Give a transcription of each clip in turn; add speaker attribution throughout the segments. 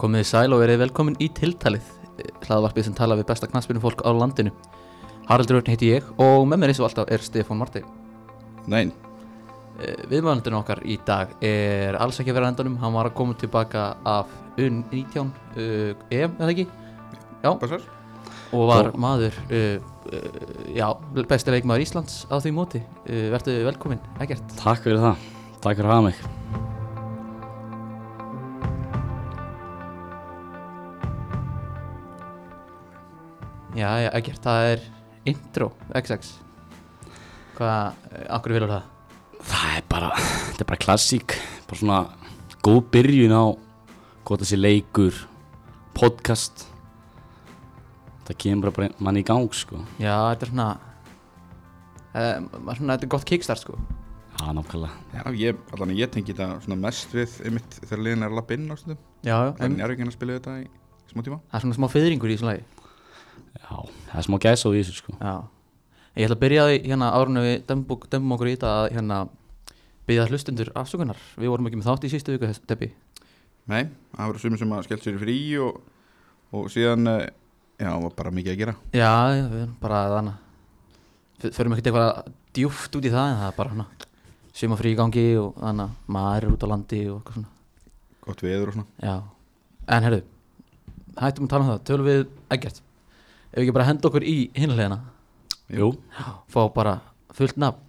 Speaker 1: Komið þið sæl og verið velkomin í tiltalið eh, hlaðvarpið sem tala við besta knaspinu fólk á landinu Haraldur Örn heiti ég og með mér eins og alltaf er Stefán Marti
Speaker 2: Nein,
Speaker 1: Viðmælandurinn okkar í dag er alls ekki að vera á endanum hann var að koma tilbaka af UN19 uh, EM, eða ekki? Já,
Speaker 2: Basar?
Speaker 1: og var
Speaker 2: Og-
Speaker 1: maður uh, uh, já, besti leikmaður Íslands á því móti uh, Vertu velkomin, ekkert
Speaker 3: Takk fyrir það, takk fyrir að hafa mig
Speaker 1: Já, já, ekkert, það er intro XX Hvað, eh, akkur vilur það?
Speaker 3: Það er bara, þetta er bara klassík Bara svona góð byrjun á Góta sér leikur Podcast Það kemur bara bara manni í gang sko
Speaker 1: Já, þetta er svona eh, maður svona, Þetta er gott kickstart sko
Speaker 3: Já, nákvæmlega
Speaker 2: Já, ég, allan ég tengi þetta svona mest við einmitt þegar liðin er að lappa inn á stundum
Speaker 1: Já, já
Speaker 2: Það er njárvíkinn að spila þetta í smá tíma
Speaker 1: Það er svona smá fyrringur í svona lagi
Speaker 3: Já, það er smá gæsa á því sko
Speaker 1: Já Ég ætla að byrja á því hérna árunum við dömbum, dömbum okkur í þetta að hérna byggja hlustundur afsökunar Við vorum ekki með þátt í sístu viku, Debbi
Speaker 2: Nei, það voru sumir sem að skellt sér í frí og, og síðan, eh, já, var bara mikið að gera
Speaker 1: Já, já, við erum bara þannig Förum ekkert eitthvað djúft út í það en það er bara svona Suma frí í gangi og þannig að maður er út á landi og eitthvað svona
Speaker 2: Gott veður og svona
Speaker 1: Já, en herru Hættum að tala um það, tölum við ekkert Ef við ekki bara henda okkur í hinleðina
Speaker 3: Jú,
Speaker 1: Fá bara fullt nafn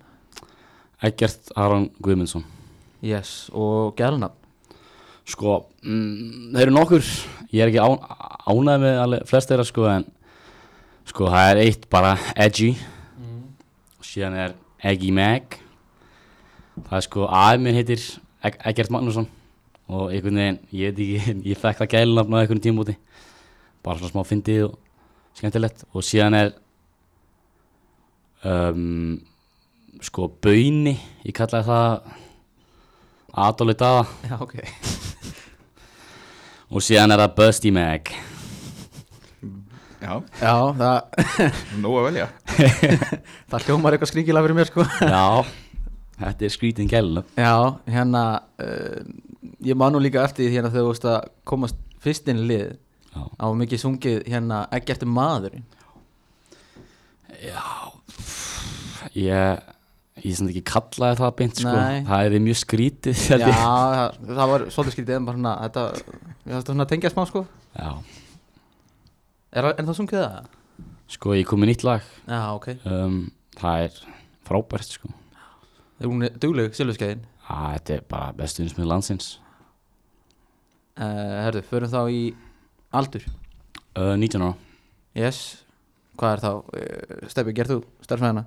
Speaker 3: Eggert Aron Guðmundsson
Speaker 1: Yes, og gælunafn
Speaker 3: Sko, mm, þeir eru nokkur Ég er ekki á, ánægð með alveg flest þeirra sko En sko, það er eitt bara edgy og Síðan er Eggy Mag Það er sko, aðeins minn heitir Egg- Eggert Magnússon Og einhvern veginn, ég veit ekki Ég fekk það gælunafn á einhvern tímúti Bara svona smá fyndið og skemmtilegt Og síðan er um, Sko, Bauni Ég kallaði það Adolfi Daða
Speaker 1: Já, ok
Speaker 3: Og síðan er það Busty Mag
Speaker 2: Já,
Speaker 1: Já, það,
Speaker 2: nóg að velja
Speaker 1: það hljómar eitthvað skringilega fyrir mér sko
Speaker 3: Já, þetta er skrítin gælu
Speaker 1: Já, hérna uh, Ég man nú líka eftir því hérna þegar þú veist að komast fyrst inn í lið
Speaker 3: Já.
Speaker 1: á mikið sungið hérna ekki eftir maðurinn
Speaker 3: Ég, ég sem ekki kallaði það beint sko
Speaker 1: Nei.
Speaker 3: Það er mjög skrítið
Speaker 1: Já,
Speaker 3: held ég.
Speaker 1: það, það var svolítið skrítið en bara svona, þetta, ég þetta svona tengja smá sko
Speaker 3: Já,
Speaker 1: Er, er það sungið það?
Speaker 3: sko ég kom með nýtt lag
Speaker 1: Já, ok
Speaker 3: um, Það er frábært sko
Speaker 1: Er hún dugleg, Silvurskeiðin?
Speaker 3: Æ, Þetta er bara bestuðnismið landsins
Speaker 1: Uh, herðu, förum þá í aldur
Speaker 3: uh, 19 ára
Speaker 1: Yes, hvað er þá? Uh, Steppi, gerð þú starfsmæðina?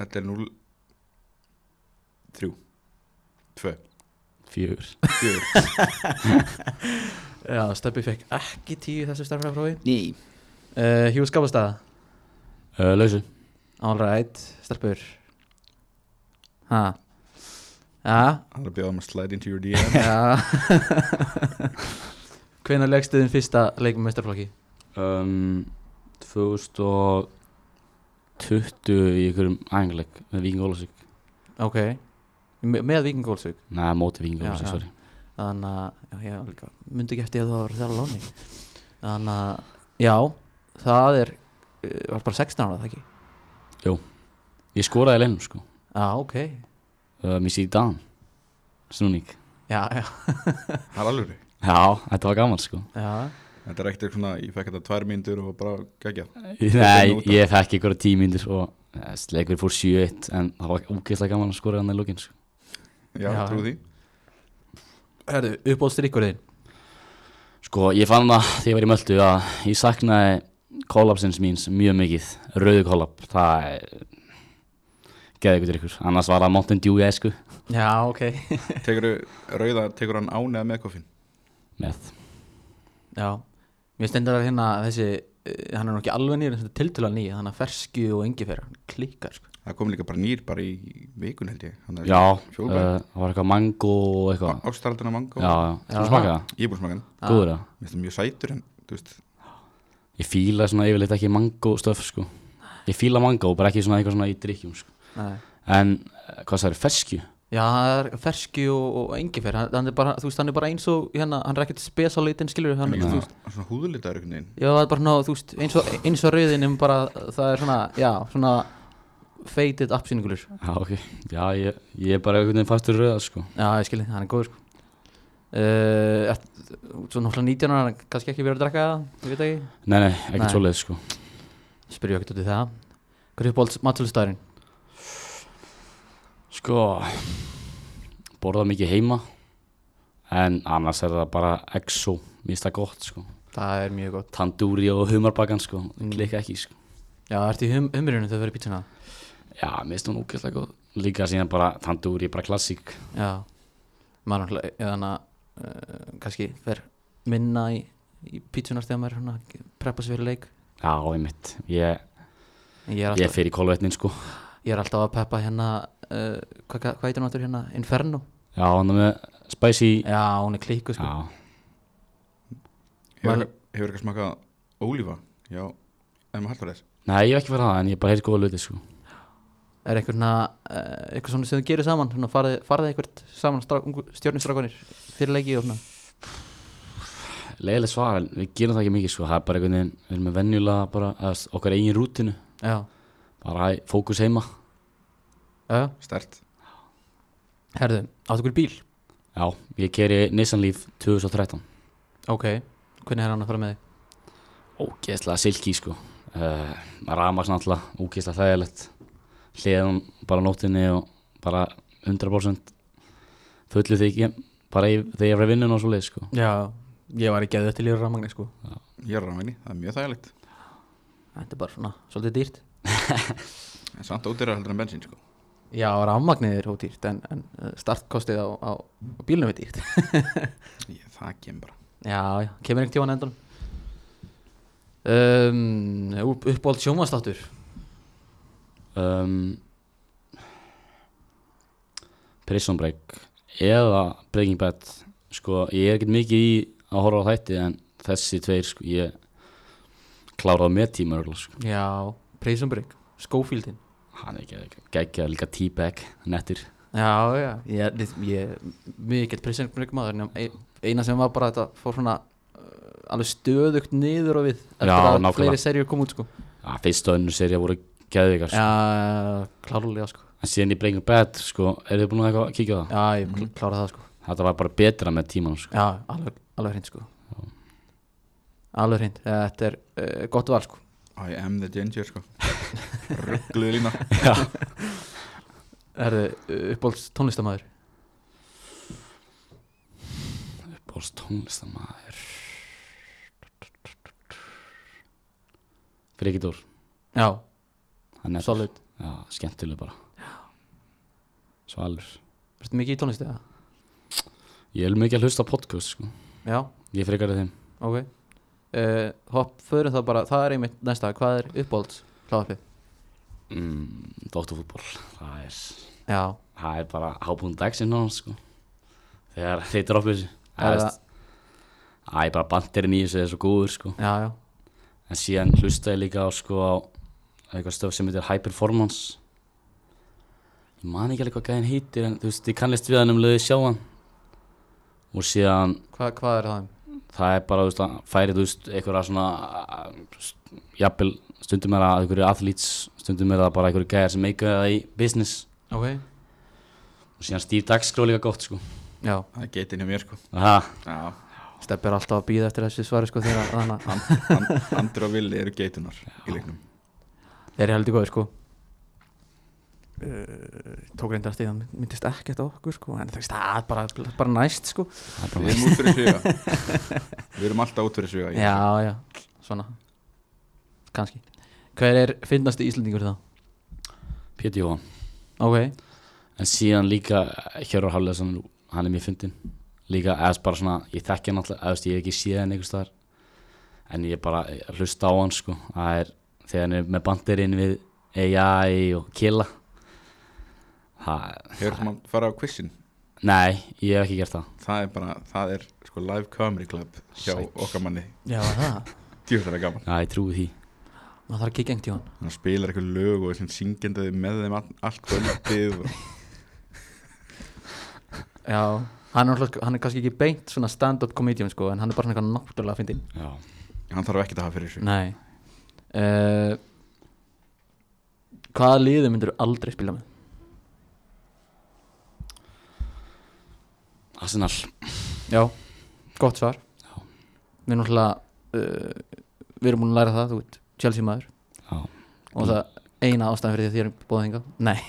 Speaker 2: Þetta er 0 3 2
Speaker 3: Fjögur
Speaker 2: 4
Speaker 1: Já, Steppi fekk ekki tíu í þessu starfsmæðafrófi
Speaker 2: Ný
Speaker 1: uh, Hjú skapastæða,
Speaker 3: uh, Lausu
Speaker 1: all right, Steppi Ha Já,
Speaker 2: Það er að bjóða um að slide into your DM
Speaker 1: já Hvenær legstu þinn fyrsta leik með meistarflokki?
Speaker 3: um, 2020 í einhverjum ængleik með Víking Ólasík
Speaker 1: Ok, Me með Viking Gólsvík
Speaker 3: Nei, móti Víking
Speaker 1: Já,
Speaker 3: Ólasík,
Speaker 1: já.
Speaker 3: sorry
Speaker 1: Þannig að, já, ég líka, myndi ekki eftir að það var þar á láni Þannig að, já, það er, eh, var bara 16 ára, það ekki?
Speaker 3: Ég skoraði í leinum sko
Speaker 1: Já, ok,
Speaker 3: uh, Missi Dan Snúning
Speaker 1: já, já,
Speaker 2: Það er alveg
Speaker 3: Já, þetta var gaman sko
Speaker 1: já,
Speaker 2: Þetta er ekkert svona, ég fekk þetta tvær myndur og bara gegja
Speaker 3: Nei,
Speaker 2: finnur út af.
Speaker 3: ég fekk ykkur tímyndir og eh, leikur fór 7-1 en það var úkvæslega gaman að skora hann í lókin sko.
Speaker 2: Já,
Speaker 1: Já.
Speaker 2: trú því
Speaker 1: Herðu, uppbóð strikkurinn
Speaker 3: sko, ég fann það þegar ég var í möldu að ég saknaði kollapsins míns mjög mikið rauðu kollap, það er geði ykkur ykkur, annars var það Mountain Dew í esku
Speaker 1: Já, ok
Speaker 2: Tekur rauða, tekur hann án eða með koffin
Speaker 3: með,
Speaker 1: Já, mér stendur að hérna þessi, eh, hann er nú ekki alveg nýr en tiltöla ný, þannig að fersku og engi fyrir hann klikkar, sko
Speaker 2: Það kom líka bara nýr bara í vikun held ég Þannig að-
Speaker 3: já uh,
Speaker 2: Fjólubær.
Speaker 3: það var eitthvað mango og eitthvað
Speaker 2: Á- Ástraldana mango
Speaker 3: já, já,
Speaker 1: Já.
Speaker 3: þú smaka það,
Speaker 2: Ég er búinn að smaka hann
Speaker 1: Já.
Speaker 3: góður það
Speaker 2: Mér finnst það mjög sætur en, þú veist
Speaker 3: ég fíla svona yfirleitt ekki mango stöf sko, ég fíla mango, bara ekki svona eitthvað svona í drikkjum sko
Speaker 1: Nei,
Speaker 3: En eh, hvað það er, ferskju?
Speaker 1: Já, það er ferski og, og engifer hann, hann er bara, þú veist, hann er bara eins og hérna, hann er ekkert spesalitinn, skilur hann,
Speaker 2: Líka
Speaker 1: þú
Speaker 2: svona,
Speaker 1: veist,
Speaker 2: svona húðlitaður einhvern veginn
Speaker 1: já, það er bara svona, þú veist, eins og, eins og rauðin en bara, það er svona, já, svona sko. feitit appsýningulur Já,
Speaker 3: Já, ok. Já, ég, ég er bara einhvern veginn fastur rauða, sko.
Speaker 1: ég skilji, hann er góður sko. uh, ert, Svo náttúrulega 19 ára, hann er kannski ekki verið að drekka það, ég veit ekki,
Speaker 3: Nei, nei,
Speaker 1: Nei.
Speaker 3: ekkert svoleið, sko.
Speaker 1: spyrjum ekkert út í það Hver er uppáhalds matsölustæðurinn?
Speaker 3: Sko, borða mikið heima, en annars er það bara exo, mér finnst það gott, sko.
Speaker 1: Það er mjög gott
Speaker 3: Tandúri og humarbakkan, sko,
Speaker 1: Mm.
Speaker 3: klikka ekki, sko.
Speaker 1: Já, ertu í hum, umrýrunum þegar þú verið pítsuna?
Speaker 3: Já, mér finnst hún ógeðslega góð. Líka síðan bara tandúri, bara klassík.
Speaker 1: Já, maður náttúrulega eða hann að uh, kannski fer minna í, í pítsunar þegar maður er svona að preppa sér fyrir leik
Speaker 3: Já, einmitt. Ég,
Speaker 1: En ég er
Speaker 3: ég
Speaker 1: alltaf,
Speaker 3: fer í kolvetnin, sko.
Speaker 1: ég er alltaf að peppa hérna uh, hvað, hvað- hvað heitir hann áttur hérna? Inferno?
Speaker 3: Já, hann er með spicy.
Speaker 1: Já, hún er klíku sko
Speaker 3: Já,
Speaker 2: Hefur
Speaker 1: Maður-
Speaker 2: hefur eitthvað smakað ólífa? Já, en maður haldur þess
Speaker 3: nei, ég hef ekki verið það, en ég bara heyrði góða luti, sko.
Speaker 1: Er eitthvað svona, uh, eitthvað svona sem þú gerir saman svona farið, farið eitthvað saman strá, stjórnistrákonir fyrir leiki og svona
Speaker 3: Leðileg svar, en við gerum það ekki mikið sko, það er bara einhvern veginn, við erum með venjulega bara eða, okkar eigin rútinu,
Speaker 1: Já,
Speaker 3: bara hæ, fókus heima.
Speaker 1: já,
Speaker 2: Stert
Speaker 1: herðu, áttu ykkur bíl?
Speaker 3: Já, ég keri Nissan Leaf 2013.
Speaker 1: Ok, hvernig er hann að fara með þig?
Speaker 3: Ógeðslega silki sko, uh, rafmagn alltaf, ógeðslega þægilegt, hliðan bara á nóttinni og bara 100% fullu þykja, bara í, þegar ég var í vinnun og svo leið sko.
Speaker 1: Já, ég var í geðu til í rafmagni sko
Speaker 2: Ég er rafmæni, það er mjög þægilegt
Speaker 1: Þetta er bara svona, svolítið dýrt
Speaker 2: En samt ódýra heldur en bensín sko
Speaker 1: Já, rafmagnið er ódýrt en, en eh, startkostið á, á, á bílnum er dýrt
Speaker 2: ég, Það kemur bara
Speaker 1: Já, já, kemur einhvern tíðan endan um, upp- Uppáhald sjómanstáttur
Speaker 3: Um, Prison Break eða Breaking Bad sko, ég er ekkert mikið í að horfa á þætti en þessi tveir sko, ég kláraði með tíma örugglega, sko.
Speaker 1: Já, Prison Break, Schofieldin
Speaker 3: hann er ekki geggja líka T-Bag nettir
Speaker 1: Já, já, ég, ég, ég mikið Prison Break maður nema ein- eina sem var bara að þetta fór svona eh, alveg stöðugt niður og við eftir
Speaker 3: Já,
Speaker 1: að
Speaker 3: nákvæmlega.
Speaker 1: fleiri serjur kom út sko
Speaker 3: að fyrst og önnur serið voru geðvikar sko.
Speaker 1: Já, klárlega sko
Speaker 3: en síðan í Breaking Bad sko, eru þið búin að eitthvað að kíkja á það?
Speaker 1: Já, ég klára það sko
Speaker 3: Þetta var bara betra með tímanum sko.
Speaker 1: Já, alveg, alveg hreint sko Alveg hreint, þetta er uh, gott val sko
Speaker 2: I am the ginger sko Ruggluð lína
Speaker 1: Er þið uppbólst tónlistamæður?
Speaker 3: Bóls tónlistamæður Frikidór
Speaker 1: Já,
Speaker 3: hann er
Speaker 1: solid
Speaker 3: já, skemmtileg bara svalur
Speaker 1: Ertu mikið í tónlistu eða?
Speaker 3: ég er mikið að hlusta á podcast sko.
Speaker 1: Já,
Speaker 3: ég frekar þeim
Speaker 1: ok uh, Hopp, förum það bara, það er einmitt næsta Hvað er uppbólst hláðarfið?
Speaker 3: mm, Dóttarfútból það er
Speaker 1: Já,
Speaker 3: það er bara hábúin dagsinn hann sko. þegar þeir droppu þessu
Speaker 1: Er
Speaker 3: það Æ, bara bandirinn í þessu er svo góður sko.
Speaker 1: já, já
Speaker 3: en síðan hlusta ég líka á, sko, á eitthvað stöf sem heitir High Performance ég man ekki alveg hvað gæðin heitir en þú veist, ég kannist við hann um löði sjá hann og síðan
Speaker 1: Hva, Hvað er það um?
Speaker 3: það er bara, þú veist, að færi, þú veist, einhverja svona st- jafnvel, stundum er það einhverju athletes, stundum er það bara einhverju gæjar sem meika það í business
Speaker 1: Ok,
Speaker 3: og síðan Steve Dagskró líka gott, sko
Speaker 1: já
Speaker 2: Það er getinn hjá mér sko
Speaker 3: Aha,
Speaker 2: Já,
Speaker 1: Steppi er alltaf að býða eftir þessu svari sko þegar þannig að-
Speaker 2: And- Andri og Villi eru geitunar í leiknum
Speaker 1: Þeir eru heldur góði sko uh, Tók reyndar stíð Það myndist ekkert á okkur sko En það er bara, bara næst sko
Speaker 3: það er
Speaker 2: Við
Speaker 3: bara
Speaker 2: erum út fyrir sviga Við erum alltaf út fyrir sviga ég-
Speaker 1: Já, já, svona kannski Hver er finnasti Íslendingur þá?
Speaker 3: Pétur Jóhann
Speaker 1: Ok,
Speaker 3: en síðan líka Hjörvar Hafleðsson, hann er mér fyndin líka, eða bara svona, ég þekki hann alltaf eða þú veist, ég hef ekki séð hann einhvers staðar en ég bara ég hlusta á hann, sko það er, þegar hann er með bandirinn við AI og Killa það,
Speaker 2: Hefur þú maður fara á quizin
Speaker 3: nei, ég hef ekki gert það
Speaker 2: Það er bara, það er sko live comedy club hjá
Speaker 3: Sæll.
Speaker 2: okkar manni
Speaker 1: já var það
Speaker 2: Djúfæra gaman
Speaker 3: Já, ég trúi því
Speaker 1: Nú þarf að kikja engt í hann
Speaker 2: Hann spilar eitthvað lög og er svona syngjandi með þeim all- allt kvöldið og
Speaker 1: Já, hann er, náttúrulega- hann er kannski ekki beint svona stand-up comedian sko En hann er bara svona eitthvað náttúrulega fyndinn
Speaker 3: Já.
Speaker 2: Hann þarf ekki að hafa fyrir þessu
Speaker 1: Nei uh, Hvaða liðu myndir aldrei spila með?
Speaker 3: Arsenal
Speaker 1: Já, gott svar Við erum náttúrulega uh, Við erum búin að læra það, þú veit, Chelsea maður
Speaker 3: Já.
Speaker 1: Og það eina ástæðan fyrir því að þér er bóðið hingað Mm. Nei,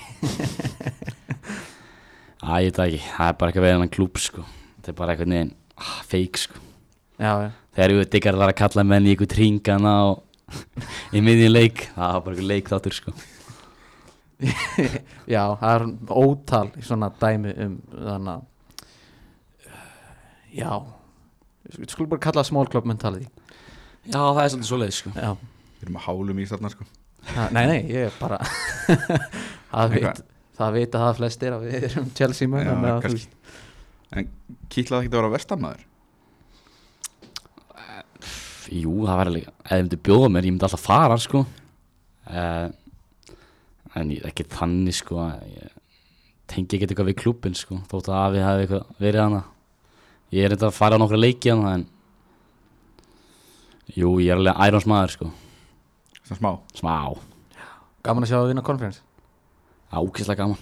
Speaker 3: Æ, ég veit það ekki, það er bara eitthvað við hennan klúb sko Það er bara eitthvað neginn, ah, feik sko
Speaker 1: já, já
Speaker 3: Þegar við diggar þar að kalla menn í eitthvað tringana og í miðjum leik Það var bara eitthvað leik þáttur sko
Speaker 1: Já, það er ótal svona dæmi um þannig að Já Við skulum bara kalla það small club mentality
Speaker 3: Já, það er svolítið svoleið sko
Speaker 1: Já,
Speaker 2: Við erum að hálum í þarna sko
Speaker 1: Ha, nei, nei, ég er bara það,
Speaker 2: Eitthvað.
Speaker 1: veit, það vita það flestir að við erum Chelsea menn
Speaker 2: Já,
Speaker 1: þannig að þú
Speaker 2: kannski.
Speaker 1: veist-
Speaker 2: Kýtlaði ekki að vera vestamæður
Speaker 3: Jú, það væri líka, ef þið myndi bjóða mér, ég myndi alltaf fara sko uh, En ég, ekki þannig sko, að ég tengi ekki eitthvað við klúbin sko Þótt að afi hafi eitthvað verið hana Ég er eitthvað að fara á nokkra leiki hana en Jú, ég er alveg ærans maður sko,
Speaker 2: Svona smá
Speaker 3: smá
Speaker 1: Gaman að sjá að vinna konferens
Speaker 3: Það er ógeðslega gaman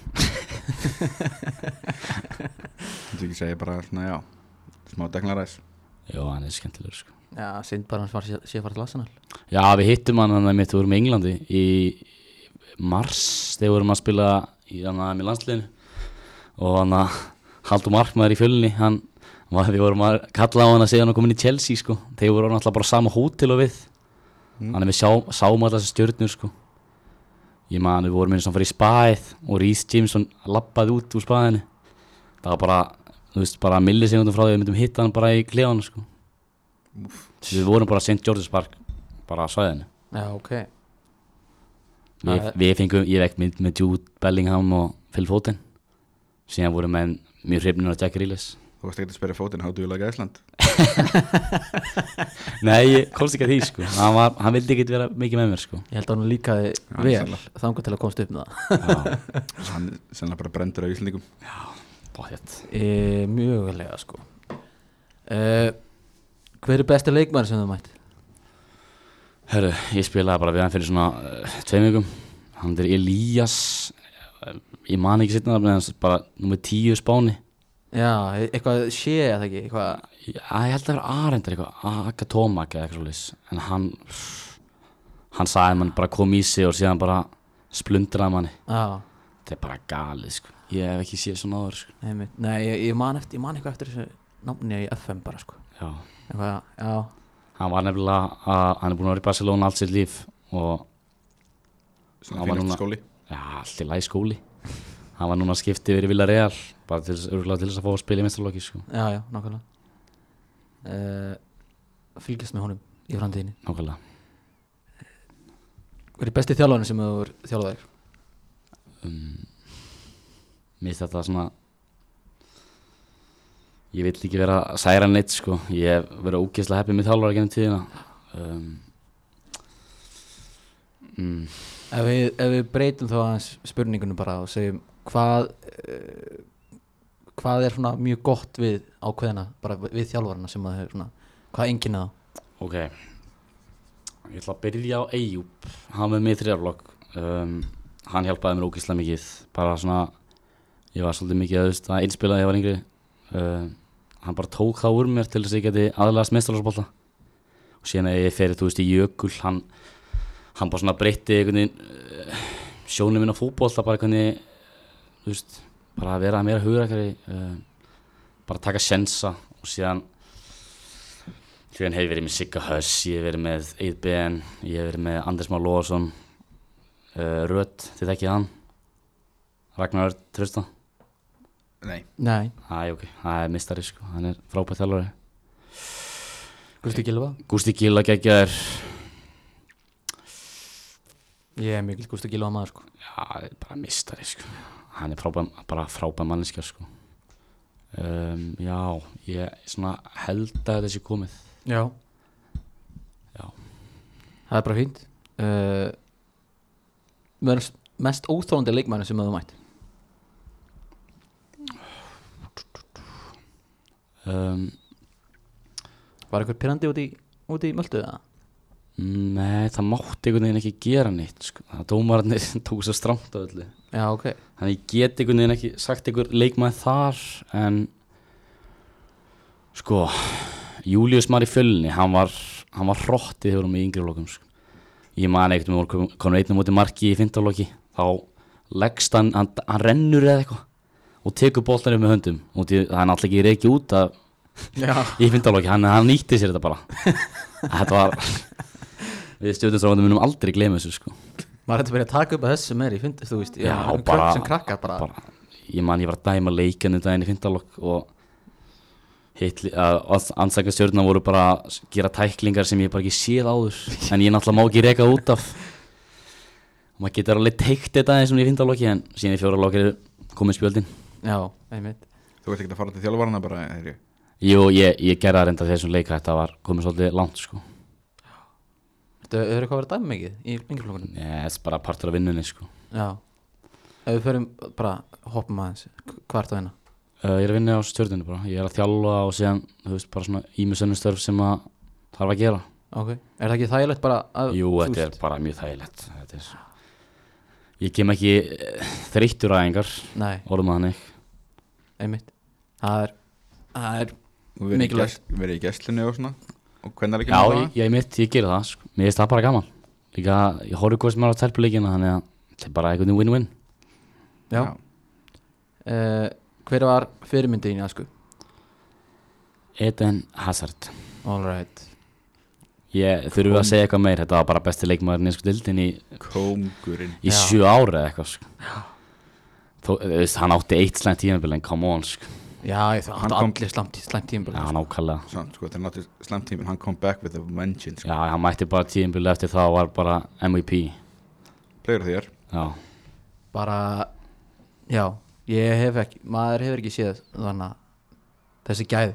Speaker 2: Þetta ekki segja bara svona já Smá deglaræs
Speaker 3: Jó, hann er skemmtilegur sko
Speaker 1: Já, sind bara hans var sé sé að fara til Arsenal
Speaker 3: Já, við hittum hann hann að mitt, við vorum í Englandi í mars þegar við vorum að spila í hann að með landsliðinu og hann að Haldur Markmaður í fjölunni hann, var, við vorum að kalla á hann að segja hann að koma inn í Chelsea sko þegar við vorum alltaf bara á sama hótel og við
Speaker 2: Mm.
Speaker 3: hann er við sjá, sáum alltaf þessi stjörnur sko ég man við vorum eins og fyrir spæð og Rhys Jameson lappaði út úr spæðinu það var bara, þú veist, bara millisekundum frá því að við myndum hitta hann bara í klefana sko við vorum bara St. George's Park bara á svæðinu
Speaker 1: Já, ok
Speaker 3: Við,
Speaker 1: Það-
Speaker 3: við fengum, ég vekk mynd með Jude Bellingham og Phil Foden síðan voru menn mjög hrifnir á Jack Reelis
Speaker 2: Þú veist ekki að spyrja fótinn How do you like Iceland?
Speaker 3: Nei, ég komst ekki að því sko hann, var, hann vildi ekki vera mikið með mér sko
Speaker 1: Ég held að hann líkaði
Speaker 2: Já,
Speaker 1: vel
Speaker 2: sannlega.
Speaker 1: þangar til að komast upp með það
Speaker 3: Já,
Speaker 2: Hann er sennilega bara brendur af Íslandingum
Speaker 3: bóðið
Speaker 1: e, Mjög velega sko e, Hver er besti leikmæri sem þú mætt?
Speaker 3: Hörru, ég spilaði bara við hann fyrir svona uh, tveim vikum Hann er Elías eh, Ég man ekki sitna það, bara nummer tíu spáni
Speaker 1: Já, e- eitthvað sé eða það ekki eitthvað,
Speaker 3: Já, ég held að vera arendar eitthvað Akatomak eða eitthvað svolítið En hann Hann sagði að mann bara kom í sig og síðan bara splundraði manni
Speaker 1: á,
Speaker 3: Þetta er bara galið sko Ég hef ekki séð svona áður sko
Speaker 1: nei, nei ég, ég, man eftir, ég man eitthvað eftir þessu námni í FM bara sko
Speaker 3: Já
Speaker 1: eitthvað, Já,
Speaker 3: Hann var nefnilega að Hann er búin að vera í Barcelona allt sitt líf Og
Speaker 2: Svona
Speaker 3: Hann var
Speaker 2: fínast
Speaker 3: núna-
Speaker 2: skóli
Speaker 3: Já, allt í læg skóli Hann var núna að skipti verið Vila Real Bara til, örgulega til þess að fá að spila í mestarlokki sko
Speaker 1: já, já, nákvæmlega e, Fylgjast með honum í framtíðinni
Speaker 3: Nákvæmlega
Speaker 1: Hver er besti þjálfarinn sem þú er þjálfaðir?
Speaker 3: um, Mér finnst þetta svona Ég vill ekki vera að særa neitt sko Ég hef verið ógeðslega heppið með þjálfara gennum tíðina um, mm,
Speaker 1: Ef við, ef við breytum þá aðeins spurningunum bara og segjum hvað uh, hvað er svona mjög gott við ákveðina, bara við við þjálfarana sem að hefur svona, hvað enginn að
Speaker 3: Ok Ég ætla að byrja á Eyjúb Hann var með mig í þrjárflokk um, Hann hjálpaði mér ógeðslega mikið Bara svona Ég var svolítið mikið að, að einspila þegar ég var yngri um, Hann bara tók það úr mér Til þess að ég geti aðlæðast mestalarspólta Og síðan að ég ferið, þú veist, í Jökul Hann, hann bara svona breytti einhvern veginn uh, Sjónum minn á fótbolta Bara einhvern veginn Þú veist, bara að vera meira hugrakari uh, Bara taka sjensa Og síðan Hljóðan hef ég verið með Sigga Höss, ég hef verið með Eidben, ég hef verið með Anders Már Lóðarsson, uh, Rödd, þið þekkið hann, Ragnar Örd, Trösta,
Speaker 2: Nei
Speaker 1: Nei,
Speaker 3: æ ok, það er mistari sko, hann er frábæð þjálfari.
Speaker 1: Gusti Gilva
Speaker 3: Gústi Gila geggjaður,
Speaker 1: Ég er mikil Gusti Gilva maður sko
Speaker 3: já, það er bara mistari sko, hann er frábæð, bara frábæð manneskja sko. Um, já, ég svona held að þetta sé komið.
Speaker 1: Já,
Speaker 3: Já.
Speaker 1: Það er bara fínt uh, verður Mest óþólandi leikmæri sem að þú mætt
Speaker 3: um,
Speaker 1: Var eitthvað pirrandi út í, út í möldu það?
Speaker 3: Nei, það mátti einhvern veginn ekki gera neitt sko. Það dómararnir tók svo stramt á öllu
Speaker 1: Já, ok
Speaker 3: Þannig ég get einhvern veginn ekki sagt einhver leikmaði þar en sko Július Mari Fjölni, hann var hann var hrottið þegar við vorum í yngri lokum sko. ég man ekkert, um við vorum kom- komin einnum mútið marki í fintaloki, þá leggst hann, hann, hann rennur eða eitthvað og tekur boltanum með höndum og því, það er náttúrulega ekki reiki út að,
Speaker 1: Já,
Speaker 3: í fintaloki, hann, hann nýtti sér þetta bara þetta var við stjórnumstráðum munum aldrei gleyma þessu sko
Speaker 1: maður hætti að byrja að taka upp að þessu meðri, fyndist þú veist
Speaker 3: Já,
Speaker 1: sem
Speaker 3: bara-
Speaker 1: krak- sem krakkar bara,
Speaker 3: bara, ég man ég var að dæma leikinu daginn í fyndalokk og hitli, uh, ansaka stjórna voru bara að gera tæklingar sem ég bara ekki séð áður en ég náttúrulega má ekki reka út af og maður getur alveg teikt þetta eins og í fyndalokki en síðan í fjóra lokki komið spjöldin
Speaker 1: Já, einmitt
Speaker 2: Þú ert ekki að fara til þjálfarana bara heyri.
Speaker 3: Jú, ég, ég gerði það reynda þessum leika þetta var komið svolítið langt sko
Speaker 1: Þú hefur eitthvað verið að dæma mikið í yngjaflokkunum?
Speaker 3: Nei, þetta er bara partur af vinnunni sko
Speaker 1: Já Ef við förum bara, hoppum aðeins Hvart á hérna?
Speaker 3: uh, Ég er að vinna á stjórninu bara, ég er að þjálfa og síðan, þú veist, bara svona ímisönnustörf sem að þarf að gera
Speaker 1: Ok, er það ekki þægilegt bara að
Speaker 3: Jú,
Speaker 1: þú
Speaker 3: þetta er
Speaker 1: veist-
Speaker 3: bara mjög þægilegt Þetta er Ég kem ekki eh, þreyttur aðingar
Speaker 1: Nei,
Speaker 3: orðum að þannig
Speaker 1: einmitt Það er, það er
Speaker 2: og verið í
Speaker 1: Mikilvægt.
Speaker 2: gest- verið í gæslinni og svona og hvernig er ekki
Speaker 3: Já, ég, ég mitt, ég gerir það sko. Mér finnst það bara gaman Líka, ég horfði hvað sem er á telpuleikina þannig að þetta er bara einhvern veginn win-win
Speaker 1: Já, Uh, hver var fyrirmyndin í sko? asku?
Speaker 3: Eden Hazard
Speaker 1: All right
Speaker 3: Ég þurfum við að segja eitthvað meir Þetta var bara besti leikmaðurinn í sko dildin í,
Speaker 2: Kóngurinn
Speaker 3: í
Speaker 1: Já.
Speaker 3: sjö ára eða eitthvað sko. Þó, eh, þú veist, hann átti eitt slæmt tímabil en come on sko.
Speaker 1: Já, ég það
Speaker 2: Hann
Speaker 1: áttu
Speaker 2: kom-
Speaker 1: allir slæmt, slæmt tímbil
Speaker 3: Já, nákvæmlega
Speaker 2: Samt, sko, þetta er náttúrulega slemt tíminn, hann kom back with a vengeance sko.
Speaker 3: Já, hann mætti bara tímabil eftir það og var bara MVP
Speaker 2: Player þér
Speaker 3: Já,
Speaker 1: Bara, já, ég hef ekki, maður hefur ekki séð þannig þessi gæð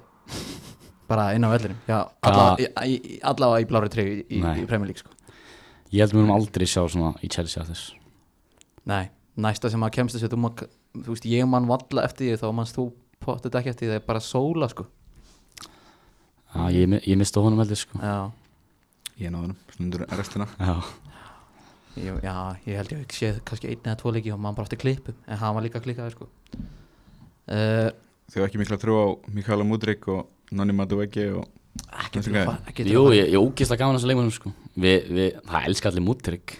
Speaker 1: bara inn á vellinum Já,
Speaker 3: Já.
Speaker 1: allavega í, í, allavega í blári treyju í,
Speaker 3: Nei.
Speaker 1: í Premier League sko
Speaker 3: Ég held að við munum aldrei sjá svona í Chelsea að þess
Speaker 1: Nei, næsta sem maður kemst þessu þú, maður, þú veist, ég mann valla eftir því þá mannst þú pottet ekki eftir því það er bara sóla sko
Speaker 3: Já, ég, mi- ég mista honum heldur sko
Speaker 1: Já,
Speaker 2: Ég náði hann, stundur restina
Speaker 3: Já,
Speaker 1: ég, já, ég held ég hef ekki séð kannski einn eða tvo leiki og maður bara átti klippum en hann var líka klikkaður sko uh,
Speaker 2: Þau hafa ekki mikla trú á Mikaela Mudrik og Nonni Maduegi og
Speaker 1: ekki
Speaker 2: Þessi
Speaker 1: til að
Speaker 2: gæði.
Speaker 1: fara ekki til að
Speaker 3: jú,
Speaker 1: fara-
Speaker 3: ég, ég ógislega gaman þessu leikmennum sko við, við, Það elskar allir múttrygg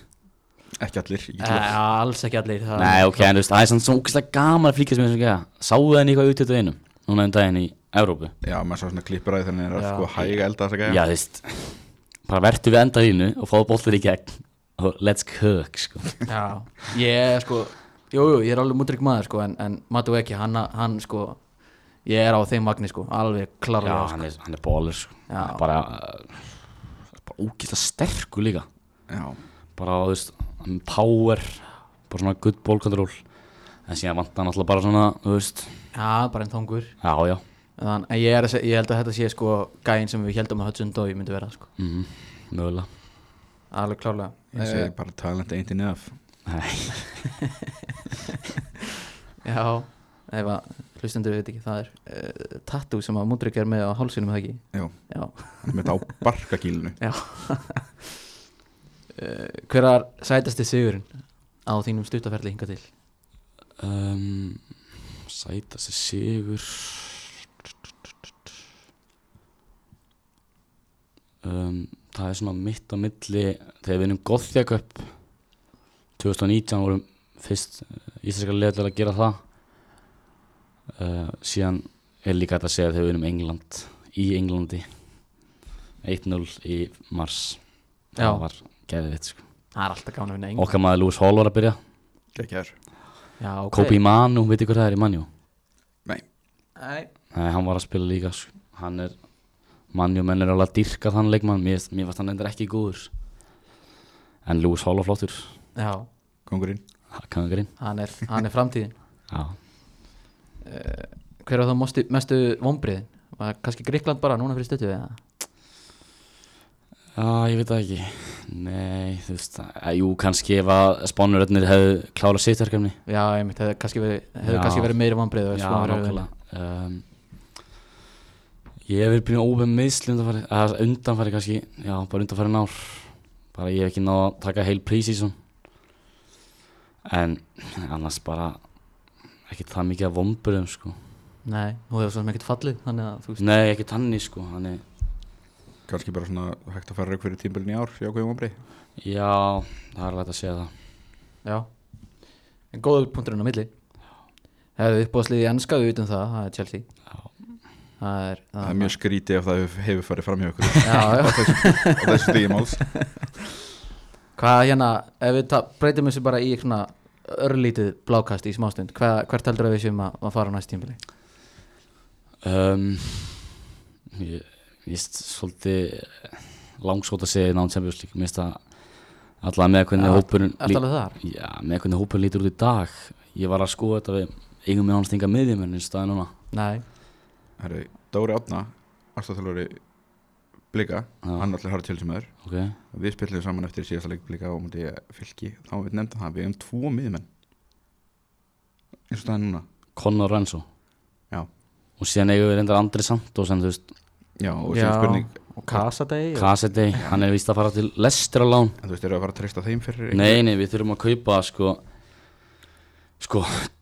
Speaker 2: ekki allir
Speaker 1: Eh,
Speaker 2: ég get lofað.
Speaker 1: alls ekki allir það
Speaker 3: Nei, ok, en þú veist, það er svona svona ógislega gaman að flíkast með þessu gæða Sáðu henni eitthvað út þetta einum Núna um daginn í Evrópu
Speaker 2: Já, maður sá svona klipparæði þannig að
Speaker 1: Já.
Speaker 2: sko hæga elda þess að
Speaker 3: Já, þú veist Bara vertu við enda þínu og fáðu bollir í gegn og Let's cook sko
Speaker 1: Já, ég er sko Jú, jú, ég er alveg mútrygg maður sko En, en Matu ekki, hann, hann sko Ég er á þeim vagni sko, alveg
Speaker 3: Já,
Speaker 1: klarlega sko.
Speaker 3: hann er, hann er bólir sko
Speaker 1: Já.
Speaker 3: Hann er Bara, uh, bara ógislega sterkur líka
Speaker 2: gæja Já,
Speaker 1: Eh.
Speaker 3: bara þú veist, hann er power bara svona good ball control en síðan vantar hann alltaf bara svona þú veist,
Speaker 1: Já, bara einn þongur
Speaker 3: já já
Speaker 1: Þann, En ég, er, að seg- ég held að þetta sé sko Gæinn sem við heldum að Hudson Dói myndi vera sko
Speaker 3: mm mögulega
Speaker 1: Alveg klarlega
Speaker 2: ég segi bara talent ain't enough
Speaker 3: Nei.
Speaker 1: Já, ef að hlustendur veit ekki Það er uh, tattoo sem að mútrygg er með á hálsinum er það ekki
Speaker 2: Já,
Speaker 1: Já,
Speaker 2: hann er með þetta á barkagílinu
Speaker 1: já uh, Hver er sætasti sigurinn á þínum stuttaferli hinga til?
Speaker 3: um, sætasti sigur um, það er svona mitt á milli þegar við vinnum Gothjaköp 2019 vorum fyrst eh, íslenska liða til að gera það uh, síðan er líka hægt að segja þegar við vinnum England í Englandi 1-0 í mars
Speaker 1: Já.
Speaker 3: það var geðvitt sko.
Speaker 1: Það er alltaf gána að vinna
Speaker 3: okkar maður Lewis Hall var að byrja
Speaker 2: Gekkjær
Speaker 1: Já, ok
Speaker 3: Kobe Manu, veitir hvað það er í Manju?
Speaker 2: Nei,
Speaker 1: Nei,
Speaker 3: Nei, hann var að spila líka sko. Hann er Manju menn er alveg að dyrka þann leikmann Mér, mér fannst hann endur ekki góður En Lewis Hall var flottur
Speaker 1: já,
Speaker 2: kongurinn
Speaker 3: Kangurinn
Speaker 1: hann er, hann er framtíðin
Speaker 3: Já
Speaker 1: Hver var þá mosti, mestu vombriðin? Var kannski Gríkland bara núna fyrir stötu eða?
Speaker 3: Já, ég veit það ekki Nei, þú veist að, Jú, kannski ef að spánuröðnir hefðu klárað sitt verkefni
Speaker 1: Já, einmitt, hefði kannski verið, hefði
Speaker 3: Já.
Speaker 1: kannski verið meiri vombrið
Speaker 3: Já, nákvæmlega um, Ehm, Ég hef verið byrjað að óbæða meðsli undanfæri, eða undanfæri kannski, já, bara undanfæri nár. Bara ég hef ekki náð að taka heil prísísum. En annars bara ekki það mikið að vomburum, sko.
Speaker 1: Nei, þú hefur svo sem ekkert fallið Þannig að þú veist
Speaker 3: Nei, ekki tanni, sko, þannig,
Speaker 2: Kanski bara svona hægt að fara rauk fyrir tímbilin í ár Já, hvað ég má breið
Speaker 3: já, það er lægt að segja það.
Speaker 1: Já En góða punkturinn á milli Hefur uppbóðslið í ennska við vitum það Það er Chelsea
Speaker 3: Já.
Speaker 1: Það er,
Speaker 2: Það er mjög skrítið ef það hefur- hefur farið fram hjá ykkur
Speaker 1: Já, já
Speaker 2: á þessu degi máls
Speaker 1: Hvað hérna Ef við ta- breytum þessu bara í svona örlítið blákast í smástund hvað, Hvert heldur að við séum að, að fara á næst tímbili?
Speaker 3: Um, ég, ég er svolítið langsótt að segja náðum Champions League, mér finnst það allavega með hvernig
Speaker 1: Já,
Speaker 3: hópurinn lí-
Speaker 1: Eftir alveg þar?
Speaker 3: Já, með hvernig hópur lítur út í dag Ég var að skoða þetta við eigum við hans þingar miðjumenn eins og staði núna
Speaker 1: Nei
Speaker 2: Herri, Dóri Átna, aðstæðalóri Blika,
Speaker 3: Já.
Speaker 1: Ah.
Speaker 2: hann er alltaf harður til sem öður
Speaker 3: Ok,
Speaker 2: Við spillum saman eftir síðasta leik Blika og mútið fylki Þá við nefndum það, við hefum tvo miðmenn eins og það er núna
Speaker 3: Conor Renzo
Speaker 2: Já.
Speaker 3: Og síðan eigum við reyndar Andri Santos en þú veist,
Speaker 2: Já, og
Speaker 1: Já.
Speaker 2: sem spurning
Speaker 1: Og Kasadei og...
Speaker 3: Kassetti, hann er víst að fara til Lester á lán
Speaker 2: En þú veist, eru að fara að treysta þeim fyrir
Speaker 3: Nei, nei, við þurfum að kaupa sko Sko,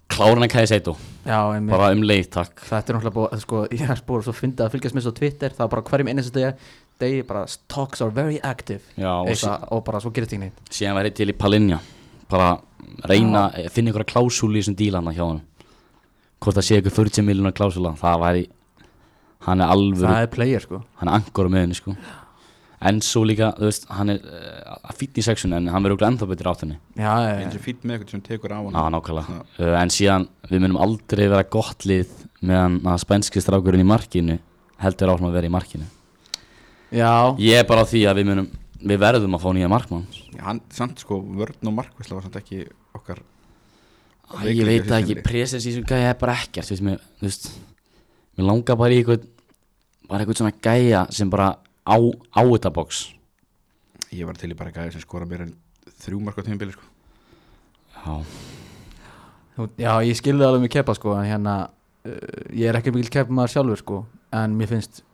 Speaker 3: klárna kæði seitu
Speaker 1: Já, einmitt
Speaker 3: Bara um leið, takk
Speaker 1: Þetta er náttúrulega búið, sko, ég er búið svo að fynda að fylgjast með svo á Twitter, það er bara hverjum einnig sem degi, degi bara talks are very active
Speaker 3: Já, og sí,
Speaker 1: Eitthvað, og bara svo gerist ekki neitt
Speaker 3: síðan væri til í Palinja Bara reyna, finna ykkur klásúli í þessum dílana hjá hann Hvort það sé ykkur 40 miljonar klásúla Það væri, hann er alvöru
Speaker 1: Það er player, sko
Speaker 3: hann er angor á miðunni sko en svo líka, þú veist, hann er uh, fýtt í sexun en hann verður okkur ennþá betur áttunni
Speaker 1: Já,
Speaker 2: eins
Speaker 1: já,
Speaker 2: og fýtt með eitthvað sem tekur á hann
Speaker 3: á nákvæmlega, uh, en síðan við munum aldrei vera gott lið meðan að spænski strákurinn í markinu heldur áfram að vera í markinu
Speaker 1: já,
Speaker 3: ég er bara á því að við munum við verðum að fá nýja markmann
Speaker 2: Hann, samt sko, vörn og markvisla var samt ekki okkar
Speaker 3: Æ, ég veit það ekki, presens í þessum gæja er bara ekkert þú veist, mér, þú veist, mér langar bara í eitthvað bara eitthvað svona gæja sem bara á, á þetta box
Speaker 2: Ég var til í bara gæði sem skora mér en þrjú mark á tímabili sko
Speaker 3: já,
Speaker 1: Þú- já, ég skilði alveg með keppa, sko, en hérna uh, ég er ekki mikil keppa maður sjálfur, sko en mér finnst uh,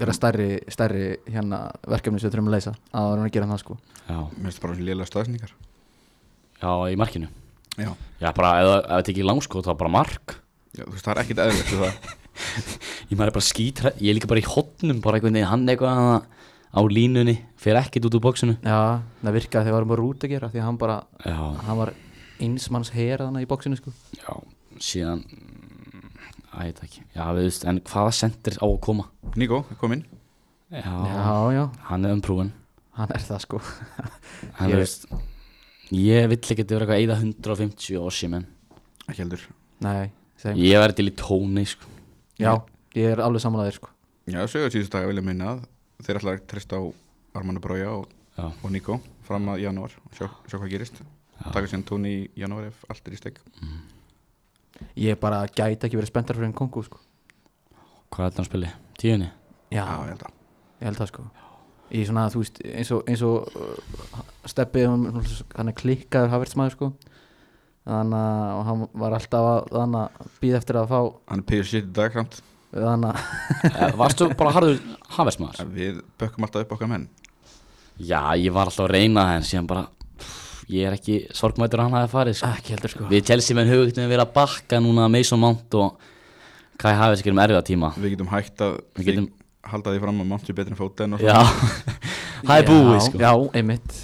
Speaker 1: vera stærri, stærri, hérna verkefni sem við þurfum að leysa, að vera að gera það, sko
Speaker 3: já,
Speaker 2: Mér finnst bara svona lélega staðsningar
Speaker 3: já, í markinu
Speaker 2: Já.
Speaker 3: Já, bara ef ef þetta ekki er langskot, þá bara mark
Speaker 2: Já, þú veist, það er ekkit eðlilegt við það
Speaker 3: Ég maður er bara skítra, ég er líka bara í hotnum bara einhvern veginn, hann eitthvað þarna á línunni fer ekkert út úr bóksinu
Speaker 1: Já, það virkaði þegar við varum bara út að gera því að hann bara,
Speaker 3: Já,
Speaker 1: hann var einsmanns heraðana í bóksinu, sko
Speaker 3: já, síðan mm, Æ, þetta ekki Já, við veist, en hvaða sendir á að koma?
Speaker 2: Níko, kom inn
Speaker 3: Já,
Speaker 1: Já, já,
Speaker 3: hann er umprúin
Speaker 1: hann er það, sko Ég-
Speaker 3: En þú veist, ég vill ekki vera eitthvað eða 150 ossi, menn
Speaker 2: Ekki heldur
Speaker 1: Nei, segjum
Speaker 3: Ég verði til í tóni, sko
Speaker 1: Já, ég er alveg samanlæðir sko
Speaker 2: Já, sögur síðustu daga vil ég minna að þeir ætla að treysta á Armanu Brója og,
Speaker 3: Já.
Speaker 2: og Níko fram að janúar og sjá, sjá hvað gerist Takk að sérna tóni í janúar ef allt er í steg
Speaker 1: Ég bara gæti ekki verið spenntar fyrir en kongu sko
Speaker 3: Hvað er þetta hann spili? Tíunni?
Speaker 1: Já,
Speaker 2: Já, ég held að
Speaker 1: ég held það sko Í svona, þú veist, eins og, eins og uh, Steppi, hann hann er klikkaður Havertzmaður sko Þannig að og hann var alltaf að, þannig að býða eftir að fá
Speaker 2: Hann er píður sitt í dag samt
Speaker 1: þannig að,
Speaker 3: Eh, Varstu bara harður hafesmaður?
Speaker 2: En Við bökkum alltaf upp okkar menn
Speaker 3: Já, ég var alltaf að reyna það en síðan bara pff, ég er ekki sorgmættur að hann hafi farið sko.
Speaker 1: ekki heldur sko
Speaker 3: Við Chelsea menn hugugt við verið að bakka núna Mason Mount og Kai Havertz gerum erfiða tíma
Speaker 2: Við getum hægt að
Speaker 3: Við getum-
Speaker 2: halda því fram að Mount sé betri en fóta en og
Speaker 3: Já, það er búið sko
Speaker 1: Já, einmitt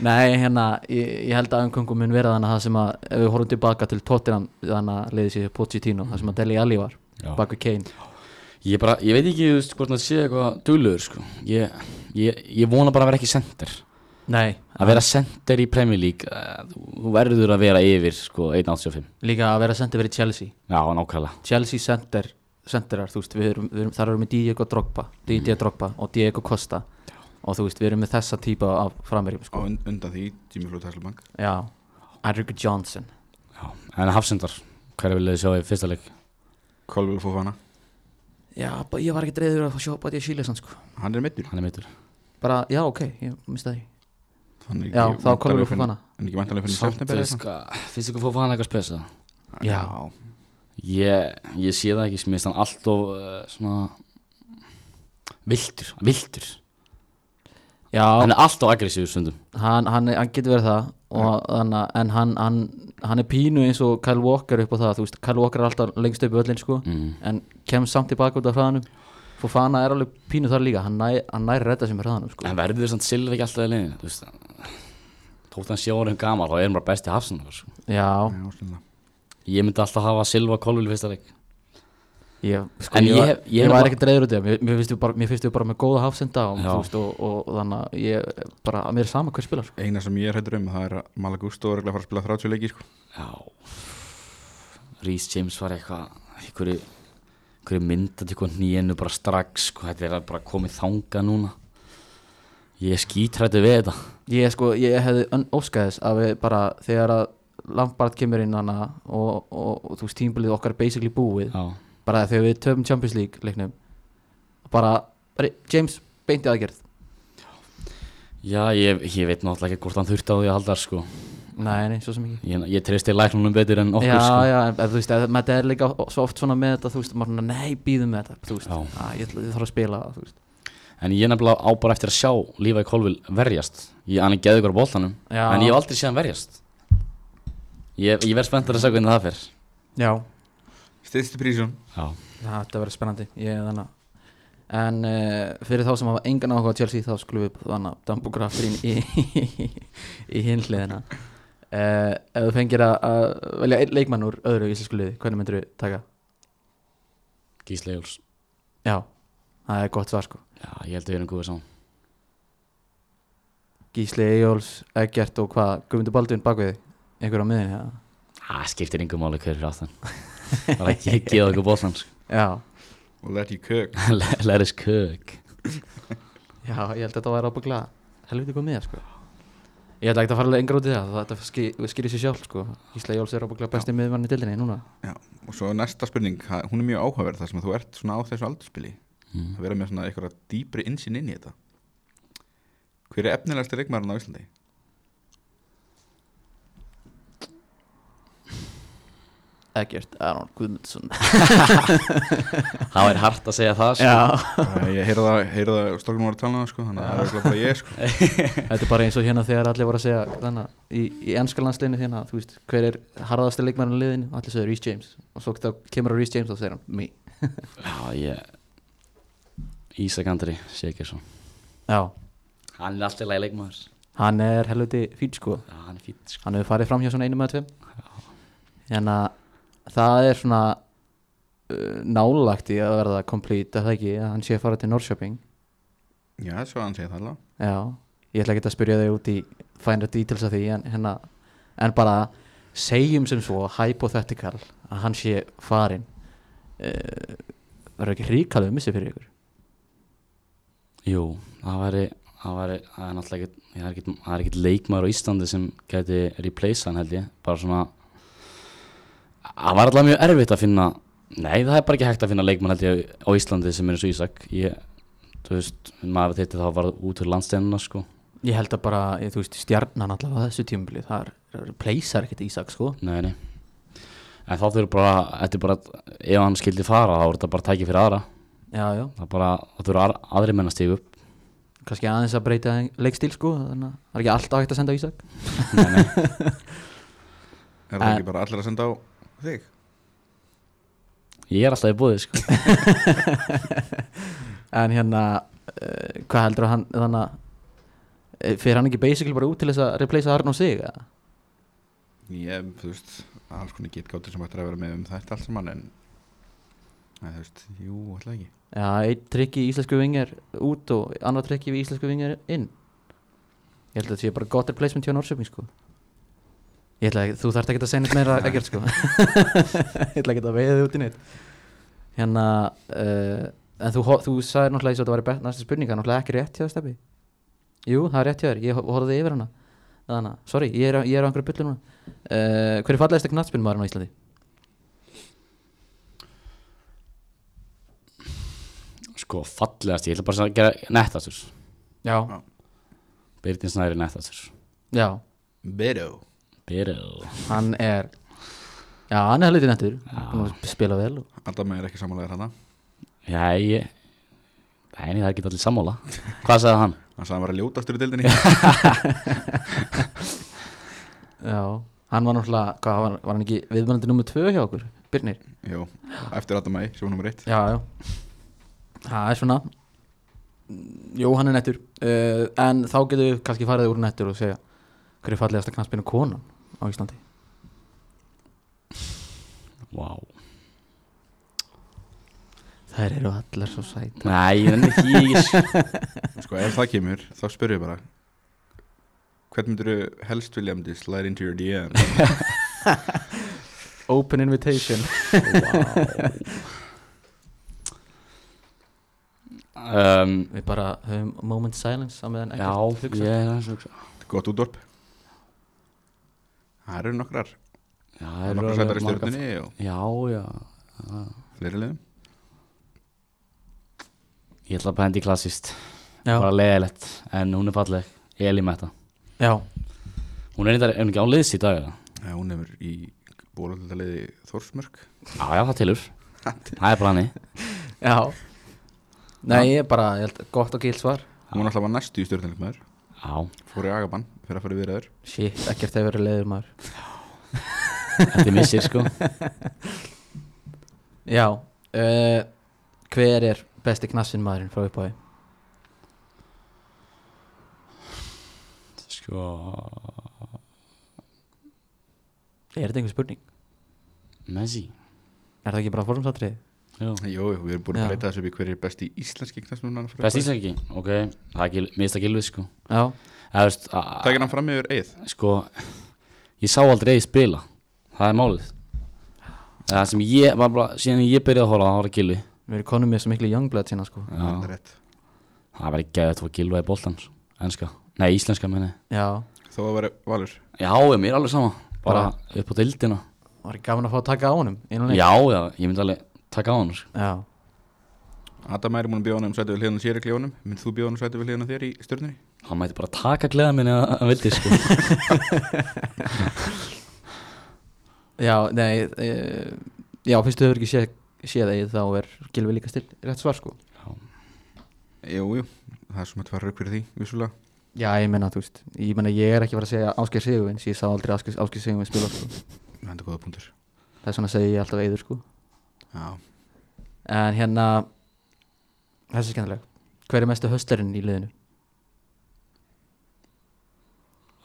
Speaker 1: Nei, hérna, ég, ég held að umkongum mun vera þannig að það sem að ef við horfum tilbaka til Tottenham þannig að leiði sér Pochettino, það sem að Deli Alli var
Speaker 3: Já.
Speaker 1: baku Kane
Speaker 3: Ég, bara, ég veit ekki þú veist, hvort það sé eitthvað duglegur sko ég, ég, ég vona bara að vera ekki sendir
Speaker 1: Nei,
Speaker 3: Að vera sendir í Premier League eh, þú þú verður að vera yfir sko 1.85
Speaker 1: Líka að vera sendið verið Chelsea
Speaker 3: Já, nákvæmlega
Speaker 1: Chelsea center, centerar, þú veist við erum, við erum, þar erum við Diego Drogba Diego Drogba og Diego Costa og þú veist, við erum með þessa típa af framverjum
Speaker 2: á
Speaker 1: sko.
Speaker 2: und- undan því Jimmy Flóð Tesselbank
Speaker 1: Já, Enrique Johnson
Speaker 3: Já. En hafsendar, hverju vilja þið sjá í fyrsta leik?
Speaker 2: Kolvur Fofana
Speaker 1: Já, bara- ég var ekki reyður að fá sjá bara því að síla sko.
Speaker 2: Hann er meittur
Speaker 3: Hann er meitur
Speaker 1: Bara, já, ok, ég mista því
Speaker 2: Þannig
Speaker 1: Já, þá
Speaker 2: ekki væntanlega
Speaker 1: kolum við
Speaker 2: fyrir-
Speaker 1: fór hana
Speaker 2: En ekki vantanlega fyrir
Speaker 3: Samt, eh, sko, þú
Speaker 2: september eða
Speaker 3: veist,
Speaker 2: eitthvað?
Speaker 3: hvað- finnst ykkur fóð að fá hann eitthvað spes það?
Speaker 1: Já.
Speaker 3: Ég, ég sé það ekki, mér finnst hann alltof uh, svona viltur, viltur
Speaker 1: Já,
Speaker 3: hann er alltof aggressífur stundum
Speaker 1: hann, hann, hann getur verið það og þannig, að- en hann, hann, hann er pínu eins og Kyle Walker upp á það þú veist, Kyle Walker er alltaf lengst upp í öllin sko,
Speaker 3: mm.
Speaker 1: en kemst samt tilbaka út af hraðanum Fofana er alveg pínu þar líka hann næ- hann nær redda sem hraðanum sko.
Speaker 3: en verður þess að Silva ekki alltaf í leiðinu þú veist tótt hann sé orðin gamal, þá er hann bara besti hafsinn sko.
Speaker 1: já,
Speaker 2: Já, skilja.
Speaker 3: ég myndi alltaf hafa Silva kolvili fyrsta leik
Speaker 1: ég, sko,
Speaker 3: En
Speaker 1: ég,
Speaker 3: ég
Speaker 1: var-
Speaker 3: hef- ég
Speaker 1: ég,
Speaker 3: hef
Speaker 1: var
Speaker 3: bara-
Speaker 1: ekki dreður út í það mér, mér finnst við bara, mér finnst við bara með góða hafsenda og,
Speaker 3: Já.
Speaker 1: þú veist, og, og, þannig að ég bara, mér er sama hver spilar sko.
Speaker 2: Eina sem ég er hættur um það er að Malagusto er örugglega að fara að spila 30 leiki sko.
Speaker 3: já Rhys James var eitthvað einhverju einhverju myndat eitthvað nýjennu bara strax sko, þetta er bara komið þanga núna ég er skítrættu við þetta
Speaker 1: ég sko, ég hefði ön- óskað þess að við bara, þegar að Lampard kemur inn hana og, og, og, þú veist, tímbilið okkar er basically búið
Speaker 3: já,
Speaker 1: bara þegar við töfum Champions League leiknum bara, bara James beinti aðgerð
Speaker 3: já ég, ég veit náttúrulega ekki hvort hann þurfti á því að halda sko.
Speaker 1: nei, nei, svo sem ekki
Speaker 3: ég, ég treysti læknunum betur en okkur
Speaker 1: já,
Speaker 3: sko.
Speaker 1: já, en þú veist, eða- maður er líka svo oft svona með þetta, þú veist, maður er svona, nei, býðum með þetta þú veist,
Speaker 3: Já.
Speaker 1: að, ég, ætla- ég þarf að spila það, þú veist
Speaker 3: En ég nefnilega á bara eftir að sjá Lífæk Kolvil verjast Ég hann er geðu ykkur á boltanum
Speaker 1: já,
Speaker 3: En ég hef aldrei séð hann verjast Ég, ég verð spenntur að segja hvernig það fer
Speaker 1: já,
Speaker 2: Stiðstu prísjón
Speaker 3: Já,
Speaker 1: þetta verður spennandi ég er þannig en uh, fyrir þá sem hafa engan áhuga á Chelsea þá skulum við þannig að dambu grafirinn í, í, í hinliðina uh, ef þú fengir að, að velja einn leikmann úr öðru íslensku liði hvernig myndir þú taka?
Speaker 3: Gísli Jóls
Speaker 1: já, það er gott svar sko
Speaker 3: Já, ég held að við erum góðið saman
Speaker 1: Gísli Eyjóls, Eggert og hvað Guðmundur Baldvin bakvið þig? einhver á miðinni eða?
Speaker 3: Það skiptir yngum máli hver fyrir áttan Bara ekki geðu ykkur boltan sko.
Speaker 1: já,
Speaker 2: og let you cook
Speaker 3: Let let us cook
Speaker 1: já, ég held að þetta væri ábygglega helviti góð miða sko ég ætla ekki að fara alveg engra út í það þetta skýr, skýrir sér sjálf sko Gísli Eyjóls er ábygglega besti miðmann í dildinni núna
Speaker 2: og svo næsta spurning, ha- hún er mjög áhugaverð þar sem að þú ert svona á þessu aldurspili
Speaker 3: mm.
Speaker 2: að vera með svona einhverja dýpri insinn inn í þetta hver er efnilegasti leikmaðurinn á Íslandi?
Speaker 1: Eggert Aron Guðmundsson
Speaker 3: Það er hart að segja það sko.
Speaker 1: já,
Speaker 2: Bara, ég heyrði það, heyrði það, stokkum var að tala um það sko þannig að það er örugglega bara ég sko
Speaker 1: þetta er bara eins og hérna þegar allir voru að segja þannig, í, í ennska landsliðinu hérna, þú veist, hver er harðasti leikmann í liðinu, allir segir Rhys James og svo þá kemur að Rhys James og segir hann, me
Speaker 3: Já, ég Ísak Andri Sigurðsson
Speaker 1: já,
Speaker 3: Hann er alltaf leileikmaður
Speaker 1: hann er helviti fín sko
Speaker 3: Já, hann er fýtt sko.
Speaker 1: hann hefur farið fram hjá svona einum eða tveim en að það er svona uh, nálagt í að verða komplít að það ekki að hann sé að fara til Norrköping
Speaker 2: já, svo hann segir það alveg
Speaker 1: já, ég ætla ekki að spyrja þau út í fænra details af því en, hérna, en bara segjum sem svo hypothetical að hann sé farin uh, verður ekki ríkalið missi fyrir ykkur
Speaker 3: Jú, það væri, það væri, það er náttúrulega ekkert, það er ekkert, það er ekkert leikmaður á Íslandi sem gæti replace hann held ég, bara svona, það var alltaf mjög erfitt að finna, nei það er bara ekki hægt að finna leikmann held ég á Íslandi sem er eins og Ísak, ég, þú veist, maður þetta þá var út úr landsteinuna sko,
Speaker 1: ég held að bara, ég, þú veist, stjarnan allavega á þessu tímubili, það er pleysar ekkert Ísak sko
Speaker 3: nei, nei, en þá þurfur bara, þetta er bara, ef hann skildi fara þá er þetta bara tæki fyrir aðra,
Speaker 1: já, já,
Speaker 3: það er bara, það þurfur aðra- aðri menn að stígu upp,
Speaker 1: kannski aðeins að breyta leikstíl sko, þannig að það er ekki alltaf hægt að senda á Ísak
Speaker 2: er það ekki bara allir að senda á þig?
Speaker 3: ég er alltaf í búið sko.
Speaker 1: en hérna, uh, hvað heldur hann þannig að eh, fer hann ekki basically bara út til þess að replacea Arn og sig eða?
Speaker 2: ég, þú veist, alls konar getgáttir sem ættir að vera með um þetta allt saman en Nei, þú veist, jú, alltaf ekki
Speaker 1: já, einn trikki í íslensku vingar út og annar trikki við íslensku vingar inn ég held að þetta sé bara gott replacement hjá Norsöping sko ég ætla ekki, þú þarft ekki að segja neitt meira ekkert sko ég ætla ekki að veiða þið út í neitt hérna uh, en þú, ho- þú sagði náttúrulega eins og þetta væri bet- næsta spurninga, náttúrulega ekki rétt hjá þér stefni jú, það er rétt hjá þér, ég ho- horfði yfir hana þannig, að, sorry, ég er, á- ég er á einhverju byllu núna uh, hver er fallegasta knattspinnmaðurinn á Íslandi?
Speaker 3: sko, fallegast, ég ætla bara að gera nettastur,
Speaker 1: já,
Speaker 3: Byrðin Snæri nettastur.
Speaker 1: já,
Speaker 2: Beto
Speaker 3: Byrðu
Speaker 1: hann er já, hann er hlutin eftir
Speaker 3: Já,
Speaker 1: búin
Speaker 3: Já,
Speaker 1: að spila vel og...
Speaker 2: Adam er ekki samanlegar hann
Speaker 3: já ég Nei, nei, það er ekki allir sammála Hvað sagði hann?
Speaker 2: Hann sagði hann var að ljótastur í dildinni
Speaker 1: Já, hann var náttúrulega, hvað var, var hann ekki viðmælandi nummer 2 hjá okkur, Birnir?
Speaker 2: Jó, eftir Adam Æ, sem var nummer eitt
Speaker 1: Já, já Það er svona Jó, hann er nettur uh, En þá getum við kannski farið úr nettur og segja Hver er fallegasta knaspinu konan á Íslandi?
Speaker 3: Vá
Speaker 1: Þær eru allar svo sæt
Speaker 3: Nei, ég nenni því ekki
Speaker 2: Sko, ef það kemur, þá spyrir ég bara Hvern myndir þú helst vilja um this slide into your DM?
Speaker 1: Open invitation
Speaker 3: Vá um,
Speaker 1: Við bara höfum moment silence á meðan
Speaker 3: Já,
Speaker 1: ekkert
Speaker 3: ég
Speaker 1: hugsar.
Speaker 3: er aðeins að hugsa
Speaker 2: Gott útdorp Það eru nokkrar
Speaker 3: Já, það eru
Speaker 2: Nokkrar sætar í
Speaker 3: margar-
Speaker 2: stjórninni og
Speaker 3: Já, já Já.
Speaker 2: fleiri liðum
Speaker 3: Ég ætla bara að hendi klassist
Speaker 1: Já,
Speaker 3: Bara leiðilegt En hún er falleg Elí Metta
Speaker 1: já,
Speaker 3: Hún er reyndar, er hún ekki án liðs í dag eða?
Speaker 2: Já, Hún hefur í bólöldaliði Þórsmörk
Speaker 3: Já, já, það tilur Það er planið
Speaker 1: já Nei, ég er bara, ég held, gott og gild svar
Speaker 2: Hún var alltaf var næstu í stjórnuleikmaður
Speaker 3: Já,
Speaker 2: Fór í Agaban fyrir að fara við þaður
Speaker 1: Shit, ekkert hefur verið leiður maður
Speaker 3: þetta er missir sko
Speaker 1: Já, uh, hver er besti knassin maðurinn frá upphafi?
Speaker 3: Sko
Speaker 1: Er þetta einhver spurning?
Speaker 3: Messi
Speaker 1: Er það ekki bara formsatriði?
Speaker 3: Jú.
Speaker 2: Jú, jú, við erum búin
Speaker 1: Já.
Speaker 2: að breyta þessu upp í hverju besti íslenski knastnúna
Speaker 3: Best íslenski, ok Það er gil, mista gilvið sko
Speaker 1: Já,
Speaker 3: Það veist a-
Speaker 2: Takir hann fram yfir eið
Speaker 3: Sko Ég sá aldrei eigi spila Það er málið Það sem ég var bara Síðan ég byrjaði að horfa Það var gilvi
Speaker 1: við erum konum með svo miklu youngblood sína sko
Speaker 2: Það
Speaker 3: Já
Speaker 2: er rétt.
Speaker 3: Það var ekki að þetta var gilva í boltan sko. Enska Nei, íslenska meni
Speaker 1: Já,
Speaker 2: Þó að vera valur
Speaker 3: Já, ég mér er alveg sama Bara upp á dildina
Speaker 1: var ekki gaman að fá að taka á honum innan leik?
Speaker 3: Já, já Ég myndi alveg taka á hann sko.
Speaker 1: Já,
Speaker 2: Adam Æri múin að bjóða hann um sæti við hliðan á sér í kljónum Mynd þú bjóða hann um sæti við hliðan á þér í stjórnunni?
Speaker 3: Hann mætti bara taka gleða minni að að vildi sko
Speaker 1: já, nei uh, Já, fyrst þú hefur ekki séð, séð eigið þá er Gilvi líka stil rétt svar sko
Speaker 2: Jú, jú, það er sem þetta var rauk fyrir því, vissulega
Speaker 1: Já, ég menna, þú veist, ég menna ég er ekki að fara að segja Ásgeir Sigurvins, ég sá aldrei Ásgeir, Ásgeir Sigurvins spila sko
Speaker 2: Það er góða punktur
Speaker 1: Það er svona að segja ég alltaf eigður sko
Speaker 2: Já,
Speaker 1: En hérna, þessi er skemmtileg Hver er mestu höstlerinn í liðinu?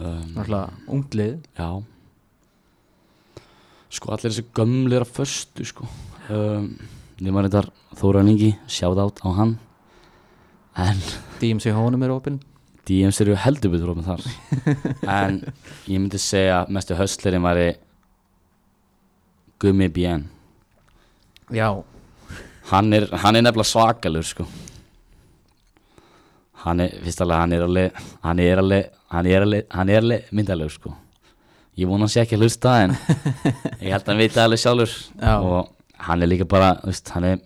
Speaker 3: um,
Speaker 1: Náttúrulega ungt lið
Speaker 3: Já Sko allir þessi gömlir að föstu sko um, Ég maður þetta Þóran Ingi, shout out á hann En
Speaker 1: DMC honum H&M er opinn
Speaker 3: DMs eru heldur betur opið þar En ég myndi segja að mestu höstlerinn væri Gummi BN
Speaker 1: Já,
Speaker 3: Hann er, hann er nefnilega svakalur sko Hann er, fyrst alveg, hann er alveg Hann er alveg, hann er alveg, hann er alveg myndalegur sko Ég vona hans ekki að hlusta en Ég held að hann vita alveg sjálfur
Speaker 1: Já.
Speaker 3: Og hann er líka bara, þú veist, hann er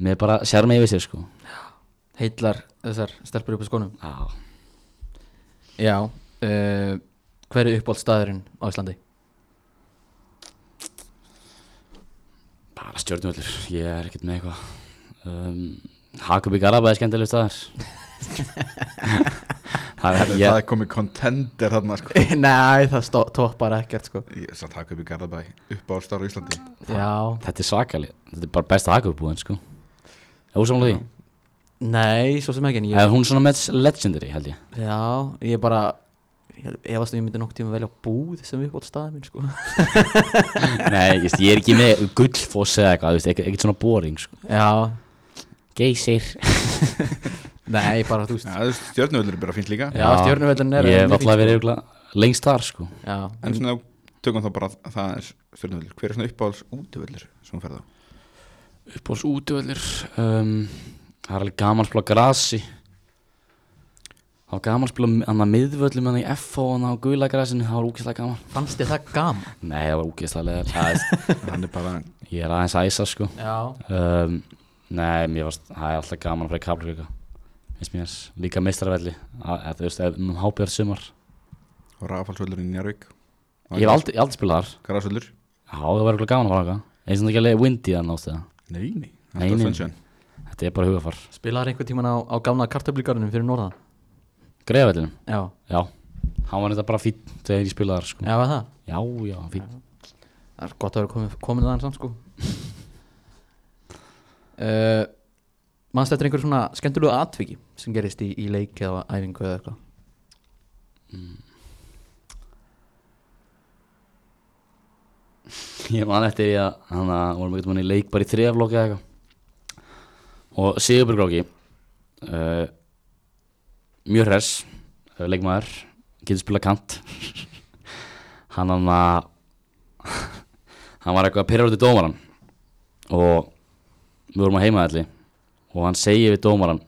Speaker 3: Með bara sjarmi yfir sér sko
Speaker 1: heillar þessar stelpur upp á skónum
Speaker 3: Já,
Speaker 1: Já, uh, hver er uppáld staðurinn á Íslandi?
Speaker 3: bara stjórnvöldur Ég er ekkert með eitthvað um, Hakubi Garaba er skemmtilegur staðar Það er,
Speaker 2: það
Speaker 3: ég,
Speaker 2: er komið contender þarna sko
Speaker 1: Nei, það stó- toppar ekkert sko
Speaker 2: Ég er samt að taka upp í Garðabæ, upp á Star á Íslandi
Speaker 1: Já,
Speaker 3: þetta er svakalig Þetta er bara besta Hakubi búin sko Er þú samlega því?
Speaker 1: nei, svo sem ekki en ég,
Speaker 3: Ég... Hún er svona með legendary held ég
Speaker 1: Já, ég bara ég Efast um að ég myndi nokkuð tíma velja búð sem uppáld staðurinn minn sko
Speaker 3: Nei, just, ég er ekki með gullfoss eða eitthvað, þú veist, ekkert- ekkert svona boring sko.
Speaker 1: Já,
Speaker 3: Geysir
Speaker 1: nei, bara þú veist
Speaker 2: Já, þú veist, stjörnuvöldur er bara fínt líka
Speaker 1: Já, stjörnuvöllurinn er
Speaker 3: Ég hef
Speaker 1: mjög fínn,
Speaker 3: alltaf verið örugglega lengst þar sko
Speaker 1: Já,
Speaker 2: En svona, tökum þá bara að það er stjörnuvöldur Hver er svona uppáhalds útivöldur sem þú ferð á?
Speaker 3: Upp ás útvöldur um, Það er alveg gaman að spila á grasi Það var gaman að spila hann að miðvöllum hann í FH hann á gula grasinu, það var úkislega gaman
Speaker 1: fannst þið það gaman?
Speaker 3: Nei, það var úkislega leðar
Speaker 2: Hann er bara,
Speaker 3: Ég er aðeins að æsa sko
Speaker 1: Já
Speaker 3: um, Nei, mér varst, það er alltaf gaman að fara í kaplugöka Finnst mér líka meistarvelli Þú veist, ef- um hábjörð sumar
Speaker 2: og rafalsvöldurinn í Njárvík
Speaker 3: Ég hef aldrei, ég hef aldrei spilað þar
Speaker 2: Garðasvöldur
Speaker 3: Já, það var eitthvað gaman að fara þangað eins og ekki alveg windy þannig ástæða
Speaker 2: Nei, nei,
Speaker 3: Nei,
Speaker 2: þetta er
Speaker 3: nei.
Speaker 2: sunshine
Speaker 3: þetta er bara hugafar
Speaker 1: Spilaðar einhvern tíman á, á gamla kartöflugarnum fyrir norðan
Speaker 3: greiðavellinu,
Speaker 1: Já,
Speaker 3: já hann var þetta bara fín þegar ég spilaði þar sko.
Speaker 1: já var það
Speaker 3: já, já, fín
Speaker 1: Það er gott að vera komin, komin aðeins samt sko uh, Manst eftir einhver svona skemmtilegu atviki sem gerist í, í leik eða æfingu eða eitthvað
Speaker 3: ég man eftir því að hann að vorum eitthvað í leik bara í þriðaflokki eða eitthvað og Sigurbjörg Róki uh, mjög hress uh, leikmaður, getur spila kant hann hann að hann var eitthvað að pyrra út í dómaran og við vorum að heimaðalli og hann segir við dómaran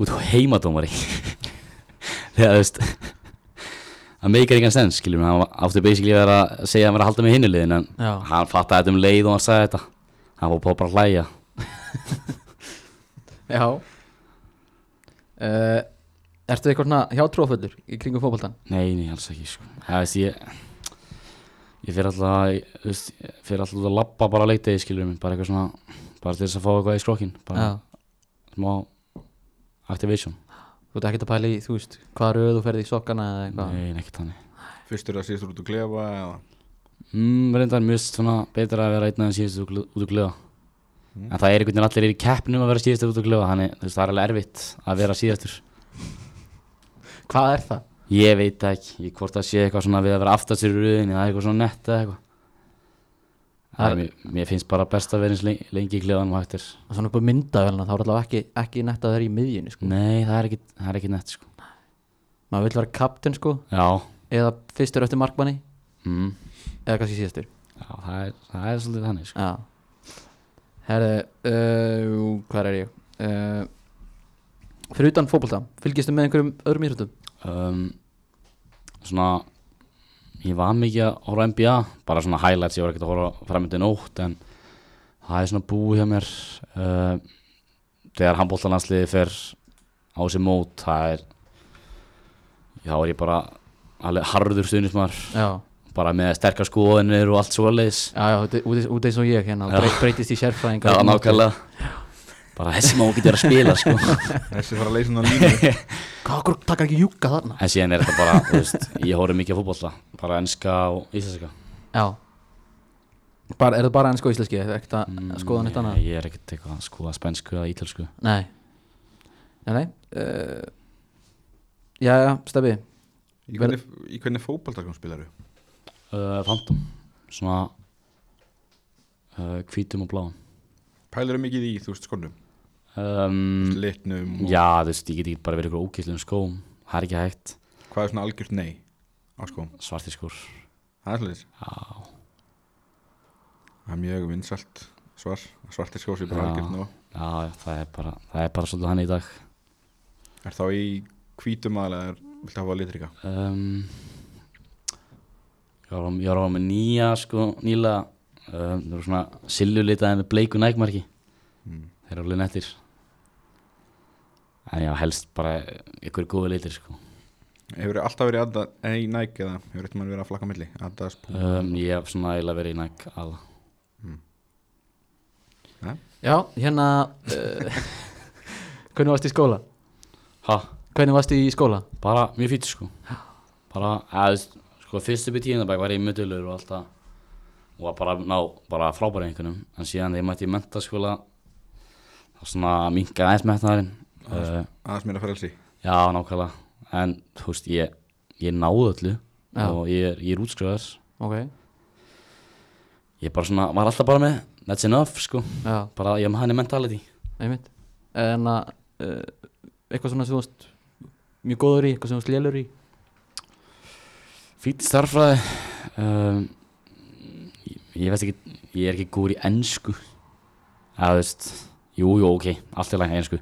Speaker 3: út á heimadómari þegar þú veist það meikar engan sens, skiljum, hann átti basically að vera að segja að hann vera að halda með hinu liðin en
Speaker 1: Já.
Speaker 3: hann fattaði þetta um leið og hann sagði þetta hann var bara- bara að hlæja
Speaker 1: Já uh, Ertu eitthvað svona hjátrúaföllur í kringum fótboltan?
Speaker 3: nei, nei, alls ekki, sko það veist ég ég fyrir alltaf að þú veist, ég fyrir alltaf út að labba bara að leita í, skiljum, bara eitthvað svona bara til þess að fá eitthvað í skrokkin bara
Speaker 1: Já
Speaker 3: smá activation
Speaker 1: Þú ert ekkert að pæla í, þú veist, hvaða röð þú ferði í sokkana eða eitthvað
Speaker 3: nei, ekkert þannig
Speaker 2: Fyrstur að síðast út og klefa eða
Speaker 3: mm, reyndar mjög svona betra að vera einn aðeins síðast út út að glöða en það er einhvern veginn allir er í keppnum að vera síðast út að glöða þannig, þú veist, það er alveg erfitt að vera síðastur
Speaker 1: Hvað er það?
Speaker 3: Ég veit það ekki, ég hvort að sé eitthvað svona við að vera aftast í röðinni, það er eitthvað svona netta eitthvað.
Speaker 1: Það
Speaker 3: Það
Speaker 1: er-
Speaker 3: er, mér, mér finnst bara best að vera eins lengi, lengi í klefanum og hættir.
Speaker 1: Og Svona upp á myndavelna, þá er allavega ekki, ekki netta að vera í miðjunni sko
Speaker 3: Nei, það er ekki, það er ekki nett sko.
Speaker 1: Maður vill vera kapten sko,
Speaker 3: Já,
Speaker 1: eða fyrstur eftir markmanni
Speaker 3: mm,
Speaker 1: eða kannski síðastur
Speaker 3: já það, er, það er svolítið þannig sko.
Speaker 1: Já Herði, uh, hvað er ég? Uh, fyrir utan fótbolta, fylgistu með einhverjum öðrum íþróttum?
Speaker 3: Um, svona, ég var mikið að horfa á NBA, bara svona highlights, ég var ekkert að horfa framöndin ótt, en það er svona búið hjá mér. Uh, þegar handbóltalansliði fer á sér mót, það er, þá er ég bara alveg harður stuðnismar,
Speaker 1: Já,
Speaker 3: bara með sterkar skoðinir og allt svoleiðis.
Speaker 1: já, já út, út, út eins og ég hérna,
Speaker 3: Já.
Speaker 1: brey, breytist í sérfræðing
Speaker 3: Já, nákvæmlega. Bara þessi má ekki vera að spila, sko.
Speaker 2: Þessi fara að leysa hann að línu
Speaker 1: Hvað, okkur taka ekki júka þarna?
Speaker 3: En síðan er þetta bara, þú veist, ég horfði mikið að fótbolta, bara enska og íslenska.
Speaker 1: Já bara, Er það bara ennsko íslenski, eða ekkert að
Speaker 3: Mm,
Speaker 1: skoða neitt
Speaker 3: ég-
Speaker 1: annað?
Speaker 3: Ég er ekkert eitthvað að skoða spænsku eða ítölsku.
Speaker 1: Nei Nei, nei uh, Já, já, stefið
Speaker 2: Í hvernig, í hvernig fótballtakum spilaru?
Speaker 3: Uh, Phantom, svona uh, hvítum og bláum.
Speaker 2: Pælaru mikið í, þú veist, skonum
Speaker 3: Um,
Speaker 2: Litnum og
Speaker 3: já, þú veist, ég get ekki bara verið ykkur ógæslegum skóm, það er ekki hægt.
Speaker 2: hvað er svona algjört nei á skóm?
Speaker 3: Svartir skór,
Speaker 2: Það er svolítið
Speaker 3: já,
Speaker 2: Það er mjög vinsalt svar Svartir skósi bara
Speaker 3: Já.
Speaker 2: algjört nú
Speaker 3: já, já, það er bara, það er bara svolítið hann í dag.
Speaker 2: Er þá í hvítum aðlega Viltu hafa litrika?
Speaker 3: um, ég, var á, ég var á með nýja sko, nýlega um, það eru svona siljulitaði með bleiku nægmarki
Speaker 2: Mm.
Speaker 3: þeir eru alveg nettir en já, helst bara ykkur góði litir sko.
Speaker 2: Hefur alltaf verið aðda Nei, næk eða Hefur eitthvað verið að flakka á milli Adas
Speaker 3: um, ég hef svona eiginlega verið í næg alla
Speaker 1: Já, hérna uh, Hvernig varstu í skóla?
Speaker 3: ha,
Speaker 1: Hvernig varstu í skóla?
Speaker 3: bara mjög fýtt sko bara, eða, þú veist, sko, fyrstu byrjum tíðindabæk var ég mötulur og alltaf og var bara, ná, bara frábæri einhvernum en síðan þegar ég mætti í mentaskóla þá svona minkaði aðeins metnaðurinn uh,
Speaker 2: Adas mér að frelsi
Speaker 3: Já, nákvæmlega En þú veist, ég, ég náði öllu
Speaker 1: Já.
Speaker 3: og ég er, ég er útskrifaður
Speaker 1: Ok,
Speaker 3: Ég bara svona, var alltaf bara með That's enough, sko
Speaker 1: já
Speaker 3: Bara, ég er með hann í mentality
Speaker 1: einmitt en að uh, eitthvað svona sem þú varst mjög góður í, eitthvað sem þú varst lélur í
Speaker 3: Fýtt starffræði um, ég, ég veist ekki, ég er ekki góður í ensku Það veist Jú, jú, ok, allt er lækna ensku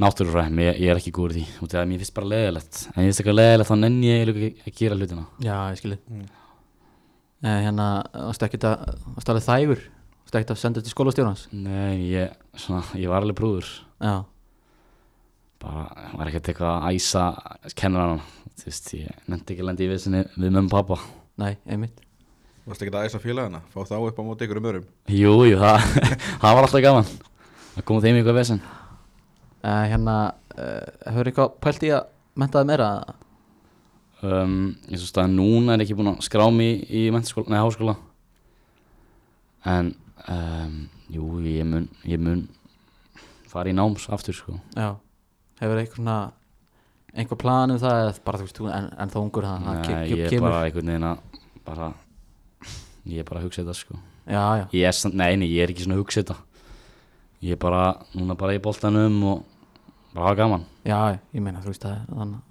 Speaker 3: Náttúrufræði, ég, ég er ekki góður í því Út af að mér finnst bara leðilegt En ég finnst eitthvað leðilegt, þá nenni ég eiginlega ekki að gera hlutina
Speaker 1: já, ég skilji
Speaker 2: Mm.
Speaker 1: eh, hérna, varst ekki að varst alveg þægur, varst ekki að senda þetta til skólastjórnans
Speaker 3: Nei, ég, svona, ég var alveg brúður
Speaker 1: já,
Speaker 3: bara var ekkert eitthvað að æsa kennarann þú veist, ég nefndi ekki að lendi í vissinni við mömmu og pappa
Speaker 1: nei, einmitt
Speaker 2: Varst ekki að æsa félagina, fá þá upp á móti ykkur um örum
Speaker 3: Jú, jú, það, það var alltaf gaman að koma þeim í eitthvað vesen
Speaker 1: uh, Hérna, uh, hefur eitthvað pælt í að mentaði meira
Speaker 3: um, eins og staðan núna er ég ekki búinn að skrá mig í mentaskóla, nei háskóla en um, jú, ég mun, ég mun fara í náms aftur sko
Speaker 1: Já, hefur eitthvað svona einhver plan um það eða bara þú veist, þú en, en þá ungur það, það Ah, ke
Speaker 3: Nei,
Speaker 1: ke
Speaker 3: ég er
Speaker 1: kemur
Speaker 3: bara einhvern veginn að bara, ég er bara að hugsa þetta sko
Speaker 1: Já, já,
Speaker 3: ég er samt, nei, nei, ég er ekki svona að hugsa þetta ég er bara, núna bara í boltanum og bara hafa gaman
Speaker 1: já, ég meina, þú veist það er þannig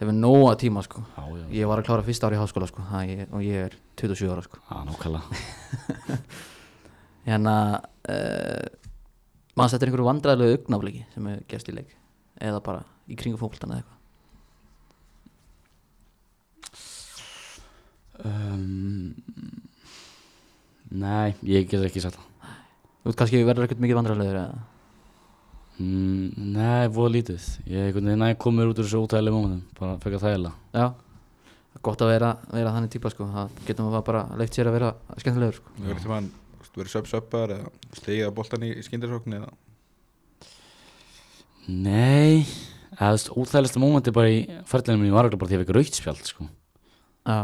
Speaker 1: hefur nóga tíma sko
Speaker 3: já, já,
Speaker 1: Ég var að klára fyrsta ári í háskóla sko það ég, og ég er 27 ára sko
Speaker 3: já, nákvæmlega
Speaker 1: Hérna, uh, manns þetta er einhverju vandræðilegu augnafliki sem er gerst í leik eða bara í kringu fókbaltana eða eitthvað
Speaker 3: um, nei, ég get ekki sagt það
Speaker 1: Þú veist kannski verður ekkert mikið vandræðilegur eða
Speaker 3: Mm, nei, voða lítið. Ég einhvern veginn næ komur út úr þessu ótæðilega mómentum, bara fekk að þægilega.
Speaker 1: Já, gott að vera, vera þannig típa sko það getum við bara leikt sér að vera skemmtilegur sko
Speaker 2: Það verður tímann, þú veist, verður söp-söpar eða stegið að boltan í skindirsókn eða
Speaker 3: Nei, eða þú veist, ótæðilegsta mómenti bara í ferðlinu minni var ekki bara því að ég fekk raukt spjald, sko.
Speaker 1: Já,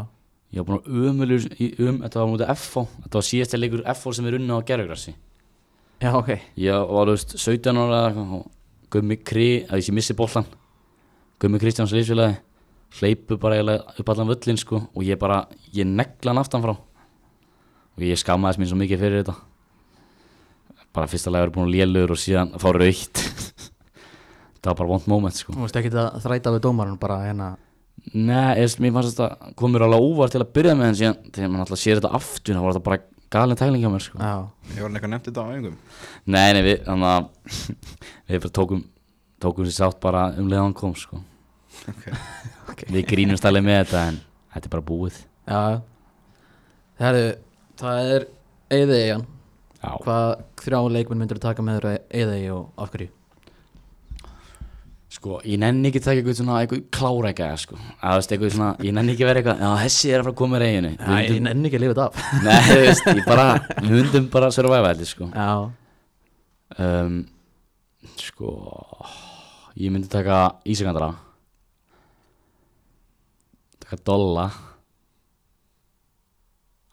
Speaker 3: Ég var búin að ömulur í um, þetta var mútið FO, þetta var síðasta leikur FO sem við runna á gerðugrassi.
Speaker 1: já ok
Speaker 3: Ég var, þú veist, 17 ára eða eitthvað og Gummi Kri, að ég sé missi bollan, Gummi Kristjáns leysfélagi, hleypu bara eiginlega upp allan völlin, sko, og ég bara, ég negla hann aftan frá. Og ég skammaðist mín svo mikið fyrir þetta. Bara fyrsta lagi að vera búin að lélur og síðan að fá raukt. það var bara vond moment, sko.
Speaker 1: Þú veist ekki að þræta við dómarinn bara hérna
Speaker 3: Nei, eða, mér fannst þetta komur alveg óvart til að byrja með en síðan þegar maður alltaf sér þetta aftur þá var þetta bara galin tæling hjá mér sko.
Speaker 1: Já,
Speaker 2: Ég var hann eitthvað nefnt þetta á einhverjum
Speaker 3: Nei, nei, við, þannig að við bara tókum tókum sér sátt bara um leiðan kom sko.
Speaker 2: Ok.
Speaker 3: Við grínumst alveg með þetta en þetta er bara búið
Speaker 1: já Herru, það er Eðið Eyjan
Speaker 3: Já,
Speaker 1: Hvað þrjá leikmenn myndir þú taka með þér Eðið Eyju og af hverju?
Speaker 3: sko, ég nenni ekki að taka eitthvað svona eitthvað klára eitthvað sko. að, þú veist, eitthvað svona, ég nenni ekki að vera eitthvað já, þessi er að fara að koma í reyjunu Við
Speaker 1: Æ, ég
Speaker 3: myndum-
Speaker 1: nenni ekki að lifa þetta af
Speaker 3: Nei, þú veist, ég bara við myndum bara að survive allir sko.
Speaker 1: Já,
Speaker 3: um, sko ég myndi taka Ísakandara taka Dolla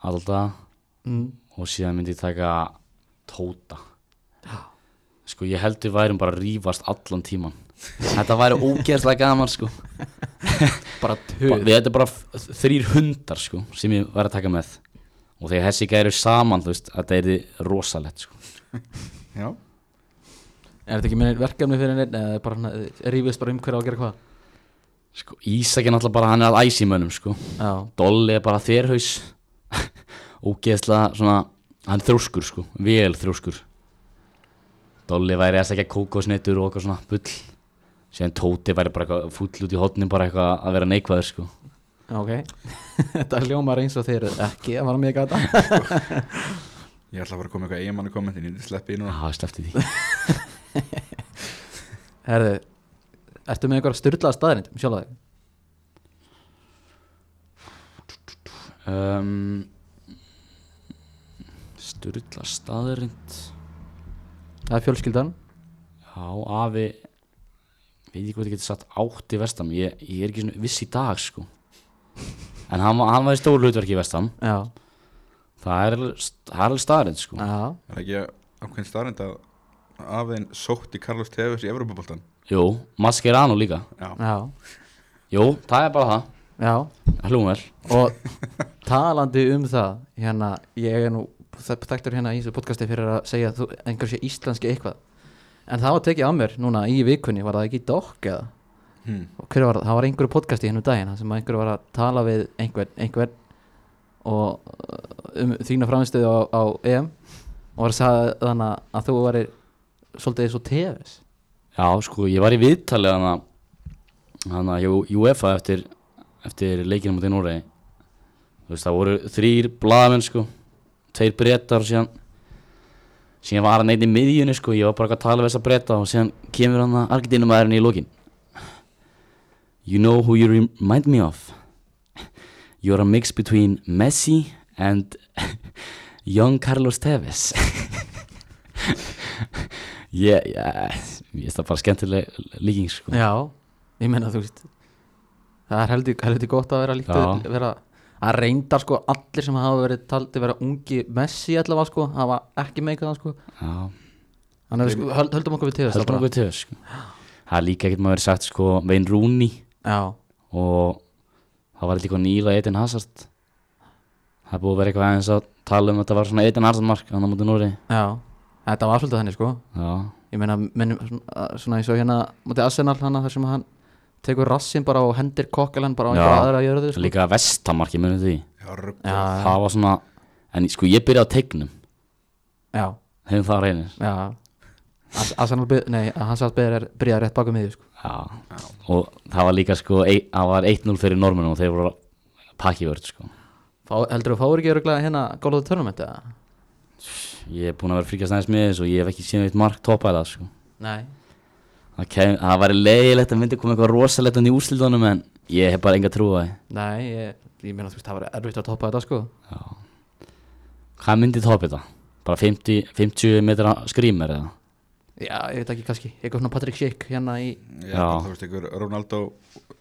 Speaker 3: Alda
Speaker 1: mm.
Speaker 3: og síðan myndi ég taka Tóta sko ég held við værum bara að rífast allan tíman þetta væri ógeðslega gaman sko
Speaker 1: bara
Speaker 3: Ba-
Speaker 1: töð
Speaker 3: við þetta er bara f- þrír hundar sko sem ég væri að taka með og þegar hessi gæri saman þú veist þetta er rosalegt sko
Speaker 2: Já,
Speaker 1: Er þetta ekki minni verkefni fyrir neinn eða bara svona, eh, rífist bara um hverja á að gera hvað?
Speaker 3: Sko, Ísak er náttúrulega bara, hann er að æsi mönnum, sko.
Speaker 1: Já,
Speaker 3: Dolly er bara þérhaus ógeðslega svona hann er þrjóskur sko, vel þrjóskur Dolly væri að sækja kókosnettur og eitthvað svona bull síðan Tóti væri bara eitthvað fúll út í hotnin bara eitthvað að vera neikvæður sko
Speaker 1: ok Þetta hljómar eins og þeir eru ekki að vara mig að gata
Speaker 2: ég ætla að fara að koma með eitthvað eiginmannu kommentin Ég sleppi inn
Speaker 3: Já,
Speaker 2: og
Speaker 3: það Ah, sleppti því
Speaker 1: Herru, ertu með einhverja styrlaða staðrind um sjálf þig?
Speaker 3: um, Sturla staðurind
Speaker 1: Það er fjölskyldan
Speaker 3: Já, afi veit ekki hvað ég geti satt átti vestam ég, ég er ekki svona viss í dag sko en hann, var- hann var í stóru hlutverki í vestam
Speaker 1: Já,
Speaker 3: Það er, alveg- það er alveg staðarinn sko
Speaker 1: já,
Speaker 2: Það er ekki ákveðin starrend að afiðin sótti Carlos Tevez í Evropaboltan
Speaker 3: Jú, Mascherano líka
Speaker 1: já,
Speaker 3: Jú, það er bara
Speaker 1: já
Speaker 3: það Hlúum vel
Speaker 1: og talandi um það hérna, ég er nú þa- þekktur hérna í þessu podcasti fyrir að segja að þú, einhver sé íslenski eitthvað en það var tekið á mér núna í vikunni var það ekki í dokk eða
Speaker 2: hmm.
Speaker 1: og hver var það, það var einhverju podcasti hérna um daginn þar sem einhverju var að tala við einhvern, einhvern og uh, um þína framistuð á, á EM og var að sagði þannig að þú varir svolítið svo tefis
Speaker 3: Já, sko, ég var í viðtali hana hana hjá UEFA eftir eftir leikinu mútið Noregi Þú veist, það voru þrýr blaðamenn sko Tveir brettar og síðan síðan var hann einn í miðjunni sko ég var bara eitthvað að tala við þessa bretta og síðan kemur hann að argitínumæðurinn í lokin You know who you remind me of You're a mix between Messi and young Carlos Tevez ég, ég, ég er það bara skemmtileg líking sko
Speaker 1: Já, ég meina þú veist Það er heldur, heldur gott að vera líkt
Speaker 3: Já.
Speaker 1: að vera að reynda sko allir sem hafa verið taldi vera ungi Messi allavega sko, hafa ekki meikað það sko
Speaker 3: Já,
Speaker 1: Þannig að við sko, höld, höldum okkur við til þess
Speaker 3: höldum okkur til þess sko það er líka ekkert maður verið sagt sko Vein Rúni
Speaker 1: Já,
Speaker 3: og það var líka nýla Eden Hazard það er búið að vera eitthvað aðeins að tala um að þetta var svona Eden Hazard mark þannig að mútið Núri
Speaker 1: já, þetta var svolítið þannig sko
Speaker 3: já,
Speaker 1: Ég meina, minn, svona eins og hérna mútið Arsenal hana þar sem hann tekur rassin bara og hendir kokkalann bara á
Speaker 3: Já.
Speaker 1: einhverja aðra að gjöra þau sko
Speaker 3: líka vestamarki munum því
Speaker 1: Já, já,
Speaker 3: það var svona, en sko ég byrjaði á tegnum
Speaker 1: já,
Speaker 3: hefum það reynir
Speaker 1: já Ars- Arsenal, byr- nei, hann satt byrjaði rétt baka miðju sko
Speaker 3: já. og það var líka sko ei- það var 1-0 fyrir normunum og þeir voru pakkivörð sko
Speaker 1: Fá, heldur þú fáur ekki öruglega hérna gólaðu törnum þetta?
Speaker 3: ég er búin að vera fríkast aðeins með þessu og ég hef ekki síðan eitt mark topa það sko
Speaker 1: Nei,
Speaker 3: það, kem, það væri leiðilegt að myndi koma eitthvað rosalegt undir úrslitunum en ég hef bara enga trú á því
Speaker 1: Nei, ég, ég meina þú veist, það var erfitt að toppa þetta sko
Speaker 3: Já. Hvað myndi topa þetta? Bara 50, 50 metra skrýmur eða?
Speaker 1: Já, ég veit ekki kannski, eitthvað svona Patrick Schick hérna í
Speaker 2: Já, bara, þú veist, einhver Ronaldo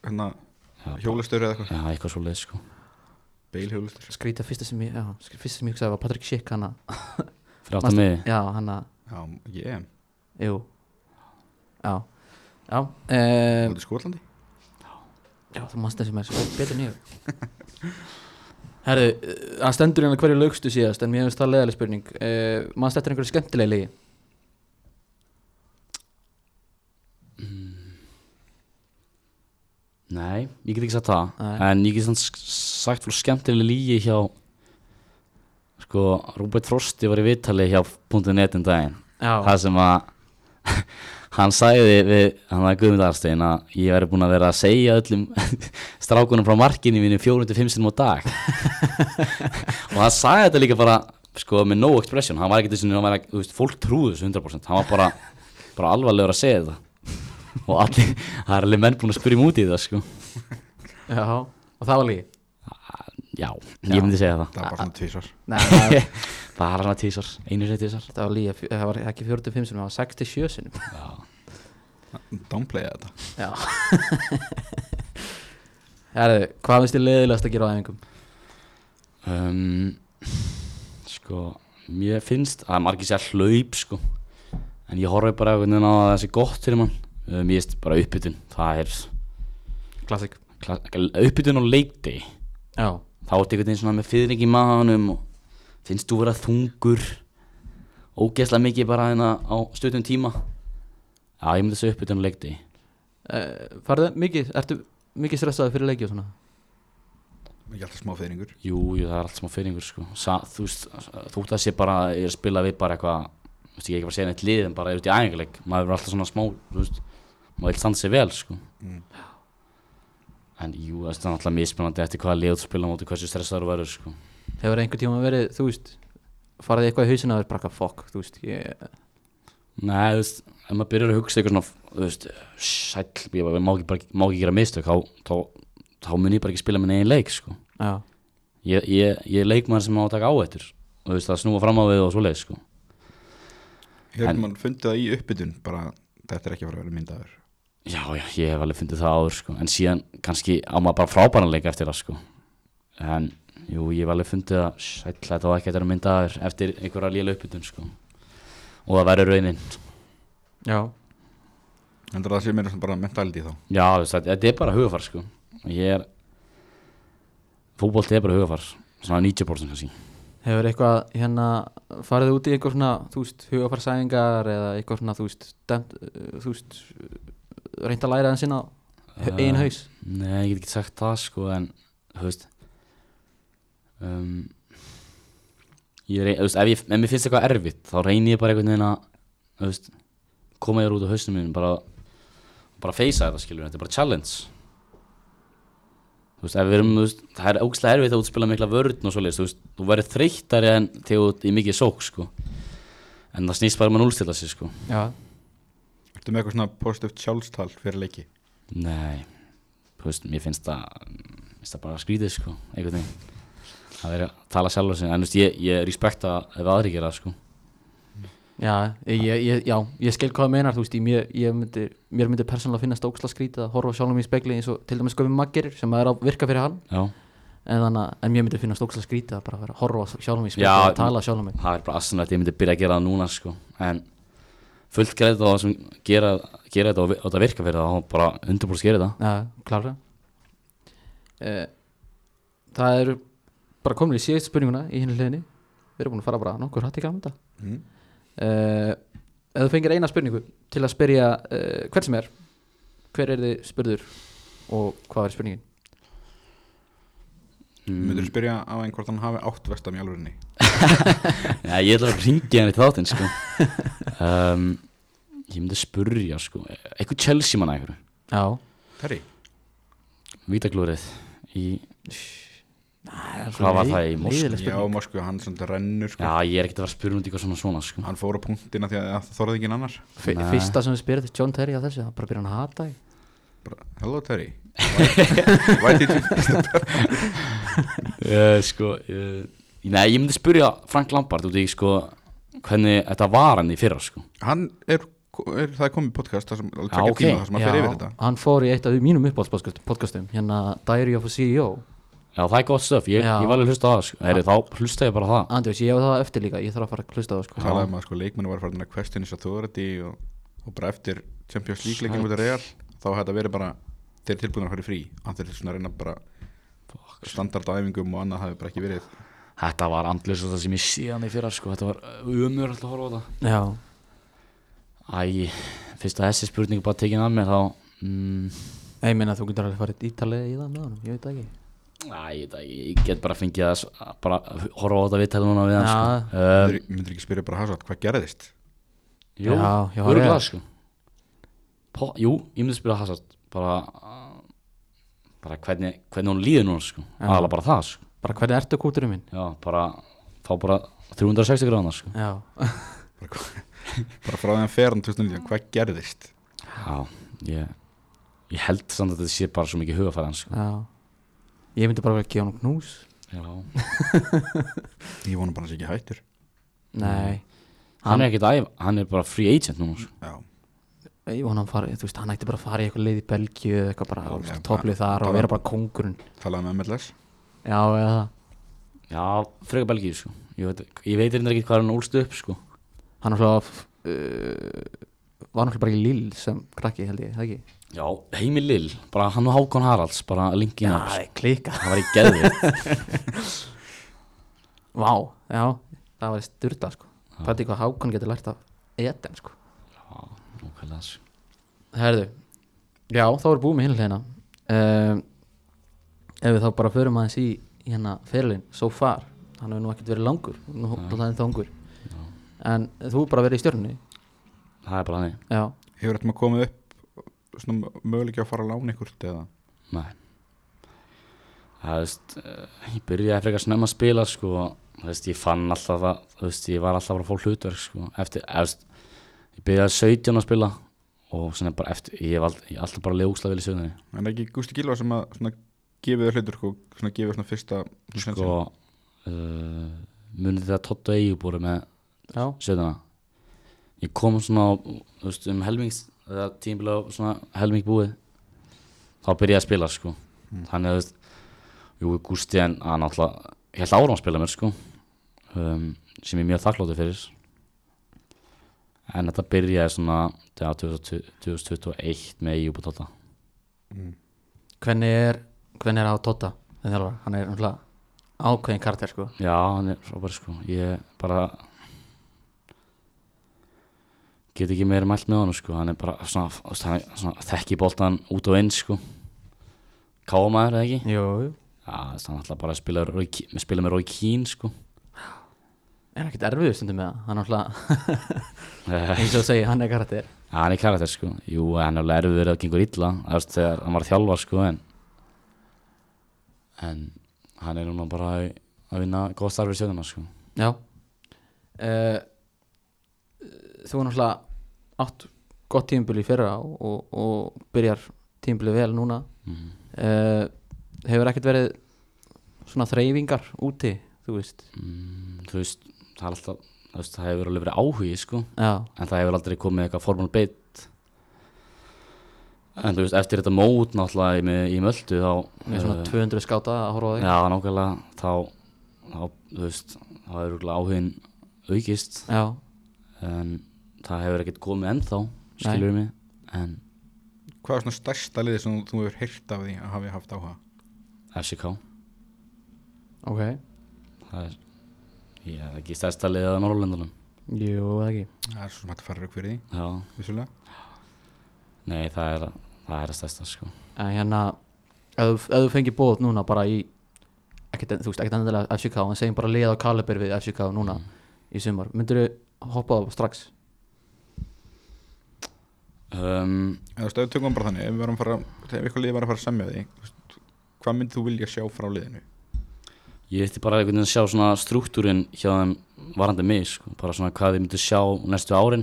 Speaker 2: hérna,
Speaker 3: Já,
Speaker 2: hjólustur eða eitthvað
Speaker 3: Já, eitthvað svo leið sko.
Speaker 2: Bale hjólustur
Speaker 1: skrýta fyrsta sem ég, já, skr- fyrsta sem ég hugsaði var Patrick Schick hana,
Speaker 3: Fyrir áttan
Speaker 1: Manstu-
Speaker 3: miði.
Speaker 1: já, hana,
Speaker 2: Já, ég,
Speaker 1: jú Já, já, um,
Speaker 2: út í Skotlandi
Speaker 1: já, þú manst þessi mér, sko, betur nýjum Herðu, eh, hann stendur hérna hverju laugstu síðast, en mér finnst það leðaleg spurning uh, Manst eftir einhverju skemmtilegi legi?
Speaker 3: Nei, ég get ekki sagt það.
Speaker 1: Nei.
Speaker 3: En ég get samt sk- sagt fyrir skemmtilega lígi hjá sko, Rúbert Frosti var í viðtali hjá .net um daginn.
Speaker 1: Já,
Speaker 3: Það sem að hann sagði við hann að Guðmund Arstein að ég væri búin að vera að segja öllum strákunum frá markinu mínu 405 sinum á dag og hann sagði þetta líka bara sko með no expression, hann var ekki þessum hann var ekki, þú veist, fólk trúðu þessu 100% hann var bara, bara alvarlegur að segja þetta og allir, það er alveg menn búin að spyrja mig út í það sko
Speaker 1: já, og það var legi
Speaker 3: já, ég myndi segja það
Speaker 2: Það var bara svona tvísar
Speaker 1: Nei, það,
Speaker 3: bara hann að tísar, einu sér tísar
Speaker 1: það var legi, það var ekki 45 sinum, það var 67 sinum
Speaker 2: Downplaya þetta
Speaker 1: Já Herðu, hvað finnst þið leiðilegast að gera á æfingum?
Speaker 3: Um, sko, mér finnst að margir sér hlaup, sko en ég horfi bara einhvern veginn á að það sé gott fyrir mann um, ég veist bara uppbytun, það er
Speaker 1: Klassik
Speaker 3: kla- uppbytun og leikdi
Speaker 1: Já,
Speaker 3: þá ertu einhvern veginn svona með fyrring í maðanum og finnst þú vera þungur ógeðslega mikið bara hérna á stöðum tíma já, ég myndi þessu uppbytun og leikdi
Speaker 1: uh, farðu mikið, ertu mikið stressaði fyrir leiki og svona?
Speaker 2: Ekki alltaf smá feyringur
Speaker 3: jú, jú, það er allt smá fyrringur, sko Sa, þú veist, þú veist að sé bara ég er að spila við bara eitthvað þú veist, ég er ekki bara að segja neitt lið en bara út í æfingarleik maður er alltaf svona smá, þú veist maður vil standa sér vel, sko
Speaker 2: Mm.
Speaker 3: en jú, það er alltaf mismunandi eftir hvaða lið þú spila á móti hversu stressaður þú verður, sko
Speaker 1: Hefur einhver tíma verið, þú veist farið þið eitthvað í hausina að vera bara eitthvað fokk, þú veist ég,
Speaker 3: Nei, þú veist, ef maður byrjar að hugsa eitthvað svona, þú veist, sæll, ég bara- má ekki, bara, má ekki gera mistök, þá, þá, þá mun ég bara ekki spila minn eigin leik, sko.
Speaker 1: Já,
Speaker 3: Ég, ég, ég er leikmaður sem má að taka áhættur og þú veist, að snúa fram á við og svoleiði, sko.
Speaker 2: Hefur mann fundið það í uppbytun bara Þetta er ekki að fara að vera myndaður
Speaker 3: Já, já, ég hef alveg fundið það áður, sko, en síðan kannski á maður bara frábæranleika eftir það, sko. En, jú, ég hef alveg fundið að, sæll, þetta var ekki eftir að mynda aður eftir einhverja lélega uppbytun, sko. Og það verður raunin.
Speaker 1: já,
Speaker 2: En það sé meira svona bara mentality þá
Speaker 3: Já, þú veist, þetta- þetta er bara hugafar sko. Ég er fótbolti er bara hugafar svona 90% kannski
Speaker 1: hefur eitthvað hérna, farið þið út í eitthvað svona þú veist, hugafarsæðingar eða eitthvað svona þú veist, demt, uh, þú veist uh, reynt að læra það sinna
Speaker 3: Eh.
Speaker 1: einn haus
Speaker 3: Nei, ég get ekki sagt það sko en þú veist um, ég reyni, þú veist, ef, ég, ef mér finnst eitthvað erfitt þá reyni ég bara einhvern veginn að þú veist, koma þér út á hausnum minn bara, bara feysa þetta skilur þetta er bara challenge Þú veist, ef við erum, þú veist, það er ógæslega erfitt að útspila mikla vörðn og svoleiðis, þú veist, þú verður þreyttari en þegar þú ert í mikið sók, sko. En það snýst bara um að núlstilla sig, sko.
Speaker 1: Já,
Speaker 2: Ertu með eitthvað svona positive sjálfstal fyrir leiki
Speaker 3: Nei, þú veist, mér finnst það, mér finnst það bara skrítið, sko, einhvern veginn. það er að tala sjálfur sinni en þú veist, ég, ég respekta ef aðri gera það, sko
Speaker 1: Já, ég, ég, já, ég skil hvað það meinar þú veist, ég, mér, ég myndi, mér myndi persónulega finnast óksla skrítið að horfa á sjálfum í spekli eins og til dæmis Gaufi Maggerir sem er að virka fyrir hann
Speaker 3: já,
Speaker 1: en, þannig, að- en mér myndi finnast óksla skrítið að bara vera að horfa á sjálfum í spekli
Speaker 3: Já,
Speaker 1: og tala sjálfum mig
Speaker 3: það er bara aðsynlegt ég myndi byrja að gera það núna sko en fullt greið þá sem gera, gera þetta og, vi- og þetta virka fyrir það þá bara undirbúrst gera þetta
Speaker 1: Já, klára uh, Það eru bara komin í síðust spurninguna í hinn hliðinni við erum búin að fara bara nokkur hatt í gamla þetta
Speaker 2: Mm.
Speaker 1: uh, Ef þú fengir eina spurningu til að spyrja uh, hvern sem er hver er þið spurður og hvað er spurningin?
Speaker 2: Myndur spyrja á einn hvort hann hafi átt vestam í alvörinni?
Speaker 3: Já, ég ætla að ringja henni til þáttinn sko um, ég myndi spurja sko eitthvað Chelsea manna einhverju
Speaker 1: Já
Speaker 2: Terri?
Speaker 3: vítaglúrið í
Speaker 1: svona
Speaker 3: hvað var það í
Speaker 1: leið-
Speaker 3: Moskva
Speaker 1: leiðileg
Speaker 2: Já,
Speaker 1: spurning.
Speaker 2: Moskva, hann svona rennur sko.
Speaker 3: já, ég er ekkert að fara að spyrja um eitthvað svona svona sko
Speaker 2: Hann fór á punktina því að það þorði ekki annars
Speaker 1: F-
Speaker 3: Nei.
Speaker 1: Fyrsta sem við spyrði John Terry að þessu Það bara byrja hann að hata þig
Speaker 2: Bara, Hello Terry Why- Why did you
Speaker 3: uh, sko uh, nei, ég myndi spurja Frank Lampard út í sko hvernig þetta var hann í fyrra sko
Speaker 2: Hann er, er það er komið podcast það sem, alveg
Speaker 3: Já,
Speaker 2: tveggja
Speaker 3: ok.
Speaker 2: tíma, það sem að fer yfir þetta
Speaker 1: Hann fór í eitt af mínum uppáhaldspodcastum Hérna Diary of a CEO
Speaker 3: já, það er gott stöf, ég,
Speaker 1: Já.
Speaker 3: ég var alveg að hlusta á það sko Heri, þá hlusta ég bara á það
Speaker 1: Andrés, ég hef það eftir líka Ég þarf að fara að hlusta á það sko
Speaker 2: talaði um að sko, leikmennu var farin að question his authority og, og bara eftir Champions League leikin út af Real þá hefði þetta verið bara þeir tilbúinir að fara í frí hann þeir svona að reyna bara standardæfingum og annað hafi bara ekki verið
Speaker 3: þetta var andlis og það sem ég sé hann í fyrra sko þetta var umur alltaf að horfa á það
Speaker 1: Já
Speaker 3: æ, fyrst að þessi spurning er bara tekin að mér þá mm,
Speaker 1: Nei, Ég meina þú getur alveg farið ítalega í það með honum Ég veit það ekki
Speaker 3: Æ, ég, veit það ekki, ég get bara fengið að s- að bara horfa á þetta viðtæli núna við
Speaker 1: Já.
Speaker 3: hann sko. um,
Speaker 2: myndir, myndir ekki spyrja bara Hazard, hvað gerðist?
Speaker 3: Jú,
Speaker 1: Já, já,
Speaker 3: örgulega
Speaker 1: já.
Speaker 3: sko Pó, Jú, ég myndi spyrja Hazard bara, uh, bara hvernig, hvernig hún líður núna sko
Speaker 1: Já.
Speaker 3: aðalega bara það sko
Speaker 1: Bara hvernig ertu kúturinn minn?
Speaker 3: Já, bara, fá bara 360 gráðan sko
Speaker 1: Já
Speaker 2: bara frá þeim feran 2019, hvað gerðist?
Speaker 3: Já, ég, ég held samt að þetta sé bara svo mikið hugafæðan sko
Speaker 1: Já Ég myndi bara vel gefa hann knús
Speaker 3: Já.
Speaker 2: ég vona bara að það sé ekki hættur
Speaker 1: Nei
Speaker 3: Hann er ekkert æf, hann er bara free agent núna sko
Speaker 2: já,
Speaker 1: Ég vona hann farið Þú veist, hann ætti bara að fara í eitthvað leið í Belgíu eða Eitthvað bara,
Speaker 2: Já,
Speaker 1: ja, topplið þar og
Speaker 2: bara-
Speaker 1: vera bara kongurinn
Speaker 2: talaði um með MLS
Speaker 1: Já, eða það
Speaker 3: Já, frekar Belgíu sko Ég veit, ég veit reyndar ekki hvað hann úlst upp sko
Speaker 1: hann var alltaf uh, var náttúrulega bara í Lill sem krakki held ég, það ekki
Speaker 3: Já, Heimi Lill, bara hann og Hákon Haralds bara linkin
Speaker 1: Já,
Speaker 3: up,
Speaker 1: það er klika
Speaker 3: það var í geðvitt
Speaker 1: Vá, já, það var styrta sko Pæti hvað Hákon getur lært af Eden sko
Speaker 3: Nákvæmlega sko.
Speaker 1: Herðu, já, þá er búið með hinn hérna um, Ef við þá bara förum aðeins í í hérna ferilinn, so far hann hefur nú ekkert verið langur, nú hótt það en þangur En þú er bara verið í stjörnunni
Speaker 3: Það er bara hannig
Speaker 1: Já,
Speaker 2: hefur þetta maður komið upp svona möguleika að fara að lána ykkur eða
Speaker 3: Nei Það veist, eh, ég byrjaði frekar snemma að spila sko Þú veist, ég fann alltaf að, þú veist, ég var alltaf bara að fá hlutverk sko Eftir, eða, þú veist, ég byrjaði 17 að spila Og svona bara eftir, ég hef alltaf, alltaf bara leið vel í sögðinni
Speaker 2: en ekki Gústi Gilva sem að svona, gefið þér hlutur og svona gefið svona fyrsta
Speaker 3: Sko, uh, munið þetta Totto Eyju búið með
Speaker 1: já,
Speaker 3: setjana ég kom svona á, þú veist, um helmings eða tímbilega svona helming búið þá byrjaði ég að spila sko þannig að þú veist jú, Gústi en hann alltaf ég held áram að spila mér sko um, sem ég er mjög þakkláttur fyrir en þetta byrjaði svona þegar 2020 2021 með EU búið þetta
Speaker 1: hvernig er hvernig er á Tóta, þegar þjálfara hann er náttúrulega ákveðin karakter sko
Speaker 3: Já, hann er frábær sko Ég bara get ekki meira mælt með honum sko Hann er bara svona, svona, svona þekki boltan út og inn sko Kámaður eða ekki Já,
Speaker 1: Jú, jú
Speaker 3: þú veist, hann ætla bara að spila, Roy Ke- spila með Rói Kín sko
Speaker 1: er ekkert erfiður stundum með það hann er alltaf,
Speaker 3: Já,
Speaker 1: eins og segi, hann er karakter
Speaker 3: hann er karakter sko Jú, hann er alveg erfiður að gengur illa þú veist, þegar hann var að þjálfa sko en, en hann er núna bara að, að vinna góð starfið sjöðuna sko
Speaker 1: já uh, þú er náttúrulega átt gott tímbil í fyrra og, og, Eh, og byrjar tímbilið vel núna mm hefur ekkert verið svona þreyfingar úti þú veist
Speaker 3: mm, þú veist, það er alltaf þú veist, það hefur alveg verið áhugi sko,
Speaker 1: já,
Speaker 3: en það hefur aldrei komið eitthvað formál beitt en þú veist, eftir þetta mót náttúrulega í, með- í möldu þá
Speaker 1: með svona
Speaker 3: eh,
Speaker 1: 200 skáta að horfa á þig
Speaker 3: já, nákvæmlega þá, þá, þú veist, þá hefur örugglega áhugin aukist
Speaker 1: já,
Speaker 3: en það hefur ekkert komið ennþá skilur mig en
Speaker 2: Hvað er svona stærsta liðið sem þú hefur heyrt af því að hafi haft áhuga?
Speaker 3: FCK,
Speaker 1: ok
Speaker 3: það er ég hef ekki stærsta liðið á Norrlöndunum
Speaker 1: jú, eða ekki
Speaker 2: Það er svo sem hægt að fara rauk fyrir því,
Speaker 3: já,
Speaker 2: vissulega
Speaker 3: nei það er það er að stærsta sko
Speaker 1: en hérna, ef þú- ef þú fengir bóð núna bara í ekkert, þú veist, ekkert endilega FCK en segjum bara liða á Kaliber við FCK núna í sumar, myndir þú hoppa á strax
Speaker 3: um,
Speaker 2: En þú veist, ef við tökum bara þannig, ef við varum að fara ef eitthvað liðið var að fara að semja því þú veist, hvað myndið þú vilja sjá frá liðinu?
Speaker 3: Ég ætti bara einhvern veginn að sjá svona struktúrin hjá þeim varandi mig, sko. bara svona hvað þið myndu sjá næstu árin.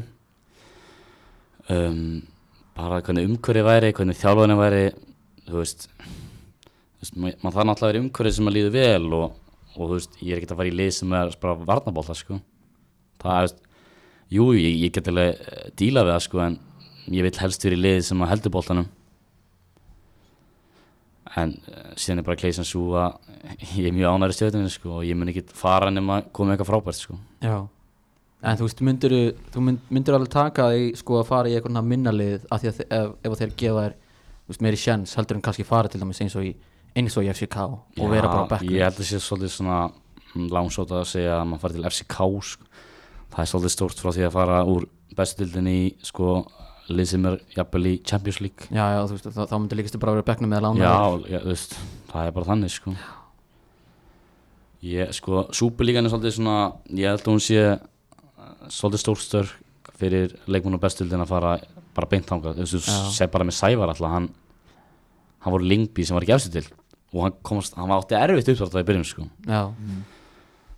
Speaker 3: Um, bara hvernig umhverfið væri, hvernig þjálfurinn væri, þú veist, þú veist ma- maður þarf náttúrulega að vera umhverfið sem að líðu vel og, og þú veist, ég er ekkert að fara í lið sem er bara varnabólta, sko. Það, þú veist, jú, ég, ég get alveg eh, díla við það, sko, en ég vil helst vera í lið sem að heldur bóltanum. En eh, síðan er bara kleysan svo að ég er mjög ánæri stjórnum sko, og ég mun ekki fara nema að koma með eitthvað frábært sko.
Speaker 1: já, en þú veist, myndir þú mynd, myndir alveg taka því sko að fara í eitthvað minnalið af því að þe- ef, ef þeir gefa þér þú veist, meiri sjens heldur en kannski fara til dæmis eins og í eins og í FCK og vera bara á bekkum
Speaker 3: Ég held að sé svolítið svona langsóta að segja að maður fari til FCK sko. það er svolítið stórt frá því að fara úr bestildin í sko, lið sem er jafnvel í Champions League
Speaker 1: já, já, þú veist, þá, þá myndir líkastu bara að vera á bekkum með að lána
Speaker 3: Já,
Speaker 1: þér.
Speaker 3: já þú veist, það er bara þannig sko. Ég, sko, Súpilíkan er svolítið svona ég held að hún sé eh, svolítið stórt störk fyrir leikmenn og bestildin að fara bara beint þangað, þú veist,
Speaker 1: Já.
Speaker 3: þú segir bara með Sævar alltaf, hann hann voru Lingby sem var ekki efstu til og hann komast, hann var átti erfitt uppsvartað í byrjun sko.
Speaker 1: já,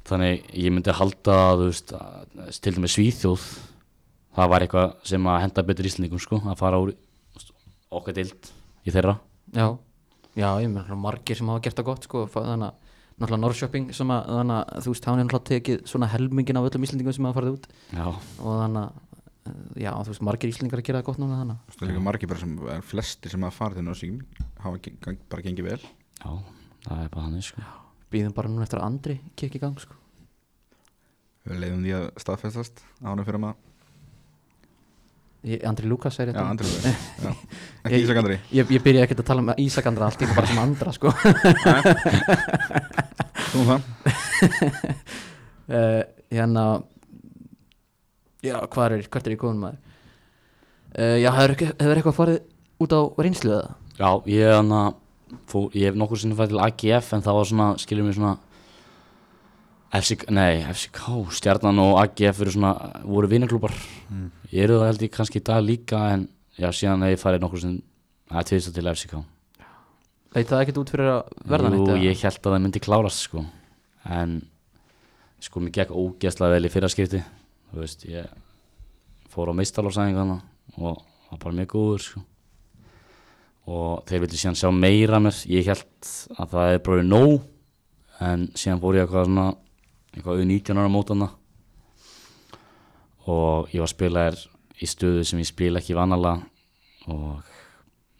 Speaker 3: þannig ég myndi halda þú veist, að, til dæmis Svíþjóð það var eitthvað sem að henda betur íslendingum sko, að fara úr þú veist, okkar dild í þeirra
Speaker 1: já, já, ég meina margir sem hafa gert það gott sko, fa- þannig að náttúrulega Norrköping sem að, þannig að þú veist, hann er náttúrulega tekið svona helmingin af öllum Íslendingum sem hafa farið út
Speaker 3: já,
Speaker 1: og þannig að, eh, já, þú veist, margir Íslendingar að gera það gott núna þannig að-
Speaker 2: Þú veist, það er líka margir bara sem, er flestir sem hafa farið til Norsíkjum hafa geng- gang- bara gengið vel
Speaker 3: já, það er bara þannig sko.
Speaker 1: býðum bara núna eftir að Andri kikki í gang sko.
Speaker 2: Við leiðum því að staðfestast ánum fyrir maður
Speaker 1: ég, Andri Lukas er
Speaker 2: Já,
Speaker 1: þetta
Speaker 2: Andri Lóðir Já. Ekki Ísak Andri
Speaker 1: ég, ég byrja ekkert að tala um Ísak Andra allt ég bara sem Andra sko.
Speaker 2: Þú um það
Speaker 1: uh, hérna já, hvað er, hvert er ég komin maður uh, já, hefur, ekki- hefur eitthvað farið út á reynslu eða?
Speaker 3: já, ég er hann að ég hef nokkur sinni fætt til AGF en það var svona, skilur mig svona FCK, nei, FCK, Stjarnan og AGF eru svona, voru vinnaklúpar ég eru það held ég kannski í dag líka en já, síðan hef ég farið nokkur sinni að tvista til FCK
Speaker 1: leit það ekkert út fyrir að verða
Speaker 3: Jú,
Speaker 1: neitt eða?
Speaker 3: ég held að það myndi klárast sko En sko, mér gekk ógeðslega vel í fyrra skipti Þú veist, ég fór á meistalórsæðingana og var bara mjög góður sko Og þeir vildi síðan sjá meira af mér Ég held að það er bara nóg En síðan fór ég eitthvað svona eitthvað auð 19 ára mótana og ég var spilaðir í stöðu sem ég spila ekki vanalega og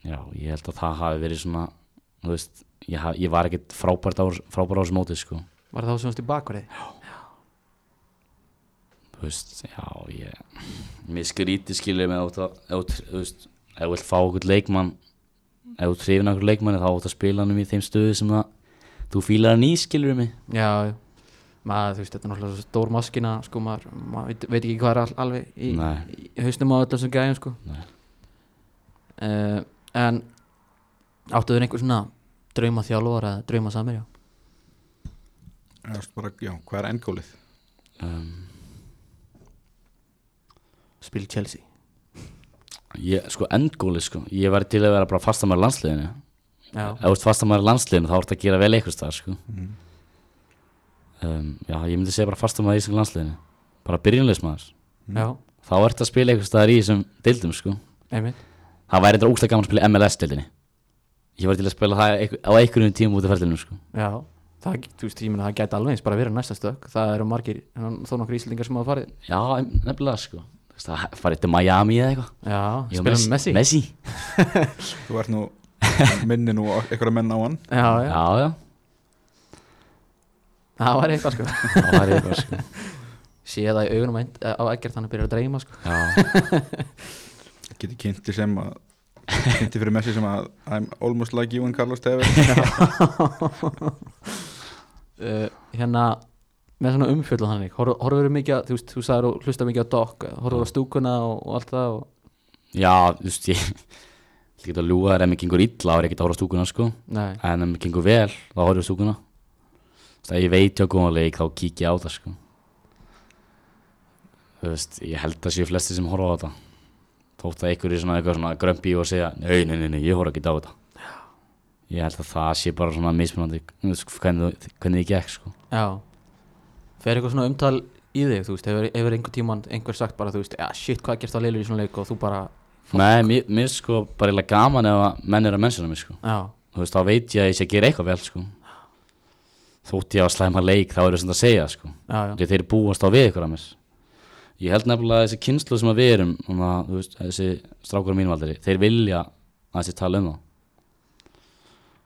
Speaker 3: já, ég held að það hafi verið svona þú veist, ég, haf, ég var ekkert frábært á, frábært á þessu móti sko.
Speaker 1: var það þá sem varst í bakverði
Speaker 3: þú veist, já ég, mér skríti skilur með út að, ef þú- þú veist, ef þú vilt fá okkur leikmann ef þú trefin okkur leikmann þá átt að spila hann um í þeim stöðu sem að þú fílar hann í skilur mig
Speaker 1: já, já. maður, þú veist, þetta er náttúrulega svo stór maskina sko, maður, maður veit, veit ekki hvað er all, alveg í,
Speaker 3: Nei.
Speaker 1: í hausnum á öllum þessum gæjum sko.
Speaker 3: Nei.
Speaker 1: uh, en áttuður einhver svona drauma þjálfur eða drauma samir já
Speaker 2: Þú veist, bara, Já, hvað er endgólið?
Speaker 3: um,
Speaker 1: spil Chelsea
Speaker 3: ég, sko endgóli sko, ég var til að vera bara fastamæri landsliðinu
Speaker 1: já,
Speaker 3: ef þú ert fastamæri landsliðinu þá ert að gera vel eitthvað stað sko.
Speaker 2: Mhm.
Speaker 3: um, já, ég myndi segja bara fastamæri í þessu landsliðinu bara byrjunleismæður
Speaker 1: já,
Speaker 3: þá ert að spila eitthvað staðar í þessum deildum sko.
Speaker 1: einmitt
Speaker 3: það væri þetta ógstlega gaman að spila MLS deildinni ég var til að spila það einhver- á einhverjum tímum út af ferðinum sko.
Speaker 1: já, það, þú veist, ég meina það gæti alveg eins bara verið næsta stök, það eru margir en þó nokkur íslendingar sem hafa farið
Speaker 3: Já, em- nefnilega sko Þú veist, Það farið til Miami eða eitthvað
Speaker 1: já,
Speaker 3: Ég og
Speaker 1: spilum með Messi
Speaker 3: Messi
Speaker 2: Þú ert nú minni nú einhverja menn á hann
Speaker 1: já, já,
Speaker 3: Já, já,
Speaker 1: það var eitthvað sko
Speaker 3: það var eitthvað sko
Speaker 1: sé það í augunum á Ent- á ekkert hann að byrja að dreyma sko
Speaker 3: Já,
Speaker 2: Geti kynnti sem að kynnti fyrir Messi sem að I'm almost like you and Carlos Tevez
Speaker 1: uh, hérna með svona umfjöldan þannig, horfur þú mikið að- þú veist, þú sagður og hlusta mikið á dokk horfur á stúkuna og, og allt það og,
Speaker 3: já, þú veist ég Ég get að ljúga þér ef mér gengur illa þá er ég ekki að horfa á stúkuna sko
Speaker 1: nei,
Speaker 3: En ef mér gengur vel þá horfa á stúkuna Þú veist að ég veit hjá góðan leik þá kík ég á það sko Þú veist, ég held að séu flesti sem horfa á þetta Þótt að einhverju svona eitthvað svona grömpi og segja Nei, nei, nei, nei, ég horfa ekki á þetta Ég held að það sé bara svona mismunandi þú veist, hvernig, þú- hvernig þið gekk sko
Speaker 1: já fer eitthvað svona umtal í þig, þú veist hefur, hefur einhver tíman, einhver sagt bara, þú veist ja, shit, hvað gerst það leilur í svona leik og þú bara
Speaker 3: Nei, mér, mér er sko bara eiginlega gaman ef að menn eru að mennsuna mig sko
Speaker 1: já,
Speaker 3: Þú veist, þá veit ég að ég sé að gera eitthvað vel sko Þótt ég á slæma leik þá eru svona að segja sko
Speaker 1: já, já,
Speaker 3: Þegar þeir búast á við ykkur að mér Ég held nefnilega að þessi kynslu sem að við erum og það, þú veist, þessi strákur á mínum aldrei Þeir vilja að þessi tala um það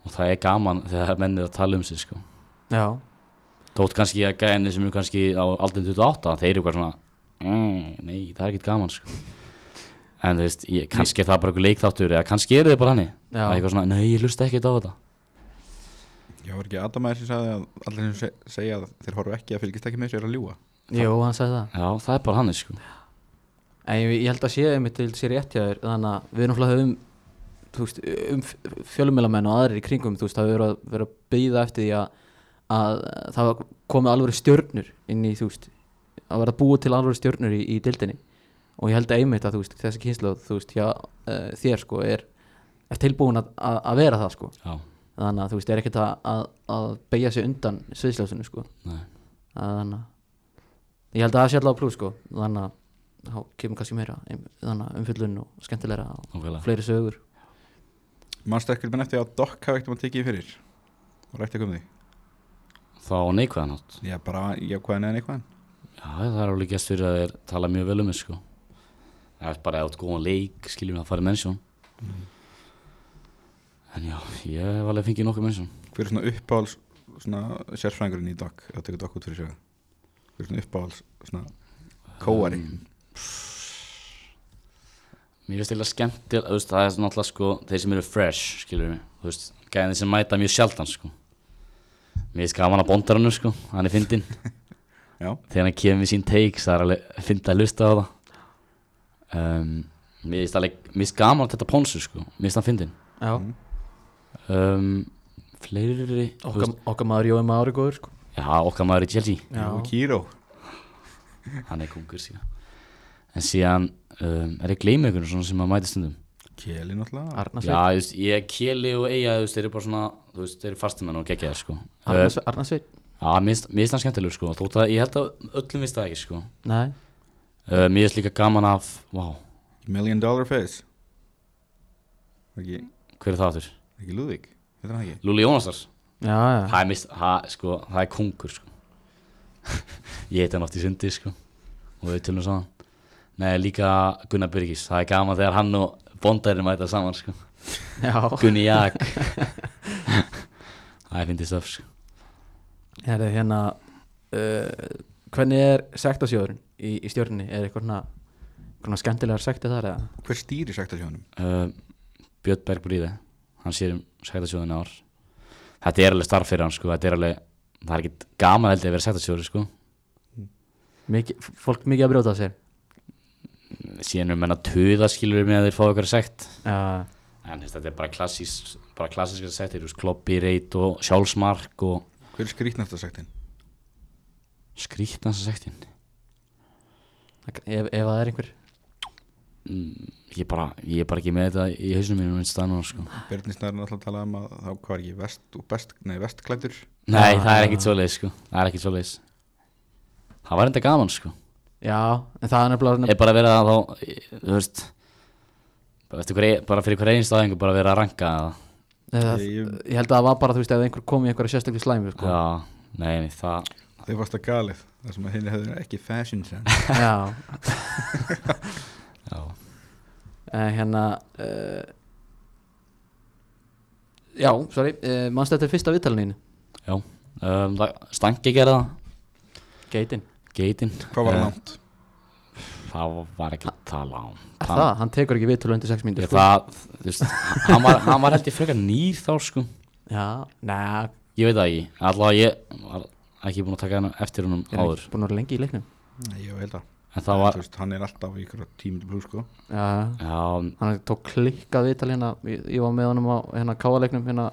Speaker 3: Og það er gaman þegar menn eru að tala um sig sko
Speaker 1: já.
Speaker 3: Þótt kannski að gæðinni sem eru kannski á aldrin 28 þeir eru eitthvað svona "Mm, Nei, það er ekkert gaman sko En þú veist, ég, kannski er það bara einhver leikþáttur eða kannski eru þið bara hannig
Speaker 1: Já.
Speaker 3: Það er eitthvað svona, nei, ég hlusta ekkert á þetta
Speaker 2: Já, var ekki Adam aðeins sem sagði að allir sem se- segja að þeir horfa ekki að fylgist ekki með þessu er að ljúa
Speaker 1: jú, hann sagði það
Speaker 3: Já, það er bara hannig sko
Speaker 1: En ég, ég held að sé einmitt til sér rétt hjá þér þannig að við náttúrulega höfum þú veist, um fjölumilamenn og aðrir í kringum þú veist, það hefur verið að vera að býða eftir því að, að það komið alveg stjörnur inn í þú veist að vera að búa til alveg stjörnur í, í dildinni og ég held að einmitt að þú veist þessi kynslu þú veist, hjá uh, þér sko er, er tilbúin að, að, að vera það sko
Speaker 3: Já,
Speaker 1: þannig að þú veist, er ekkert að, að, að beigja sig undan sviðsljósunum sko
Speaker 3: nei,
Speaker 1: að þannig að ég held að það sé allavega pluss sko þannig að þá kemur kannski meira ein- þannig að umfyllun og skemmtilegra og
Speaker 3: okkurlega
Speaker 1: fleiri sögur
Speaker 2: Manstu ekkert menn eftir að Dokk hafa ekkert maður tekið í fyrir og rætti ekki um því
Speaker 3: Þá neikvæðan átt
Speaker 2: Já, bara jákvæðan eða neikvæðan
Speaker 3: Já, það er alveg gestur að þeir tala mjög vel um mig sko Það er bara átt góðan leik, skiljum við að fara í mennsjón En já, ég hef alveg fengið nokkuð mennsjón
Speaker 2: Hver er svona uppáhalds svona, sérfræðingurinn í Dokk að teka Dokk út fyrir sig Hver er svona uppáhalds svona, kóari
Speaker 3: Mér finnst eitthvað skemmtilega, þú veist, það er svona alltaf sko, þeir sem eru fresh, skilur mig, þú veist, gæðin sem mæta mjög sjaldan, sko. Mér finnst gaman að bondar hannu, sko, hann er fyndinn.
Speaker 2: Já,
Speaker 3: Þegar hann kemur með sín takes, það er alveg fyndið að hlusta á það. Um, mér finnst alveg, mér finnst gaman að þetta pónsu, sko, mér finnst hann fyndinn.
Speaker 1: já,
Speaker 3: Mm. Um, fleiri, þú
Speaker 1: okkar, okkar maður Jói Mári góður sko
Speaker 3: já, okkar maður í Chelsea,
Speaker 1: já,
Speaker 2: og Kíró
Speaker 3: hann er kungur síðan. En síðan, um, er ég gleymi ykkur svona sem að mæta stundum?
Speaker 2: Kjeli náttúrulega
Speaker 1: Arnarsveit
Speaker 3: Já, þú veist, ég, Keli og Eyja, þú veist, þeir eru bara svona, þú veist, þeir eru fastumenn og geggjaðir, sko. Uh,
Speaker 1: Arnarsveit, Arnarsveit.
Speaker 3: Já, mér finnst- mér finnst það skemmtilegur, sko, þótt að ég held að öllum finnst það ekki, sko.
Speaker 1: nei,
Speaker 3: Uh, mér finnst líka gaman af, vá,
Speaker 2: Million Dollar Face ekki,
Speaker 3: hver er það aftur?
Speaker 2: ekki Lúðvík, heitir hann ekki
Speaker 3: Lúli Jónasar,
Speaker 1: já, já,
Speaker 3: það er mist, það, sko, það er kungur, sko. ég heiti hann oft í sundi, sko, og við tölum saman. Nei, líka Gunnar Byrgis, það er gaman þegar hann og bondarinn mæta saman, sko.
Speaker 1: já.
Speaker 3: Gunni Jak. það finnst það, sko.
Speaker 1: Heri, hérna uh, hvernig er sektasjóðurinn í, í stjörninni, er eitthvað svona svona skemmtilegar sekti þar eða
Speaker 2: Hver stýri sagt að sjónum?
Speaker 3: uh, Björn Berg Bríði hann sér um sektasjóðin ár þetta er alveg starf fyrir hann sko þetta er alveg, það er ekkert gaman held ég að vera sektasjóður sko
Speaker 1: Miki, f- fólk mikið að brjóta af sér
Speaker 3: síðan er menn að tuða skilur með að þeir fá eitthvað sekt
Speaker 1: já,
Speaker 3: en þess, þetta er bara klassís bara klassíska sektir, þú veist, kloppi, reit og sjálfsmark og
Speaker 2: Hver er skrýtnasta sektin?
Speaker 3: skrýtnasta sektin
Speaker 1: ef, ef það er einhver
Speaker 3: ég er bara, ég er bara ekki með þetta í hausnum mínum einn stað núna sko
Speaker 2: Bjarni Snæður er alltaf að tala um að þá hvað er ekki vest og best, nei vestklættur
Speaker 3: nei, það er ekkert svoleiðis sko það er ekkert svoleiðis það var enda gaman sko
Speaker 1: já, en það er nefnilega
Speaker 3: er bara verið að e- þá þú veist bara, eftir hver, bara fyrir hver einstu aðingu bara verið að ranka það.
Speaker 1: Eða,
Speaker 2: Ég-
Speaker 1: ég held að það var bara þú veist ef einhver kom í einhverja sérstaklega slæmi sko.
Speaker 3: Já, nei, nei, það
Speaker 2: Þau varst að galið Það sem að henni hefði ekki fashion sense
Speaker 1: já.
Speaker 3: Já,
Speaker 1: Eh, hérna uh, já, sorry uh, mannstu þetta er fyrsta viðtalininu
Speaker 3: já um, það- Stangi gerði það
Speaker 1: geitin,
Speaker 3: Geitin
Speaker 2: Hvað var
Speaker 3: Eh,
Speaker 2: langt?
Speaker 3: Það var ekki það lang
Speaker 1: er það, hann tekur ekki viðtalin undir 6 mínútur sko.
Speaker 3: Ég, það, þú veist, hann var, hann var held ég frekar nýr þá sko
Speaker 1: já, neða,
Speaker 3: Ég veit það ekki, allavega ég var ekki búinn að taka hann eftir húnum
Speaker 1: er
Speaker 3: áður
Speaker 1: ekki búin að vera lengi í leiknum
Speaker 2: Nei, Ég held að
Speaker 3: En það var,
Speaker 2: Þú veist, hann er alltaf í ykkur tímil blú sko
Speaker 1: já,
Speaker 3: já,
Speaker 1: hann tók klikkað viðtal hérna, ég, ég var með honum á hérna káaleiknum hérna,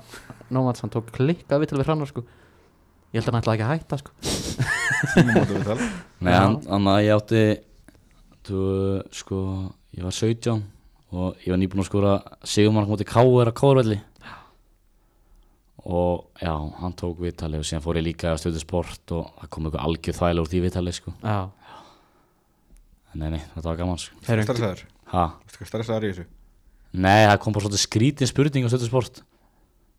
Speaker 1: Nómans, hann tók klikkað viðtal við hrannar sko ég held að hann ætlaði ekki að hætta sko
Speaker 2: Tímamóta við tala
Speaker 3: nei,
Speaker 1: Já.
Speaker 3: hann, hann að ég átti þú, sko, ég var 17 og ég var nýbúinn að skora Sigurmark móti K.R. að K.R.velli og já, hann tók viðtali og síðan fór ég líka að stöðu sport og það kom eitthvað algjör þvæl úr því viðtali sko
Speaker 1: já,
Speaker 3: En Nei, nei, þetta var gaman sko
Speaker 1: Heyrðu,
Speaker 2: Stressaður
Speaker 3: ha.
Speaker 2: Þú veist, stressaður í þessu
Speaker 3: Nei, það kom bara svolítið skrítin spurning á stöðu sport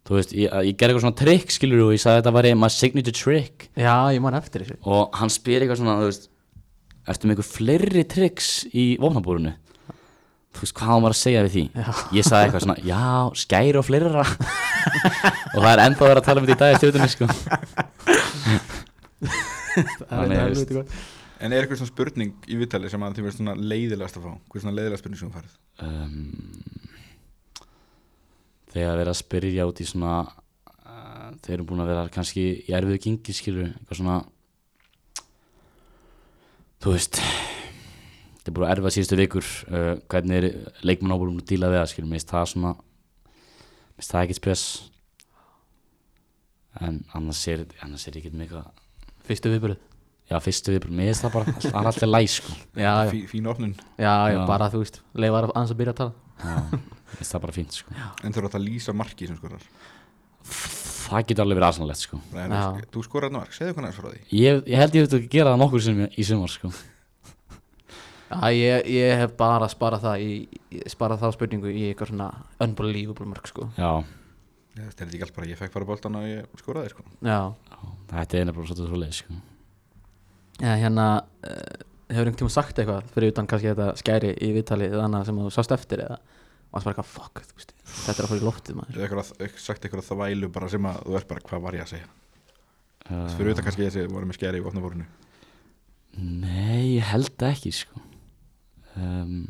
Speaker 3: Þú veist, ég, ég gerði eitthvað svona trick skilur og ég sagði að þetta væri my signature trick
Speaker 1: já, ég man eftir þessu
Speaker 3: og hann spyr eitthvað svona, þú veist ertu með eitthvað fleiri tricks í vopnabúrinu þú veist hvað hann var að segja við því ég sagði eitthvað svona, já, skæri og fleira og það er ennþá verið að tala um þetta í dag í stjórnum sko. Þannig, þú veist.
Speaker 1: veist
Speaker 2: En er eitthvað svona spurning í viðtali sem að þið verður svona leiðilegast að fá? Hvað svona leiðilegast spurning sem þú farið?
Speaker 3: um, þegar verið að spyrja út í svona uh, þeir eru búin að vera kannski í erfiðu gengi skilur eitthvað svona þú veist þetta er búin að erfa síðustu vikur uh, hvernig er leikmann ábúin að díla við það skilur, minnst það svona minnst það ekki spes en annars er annars er ekki mikla
Speaker 1: fyrstu viðbúrið
Speaker 3: já, fyrstu viðbrögð, mér finnst það bara það er alltaf læg sko
Speaker 1: já, já, já,
Speaker 2: Fí, fín opnun
Speaker 1: já,
Speaker 3: Já.
Speaker 1: bara þú veist leifar aðeins að byrja að tala
Speaker 3: já, mér finnst það bara fínt sko
Speaker 2: En þú eru að lýsa marki sem skorar
Speaker 3: það getur alveg verið aðsannalegt sko
Speaker 2: Nei,
Speaker 1: Já.
Speaker 2: þú- Þú skorar hann mark, segðu hvernig aðeins frá því
Speaker 3: Ég, ég held ég veit að gera það nokkur sem í sumar sko.
Speaker 1: já, ég, ég hef bara sparað það í, ég sparað þá spurningu í eitthvað svona unbelievable mörg sko
Speaker 3: Já,
Speaker 2: Ég veist, er þetta ekki allt bara, ég fekk bara boltan og ég skoraði sko.
Speaker 1: Já,
Speaker 3: þetta er nefnilega svolítið svolítið sko.
Speaker 1: eða hérna uh, hefur einhvern tíma sagt eitthvað fyrir utan kannski þetta skæri í viðtali eða annað sem þú sást eftir eða og það var eitthvað fuck, þú veist, þetta er að fara í loftið maður
Speaker 2: Eða eitthvað, eitthvað- sagt eitthvað þvælu bara sem að þú ert bara, hvað var ég að segja?
Speaker 3: uh,
Speaker 2: Fyrir auðvitað kannski þessi voru með skeri í vopnaborinu
Speaker 3: Nei, ég held ekki sko. um,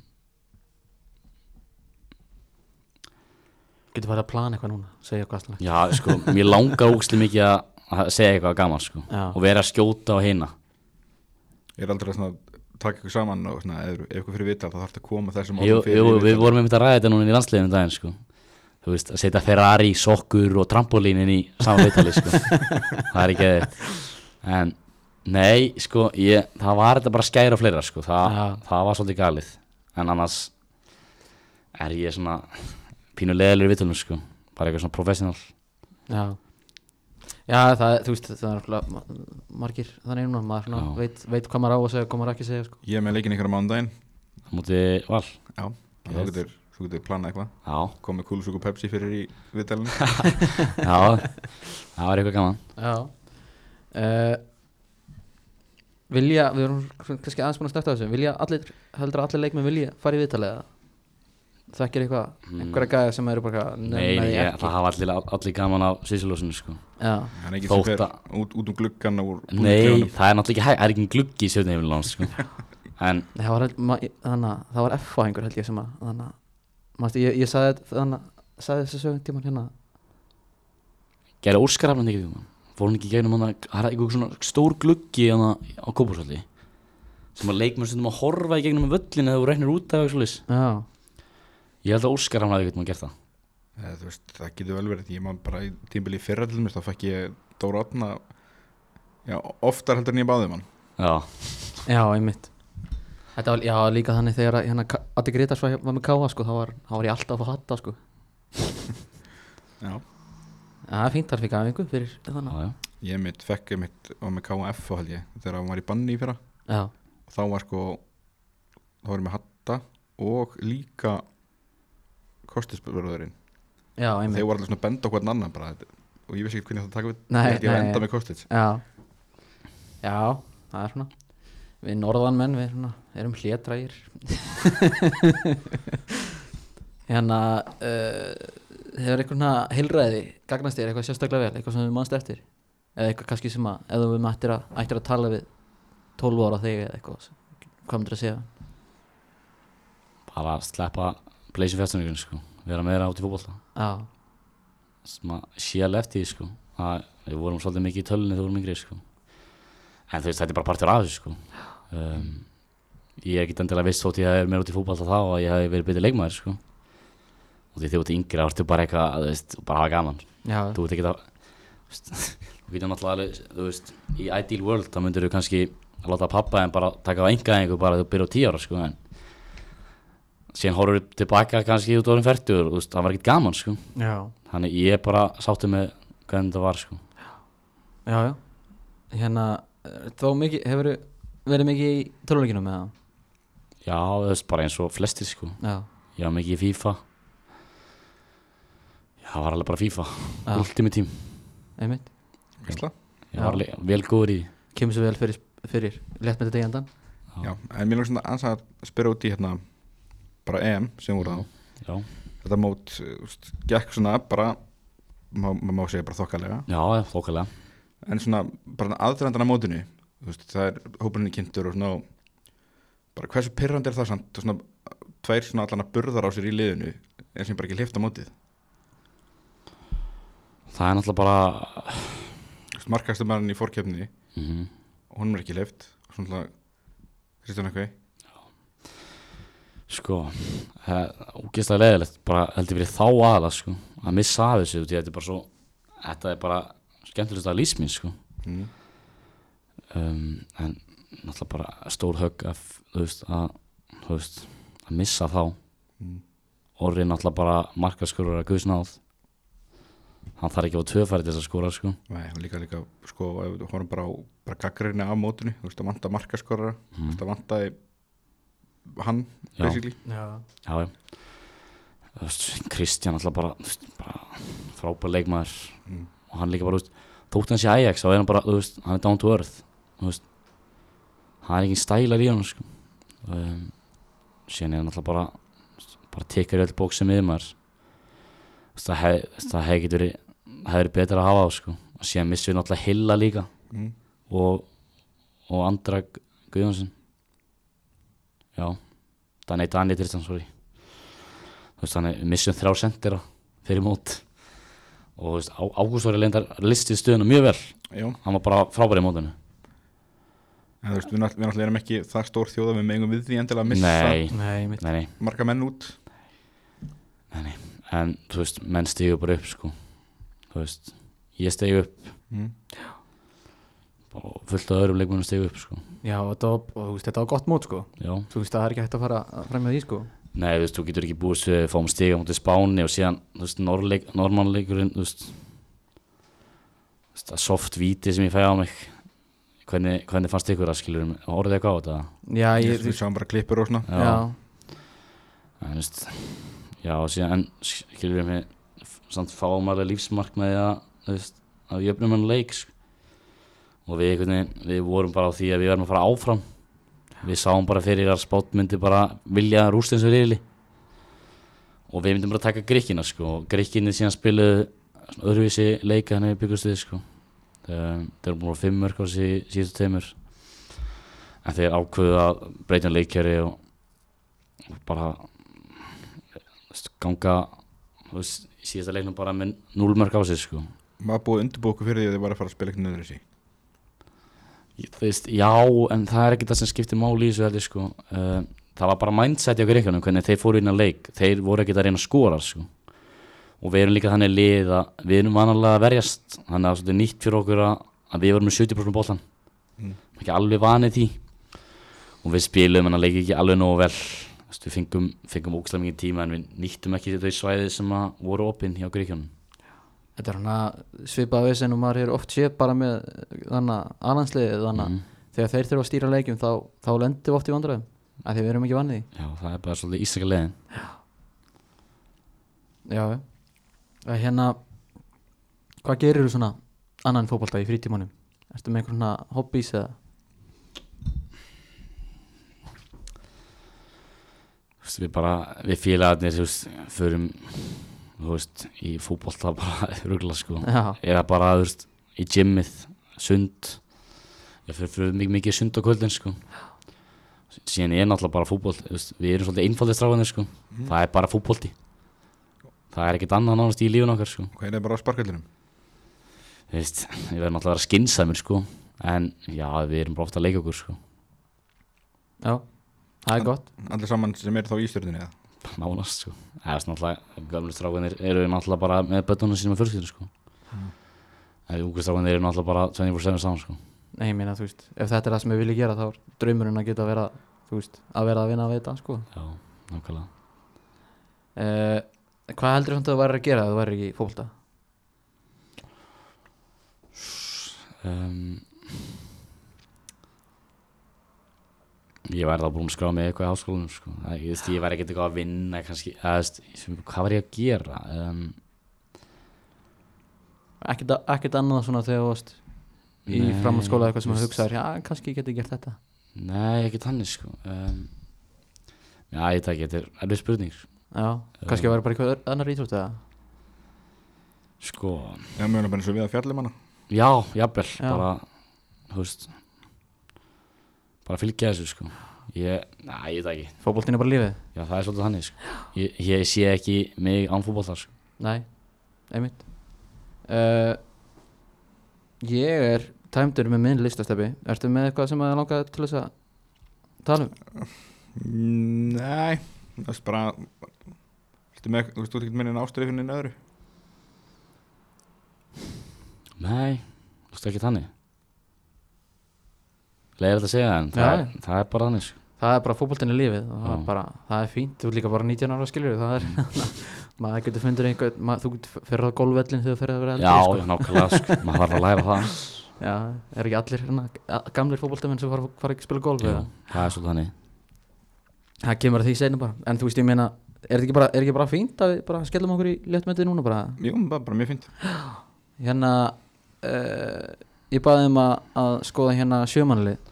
Speaker 1: Getur farið að plana eitthvað núna, segja eitthvað aðstæðanlegt
Speaker 3: Já, sko, mér langar úkslega mikið að- að segja eitthvað gaman sko.
Speaker 1: Já.
Speaker 3: og vera að skjóta á hina
Speaker 2: Ég er aldrei að svona, taka ykkur saman og svona, ef, ef ykkur fyrir vital þá þarf þetta að koma þessum
Speaker 3: Jú,
Speaker 2: fyrir
Speaker 3: jú,
Speaker 2: í viðtal.
Speaker 3: við vorum einmitt að ræða þetta núna í landsliðinu um daginn sko. Þú veist, að setja Ferrari, sokkur og trampolínin í saman vitali sko. Það er ekki eða En, nei, sko, ég, það var þetta bara skæra fleira sko. Þa,
Speaker 1: Já.
Speaker 3: Það var svolítið galið En annars er ég svona pínu leðalur í vitalinu sko. Bara eitthvað svona professional
Speaker 1: Já, Já það, þú veist, það er náttúrulega ma- margir þannig núna, maður svona,
Speaker 3: Já.
Speaker 1: veit, veit hvað maður á að segja og hvað maður ekki að segja sko.
Speaker 2: Ég er með leikin ykkur á mándaginn
Speaker 3: Það múti val
Speaker 2: Já, þú
Speaker 3: Yes.
Speaker 2: getur, þú getur planað eitthvað
Speaker 3: Já,
Speaker 2: Komið kúlusúku Pepsi fyrir í viðtalinu
Speaker 3: já, það var eitthvað gaman
Speaker 1: Já uh, Vilja, við erum kannski aðeins búin að snerta á þessu Vilja, allir, heldur að allir leikmenn vilja fara í viðtalið eða? Þekkir eitthvað, einhverja gæði sem eru bara eitthvað,
Speaker 3: Hmm. Nei,
Speaker 1: nei,
Speaker 3: ég,
Speaker 1: ekki.
Speaker 3: það hafa allir, allir gaman á svisilósinu sko.
Speaker 1: Já,
Speaker 2: Það er ekki
Speaker 3: Þótt
Speaker 2: sem fer
Speaker 3: að-
Speaker 2: út, út um gluggan og úr
Speaker 3: Nei, það er náttúrulega ekki hægt, það er ekki gluggi í sjöfnheimilinu hans sko. En,
Speaker 1: Nei, það var, held- ma- ég- þannig að það var F-a einhver held ég sem að þannig að manstu, ég, ég sagði þetta- þannig að sagði þessu sögum tíman hérna
Speaker 3: gerði úrskarafnandi ekki tíma Fór hann ekki í gegnum hann að, það er eitthvað svona stór gluggi hann á kópúsvalli Sem að leikmenn stundum að horfa í gegnum völlin eða þú reiknir út af eitthvað svoleiðis
Speaker 1: Já,
Speaker 3: Ég held að úrskarafnandi ekki tíma að gert það
Speaker 2: Eða, þú veist, það getur vel verið Ég maður bara í tímbili fyrra til mér þá fækk ég Dóra Otna Já, oftar heldur en ég um báði mann
Speaker 3: Já,
Speaker 1: já, einmitt Þetta var já, líka þannig þegar að, hérna, Ka- Addi Gretars var, var með K.A. sko, þá var, þá var ég alltaf að hatta sko
Speaker 2: Já,
Speaker 1: Já, það er fínt þar fikk að einhver fyrir þannig að-
Speaker 3: já, já
Speaker 2: ég mitt fekk ég mitt og með KF held ég þegar hann var í banni í fyrra
Speaker 1: Já,
Speaker 2: og þá var sko þá var ég með Hatta og líka Kostisbröðurinn
Speaker 1: já,
Speaker 2: þeir
Speaker 1: einmitt
Speaker 2: voru allir svona að benda okkur annan bara, þetta- og ég vissi ekki hvernig þetta taka við
Speaker 1: Nei,
Speaker 2: ég held ég að
Speaker 1: nei.
Speaker 2: enda með kostið
Speaker 1: já. já, það er svona við norðanmenn, við svona, erum hlétrægir hérna uh, hefur einhvern heilræði gagnast þér eitthvað sérstaklega vel, eitthvað sem við mannst eftir eða eitthvað kannski sem að eða við mættir að, ættir að tala við 12 ára þig eða eitthvað hvað myndir að segja
Speaker 3: bara að sleppa Blazing Festival sko. vera meira át í fótbolta
Speaker 1: já,
Speaker 3: sem að sé alveg eftir því, sko. að við vorum svolítið mikið í tölunni þegar við vorum yngri sko. en þú veist þetta er bara partur af þessu sko. um, ég get endilega vist þótt ég hefði verið meira út í fótbolta þá að ég hefði verið betið leikmaður sko. og því þegar þú ert yngri þá ertu bara eitthvað þú veist, bara að hafa gaman
Speaker 1: já,
Speaker 3: þú veit ekki það þú getur náttúrulega alveg, þú veist, í ideal world þá myndir þú kannski að láta pappa en bara taka á enga einhver bara þegar þú byrjar á 10 ára sko en síðan horfur þú tilbaka kannski út orðin 40 og þú veist, það var ekkert gaman sko
Speaker 1: já.
Speaker 3: þannig ég er bara sáttu með hvernig þetta var sko
Speaker 1: Já, já Hérna, eh, þá mikið, hefur verið mikið í töluleikinu með það?
Speaker 3: já, þú veist, bara eins og flestir sko
Speaker 1: Já,
Speaker 3: ég var mikið í FIFA já, það var alveg bara FIFA
Speaker 1: Já.
Speaker 3: ultimate team,
Speaker 1: einmitt
Speaker 2: Ísla?
Speaker 3: ég var
Speaker 1: Já.
Speaker 3: alveg vel góður í því.
Speaker 1: Kemur svo vel fyrir, fyrir létt með þetta í endan
Speaker 2: Já, en mér langar svona aðeins að spyrja út í hérna bara EM sem voru á
Speaker 3: já,
Speaker 2: þetta mót, eh, þú veist, gekk svona bara má- maður má segja bara þokkalega
Speaker 3: já, þókalega
Speaker 2: en svona bara aðdrandana mótinu þú veist, það er hópurinn í kynntur og svona og bara hversu pyrrandi er það samt og svona tveir svona allana burðar á sér í liðinu en sem bara ekki hlifta mótið
Speaker 3: það er náttúrulega bara
Speaker 2: Þú veist, markastu mann í fórkjöfni
Speaker 3: mm
Speaker 2: og honum er ekki hlift og svona alltaf Kristján Akvei
Speaker 3: Sko, það er ógeðslega leðilegt bara heldur fyrir þá aðla sko að missa af þessu því að þetta er bara svo þetta er bara skemmtilegst að lísminn sko
Speaker 2: mm.
Speaker 3: um, en náttúrulega bara stór högg að, þú veist, að, þú veist, að missa þá
Speaker 2: Mm.
Speaker 3: orðið náttúrulega bara markaskurur að guðsnáð hann þarf ekki að töfæri til þess að skóra sko
Speaker 2: Nei, og líka líka sko ef við horfum bara á bara gaggrinni af mótinu þú veist að vanta markaskorra þú veist að vantaði hann
Speaker 3: Mm, Já.
Speaker 2: basically
Speaker 1: Já,
Speaker 3: Já, já. Þú veist, Kristján alltaf bara, þú veist, bara frábær leikmaður
Speaker 2: Mm.
Speaker 3: og hann líka bara, þú veist, þótt hann sé Ajax þá er hann bara, þú veist, hann er down to earth þú veist, hann er ekki stælar í hann sko. um, síðan er hann alltaf bara þú veist, bara tekkar í öll bóksum yfir maður Þú veist, það hef- þú veist, það hefði getur hefði verið betra að hafa á sko. og síðan missum við náttúrulega Hilla líka
Speaker 2: mm.
Speaker 3: og, og Andra Gu- Guðjónsson já Dani, Dani Tristan, sorry þú veist, hann er missum þrjá sendera fyrir mót og þú veist, Á- Ágúst var leyndar listið stöðuna mjög vel
Speaker 2: Já,
Speaker 3: hann var bara frábæri í mótinu
Speaker 2: en þú veist, við náttúrulega, við náttúrulega erum ekki það stór þjóða við megum við því endilega að missa
Speaker 3: nei,
Speaker 1: nei, einmitt
Speaker 3: nei, nei,
Speaker 2: marga menn út
Speaker 3: nei, nei en þú veist, menn stigur bara upp sko þú veist, ég steg upp
Speaker 2: mm.
Speaker 3: og fullt af öðrum leikmunum steg upp sko
Speaker 1: Já, og þetta var, og, þú veist, þetta var gott mót sko
Speaker 3: já
Speaker 1: Þú veist, það er ekki hægt að fara að fram með því sko
Speaker 3: Nei, þú veist, þú getur ekki búist við að um fáum stiga mútið Spáni og síðan, þú veist, norrleik, normannleikurinn, þú veist, þú veist, það soft víti sem ég fæði á mig, hvernig, hvernig fannst ykkur það, skilur, orðið eitthvað á þetta?
Speaker 1: Já, ég,
Speaker 2: við sjáum bara klippur og svona
Speaker 1: já,
Speaker 3: En, þú veist, já, og síðan, en, skilur mig, f- samt fáum alveg lífsmark með það, þú veist, að jöfnum hann leik, sko. og við, hvernig, við vorum bara á því að við verðum að fara áfram, við sáum bara fyrir að spátt myndi bara vilja rúst eins og riðli og við myndum bara taka grikkina sko og grikkinni síðan spiluðu svona öðruvísi leika hann við byggustuði sko Um, þeir eru búin á fimm mörg á sí, síðustu teimur en þeir ákveðu að breytja um leikjari og, og bara þú veist, ganga þú veist, í síðasta leiknum bara með núl mörg á sig sko
Speaker 2: maður búið undirbúku fyrir því að þið var að fara að spila eitthvað nöður þessi
Speaker 3: Ég- þú veist, já, en það er ekki það sem skiptir máli í þessu heldur sko uh, það var bara mindset hjá greikunum hvernig þeir fóru inn að leik þeir voru ekki að reyna að skora sko og við erum líka þannig lið að við erum vanalega að verjast þannig að það er svolítið nýtt fyrir okkur að, að við vorum með 70% bóltan
Speaker 2: Mm.
Speaker 3: ekki alveg vanið því og við spilum en að leik ekki alveg nógu vel Þú veist, við fengum, fengum ógstlega mikið tíma en við nýttum ekki þau svæði sem að voru opinn hjá greikunum
Speaker 1: þetta er hana svipað vesen og maður er oft séð bara með eh, þannig aðlandsliðið þannig
Speaker 3: Mhm.
Speaker 1: þegar þeir þurfa að stýra leikjum þá, þá lendum við oft í vandræðum af því við erum ekki vannið
Speaker 3: já, það er bara svolítið ísaka leiðin
Speaker 1: því Já, já að hérna hvað gerir þú svona annan fótbolta í frítímanum ertu með einhver svona hobbís eða
Speaker 3: Þú veist, við bara, við félagarnir þú veist, förum þú veist, í fútbolta bara rugla sko,
Speaker 1: já,
Speaker 3: eða bara þú veist, í gymmið, sund ég fyrir fyrir mikið, mikið í sund á kvöldin sko síðan er náttúrulega bara fútbolt veist, við erum svolítið einfaldið stráðanir sko það er bara fútbolti það er ekkert annað nánast í lífun okkar sko
Speaker 2: Hvað er það bara á sparkallinum?
Speaker 3: Þú veist, við verðum náttúrulega að vera skinsamir sko en já, við erum bara ofta að leika okkur sko
Speaker 1: já, það er gott
Speaker 2: Allir saman sem er þá í stjórninu eða?
Speaker 3: nánast sko eða þess náttúrulega gömlu strákunir eru náttúrulega bara með bötunum sínum með fjölskyldur sko en ungu strákunir eru náttúrulega bara 24-7 saman sko
Speaker 1: nei, ég meina, þú veist, ef þetta er það sem við viljum gera þá er draumurinn að geta að vera þú veist, að vera að vinna að veita sko.
Speaker 3: já, nákvæmlega
Speaker 1: uh, hvað heldur þú að þú væri að gera ef þú væri ekki í fótbolta
Speaker 3: um, ég væri þá búin að skrá mig eitthvað í háskólanum sko Það- ég, veist, ég væri ekkert eitthvað að vinna kannski að, veist, ég- hvað var ég að gera um,
Speaker 1: ekkert, ekkert annað svona þegar þú varst í
Speaker 3: Nei,
Speaker 1: framhaldsskóla eitthvað sem
Speaker 3: þú
Speaker 1: þú
Speaker 3: veist.
Speaker 1: hugsaður, já, kannski ég geti gert þetta
Speaker 3: nei, ekki tannig sko um, já, ég takk, þetta er erfið spurning sko.
Speaker 1: já, kannski að vera bara eitthvað annar íþrótt eða
Speaker 3: sko,
Speaker 2: Já, mjög bara eins og við að fjallum hana
Speaker 3: já, jafnvel
Speaker 1: Já.
Speaker 3: bara, þú veist bara fylgja þessu sko ég, næ, ég takk ekki
Speaker 1: fótboltin er bara lífið
Speaker 3: já, það er svolítið þannig sko ég, ég sé ekki mig án fútboltar sko
Speaker 1: Nei, einmitt uh, Ég er tæmdur með minn listastefi Ertu með eitthvað sem að langa til þess að tala um?
Speaker 2: Mm, Nei, það er bara Ertu með- Þú veist, þú ert ekki minni en ástriðið finni en öðru
Speaker 3: Nei, þú veist ekki þannig Leir þetta að segja það, en það,
Speaker 1: Já,
Speaker 3: er, það er bara þannig sko.
Speaker 1: Það er bara fótboltinn í lífið og það er
Speaker 3: Já.
Speaker 1: bara, það er fínt, þú er líka bara 19 ára skilur það er, maður getur fundur einhvern maður, þú getur fyrir á golfvellin þegar þú fyrir að vera
Speaker 3: Já,
Speaker 1: eldri
Speaker 3: sko. nákvæmlega, sko. maður þarf að læra það
Speaker 1: sko. Já, er ekki allir hérna, a- gamlir fótboltamenn sem fara, fara ekki að spila golf
Speaker 3: Jú,
Speaker 1: eða?
Speaker 3: Það er svolítið þannig
Speaker 1: Það kemur að því segna bara, en þú veist ég meina er þetta ekki bara, er ekki bara fínt að við bara skellum okkur í léttmyndið núna bara?
Speaker 2: Jú, það er bara mjög fint
Speaker 1: hérna uh, ég baði um að, að skoða hérna sjömanlið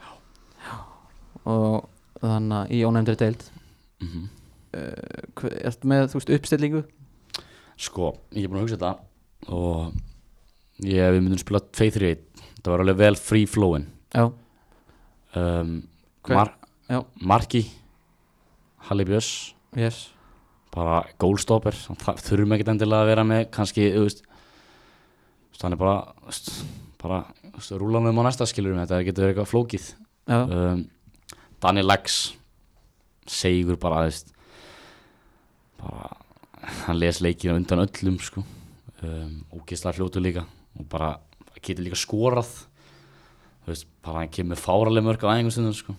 Speaker 1: og þannig að í ónefndri deild
Speaker 3: mm
Speaker 1: Hve- ertu með þú veist uppstillingu
Speaker 3: Sko, ég er búin að hugsa þetta og ég, við myndum spila 2-3-1 það var alveg vel free flowin
Speaker 1: já,
Speaker 3: um,
Speaker 1: Hver-
Speaker 3: mar
Speaker 1: Já.
Speaker 3: Marki Halli Björns
Speaker 1: yes
Speaker 3: bara goalstopper það þurfum ekkert endilega að vera með kannski þú veist, þú veist, hann er bara þú veist, bara þú veist, rúlan um á næsta skilurum þetta getur verið eitthvað flókið
Speaker 1: já,
Speaker 3: um, Danny Lax segur bara, þú veist, bara hann les leikina undan öllum sko. um, ógislega fljótu líka og bara getur líka skorað þú veist, bara hann kemur fáraleg mörg á æfingum stundum sko.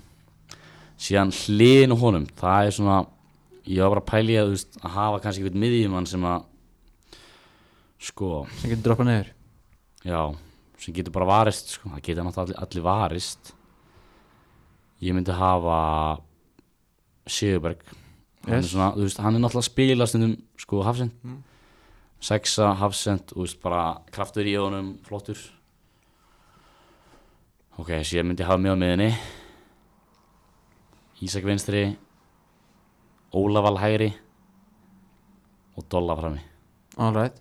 Speaker 3: síðan hliðin á honum það er svona ég var bara að pæli að, þú veist, að hafa kannski einhvern miðjumann sem að sko
Speaker 1: sem getur droppað neyður
Speaker 3: Já, sem getur bara varist sko. það getur náttúrulega allir, allir varist ég myndi hafa Sigurberg hann, er
Speaker 1: Yes.
Speaker 3: svona, þú veist, hann er náttúrulega að spila stundum sko hafsend sexa hafsend, þú veist bara kraftur í honum, flottur ok, þessi ég myndi hafa mjög á miðinni Ísak vinstri Ólafal hægri og Dolla frammi
Speaker 1: all right,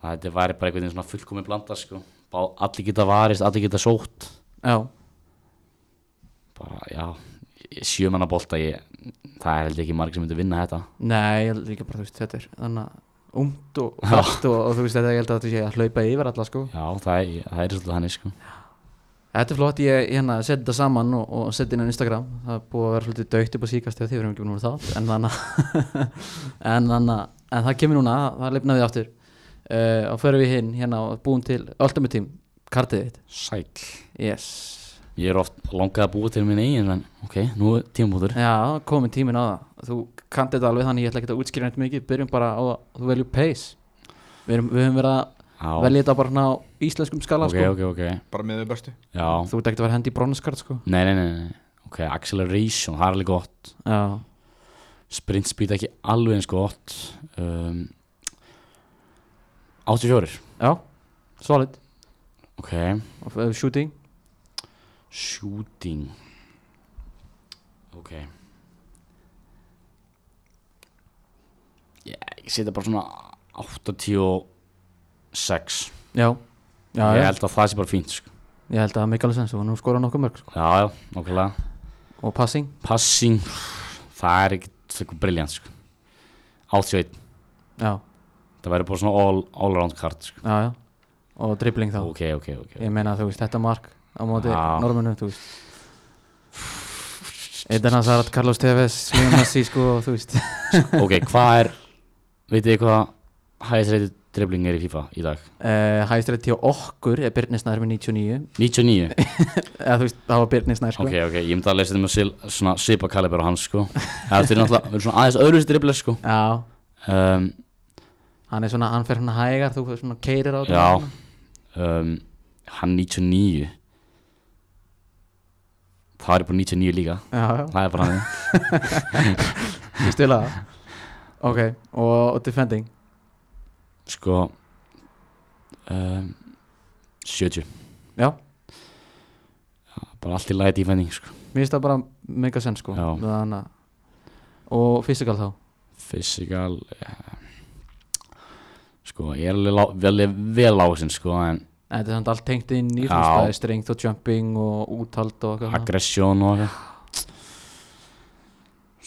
Speaker 3: að þetta væri bara einhvern veginn svona fullkomin blanda sko. Bá, allir geta varist, allir geta sótt
Speaker 1: já, bara.
Speaker 3: bara já, sjömanna bolta ég, það er held ég ekki marg sem myndi vinna þetta
Speaker 1: nei, ég held líka bara þú veist þetta er þannig að umt og fast og, og þú veist þetta ég held að þetta sé að hlaupa yfir alla sko
Speaker 3: já, það er, það er svolítið þannig sko.
Speaker 1: þetta er flott, ég hérna seti þetta saman og, og seti inn á Instagram, það er búið að vera svolítið dögt upp á síkast eða því við erum ekki búin að vera það en þannig að- en þannig að- en það kemur núna, það lifna við aftur uh, og förum við hinn hérna og búum til Ultimate Team, kartið þitt
Speaker 3: sæl,
Speaker 1: yes,
Speaker 3: ég er oft langað að búa til minn eigin en ok, nú er tímabútur
Speaker 1: já, komin tímin á það þú kannt þetta alveg þannig, ég ætla ekki að útskýra neitt mikið, byrjum bara á að þú velju pace við, erum, við höfum verið að
Speaker 3: já,
Speaker 1: velja þetta bara hérna á íslenskum skala
Speaker 3: ok,
Speaker 1: sko.
Speaker 3: ok, ok
Speaker 2: Bara með þau bestu
Speaker 3: já,
Speaker 1: þú ert ekki að vera hendi í bronskart sko.
Speaker 3: nei, nei, nei, nei ok, acceleration, það er alveg gott
Speaker 1: já,
Speaker 3: sprint speed ekki alveg eins gott um, 84
Speaker 1: Já, solid
Speaker 3: Ok,
Speaker 1: Og, uh, Shooting
Speaker 3: shooting Ok Já, ég setja bara svona 86
Speaker 1: Já, já,
Speaker 3: Ég
Speaker 1: já.
Speaker 3: held að það sé bara fínt sko.
Speaker 1: Ég held að það mikilvæg sens og nú skora nokkuð mörg sko.
Speaker 3: Já, já, nokkulega
Speaker 1: og passing,
Speaker 3: Passing, það er ekkert eitthvað briljant sko. 81
Speaker 1: já,
Speaker 3: Það verður bara svona all, all around card sko.
Speaker 1: já, já og dribbling þá,
Speaker 3: Ok, ok, ok
Speaker 1: ég meina þú veist þetta mark á móti
Speaker 3: Já.
Speaker 1: normunum, þú veist Eitan Hazard, Carlos Tevez, Lionel Messi sko, þú veist
Speaker 3: Ok, hvað er Vitið þið hvað highest rated dribbling er í FIFA í dag?
Speaker 1: uh, Hæstrætt hjá okkur er Birnir Snær með 99
Speaker 3: 99
Speaker 1: eða þú veist, það var Birnir Snær sko
Speaker 3: Ok, ok, ég myndi að lesa þetta með sil, svona sipa kaliber á hans sko Það er náttúrulega verður svona aðeins öðruvísi dribbler sko
Speaker 1: Já,
Speaker 3: um,
Speaker 1: hann er svona, hann fer svona hægar þú svona keirir á
Speaker 3: Já um, Hann 99 Það er bara 99 líka
Speaker 1: já,
Speaker 3: Það er bara hann
Speaker 1: já, ég stila það Ok, og, og defending
Speaker 3: Sko um, 70
Speaker 1: Já,
Speaker 3: Bara allt í lagi defending sko
Speaker 1: mér finnst það bara mega sens sko
Speaker 3: Já.
Speaker 1: Þannig að og physical þá
Speaker 3: Physical uh, Sko, ég er alveg lá, vel, vel lásin sko En
Speaker 1: En þetta er samt allt tengt inn í
Speaker 3: Já.
Speaker 1: þú veist, það er strengt og jumping og úthald og eitthvað svona.
Speaker 3: aggression og eitthvað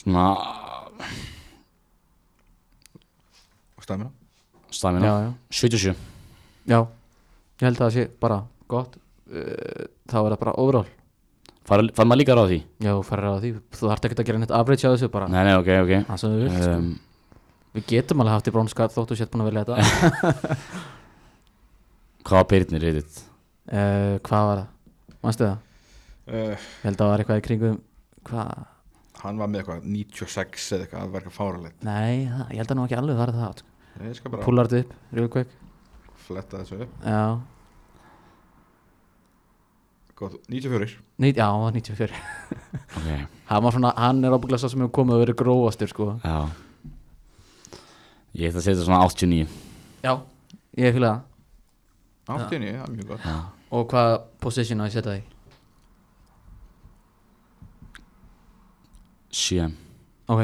Speaker 3: Svona
Speaker 2: og stamina
Speaker 3: Stamina
Speaker 1: Já, já,
Speaker 3: 77
Speaker 1: já Ég held að það sé bara gott uh, Þá er það bara overall
Speaker 3: Far, far maður líka ráð því?
Speaker 1: Já, þú færir á því, þú þarft ekki að gera neitt average á þessu bara
Speaker 3: Ah. Nei, nei, ok, ok
Speaker 1: Það sem þú vilt
Speaker 3: um,
Speaker 1: Við getum alveg haft í brónskar þóttu sétt búin að velja þetta
Speaker 3: Hvað var Birnir reyðið?
Speaker 1: uh, Hvað var það? Manstu það?
Speaker 2: uh,
Speaker 1: Ég held að það var eitthvað í kringum Hvað?
Speaker 2: hann var með eitthvað 96 eða eitthvað að verka fáralegt
Speaker 1: Nei, það, ég held að nú ekki alveg var það sko.
Speaker 2: ég skal bara
Speaker 1: Púlar þetta upp, real quick
Speaker 2: fletta þessu upp
Speaker 1: Já,
Speaker 2: Góð, 94
Speaker 1: Nít, já, hann var 94
Speaker 3: Ok,
Speaker 1: Hann var svona, hann er ábygglega svo sem hefur komið að vera grófastur sko
Speaker 3: já Ég ætla að setja svona 89
Speaker 1: Já Ég fylgja það
Speaker 2: 89, það er mjög gott
Speaker 3: Já
Speaker 1: Og hvað position á ég setja þig?
Speaker 3: Sjön
Speaker 1: Ok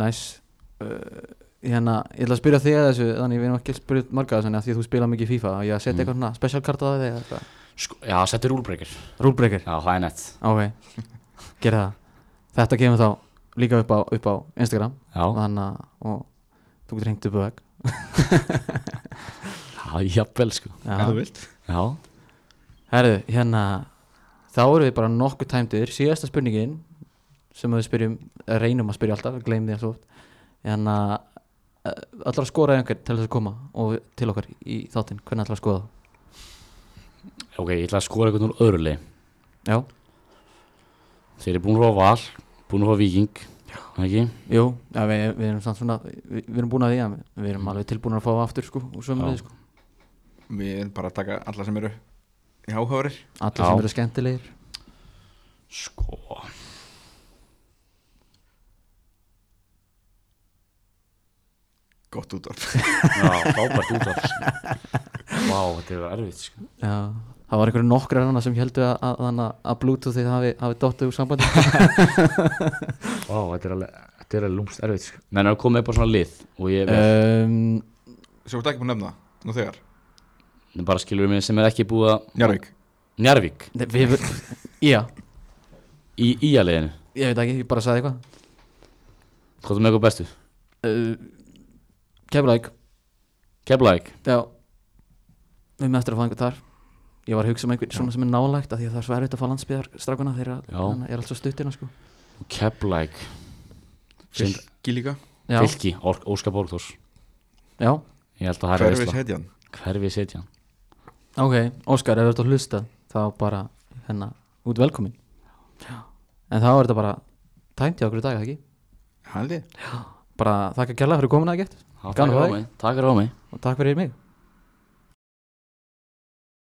Speaker 1: Nice uh, Hérna, ég ætla að spyrja þig að þessu Þannig við erum ekki að spyrja marga að þessu Þannig að því að þú spila mikið í FIFA Ég að setja
Speaker 2: Mm.
Speaker 1: eitthvað svona special card á þig eða eitthvað.
Speaker 3: sko, Já, setja rúlbreykir Já,
Speaker 1: Rulebreaker
Speaker 3: það er nett
Speaker 1: Ok Gerða það Þetta kemur þá líka upp á, upp á Instagram
Speaker 3: Já,
Speaker 1: Þannig að og þú getur hengt upp á vegg
Speaker 3: já, jafnvel sko
Speaker 2: ef þú vilt
Speaker 3: Já,
Speaker 1: Herðu, hérna Þá erum við bara nokkuð tæmdur Síðasta spurningin sem við spyrjum eh, reynum að spyrja alltaf, gleym því að svo oft hérna eh, ætlarðu að skora einhvern til þess að koma og til okkar í þáttinn, hvernig ætlar að skoða það?
Speaker 3: ok, ég ætla að skora eitthvað úr öðruli
Speaker 1: Já,
Speaker 3: Þeir eru búin að fá val, búin að fá viking Já Ekki?
Speaker 1: jú, ja, við, við erum samt svona við, við erum búin að því að við við erum alveg tilbúin að fá aftur sko, úr sömu
Speaker 3: Já.
Speaker 1: sko.
Speaker 2: við erum bara að taka alla sem eru í áhaurir
Speaker 1: allir
Speaker 3: Já.
Speaker 1: sem eru skemmtilegir
Speaker 3: Sko
Speaker 2: gott útvarp
Speaker 3: Já, frábært út af Vá, þetta er erfitt sko
Speaker 1: Já, það var einhverju nokkrar hana sem heldur að, að, að, að Bluetooth þið hafi, hafi dottið úr sambandi
Speaker 3: Vá, þetta er alveg, þetta er alveg lúmst erfitt sko Nei, það komið bara svona lið og ég uh,
Speaker 1: um,
Speaker 2: sem þú ert ekki búin að nefna, nú þegar
Speaker 3: bara skilur mig sem er ekki búið að
Speaker 2: Njarvík,
Speaker 3: Njarvík
Speaker 1: nei, við, Já,
Speaker 3: í íjaliðinu
Speaker 1: ég veit ekki, ég bara sagði eitthvað
Speaker 3: Hvað er með eitthvað bestu?
Speaker 1: uh, Keflæk
Speaker 3: Keflæk
Speaker 1: Já Við með eftir að fá einhvern þar Ég var að hugsa um einhvern svona sem er nálægt af Því að það er svo erfitt að fá landsbyðar strákuna Þeir
Speaker 3: Já.
Speaker 1: eru er alltaf stuttina sko
Speaker 3: Keflæk Sind-
Speaker 2: Fylki líka
Speaker 1: Já,
Speaker 3: Fylki, Ork, Óskar Borgþórs
Speaker 1: já,
Speaker 3: Ég held að það er
Speaker 2: Hverfis
Speaker 3: veistla
Speaker 2: hetjan
Speaker 3: Hverfi setja
Speaker 1: ok Óskar, ef þú ert að hlusta þá bara hérna út velkomin En þá er þetta bara tæmt í okkur í dag, eða ekki?
Speaker 2: Haldi
Speaker 1: Bara þakka kærlega fyrir komuna að gett Gaman að fá þig.
Speaker 3: Takk fyrir á mig
Speaker 1: og takk fyrir mig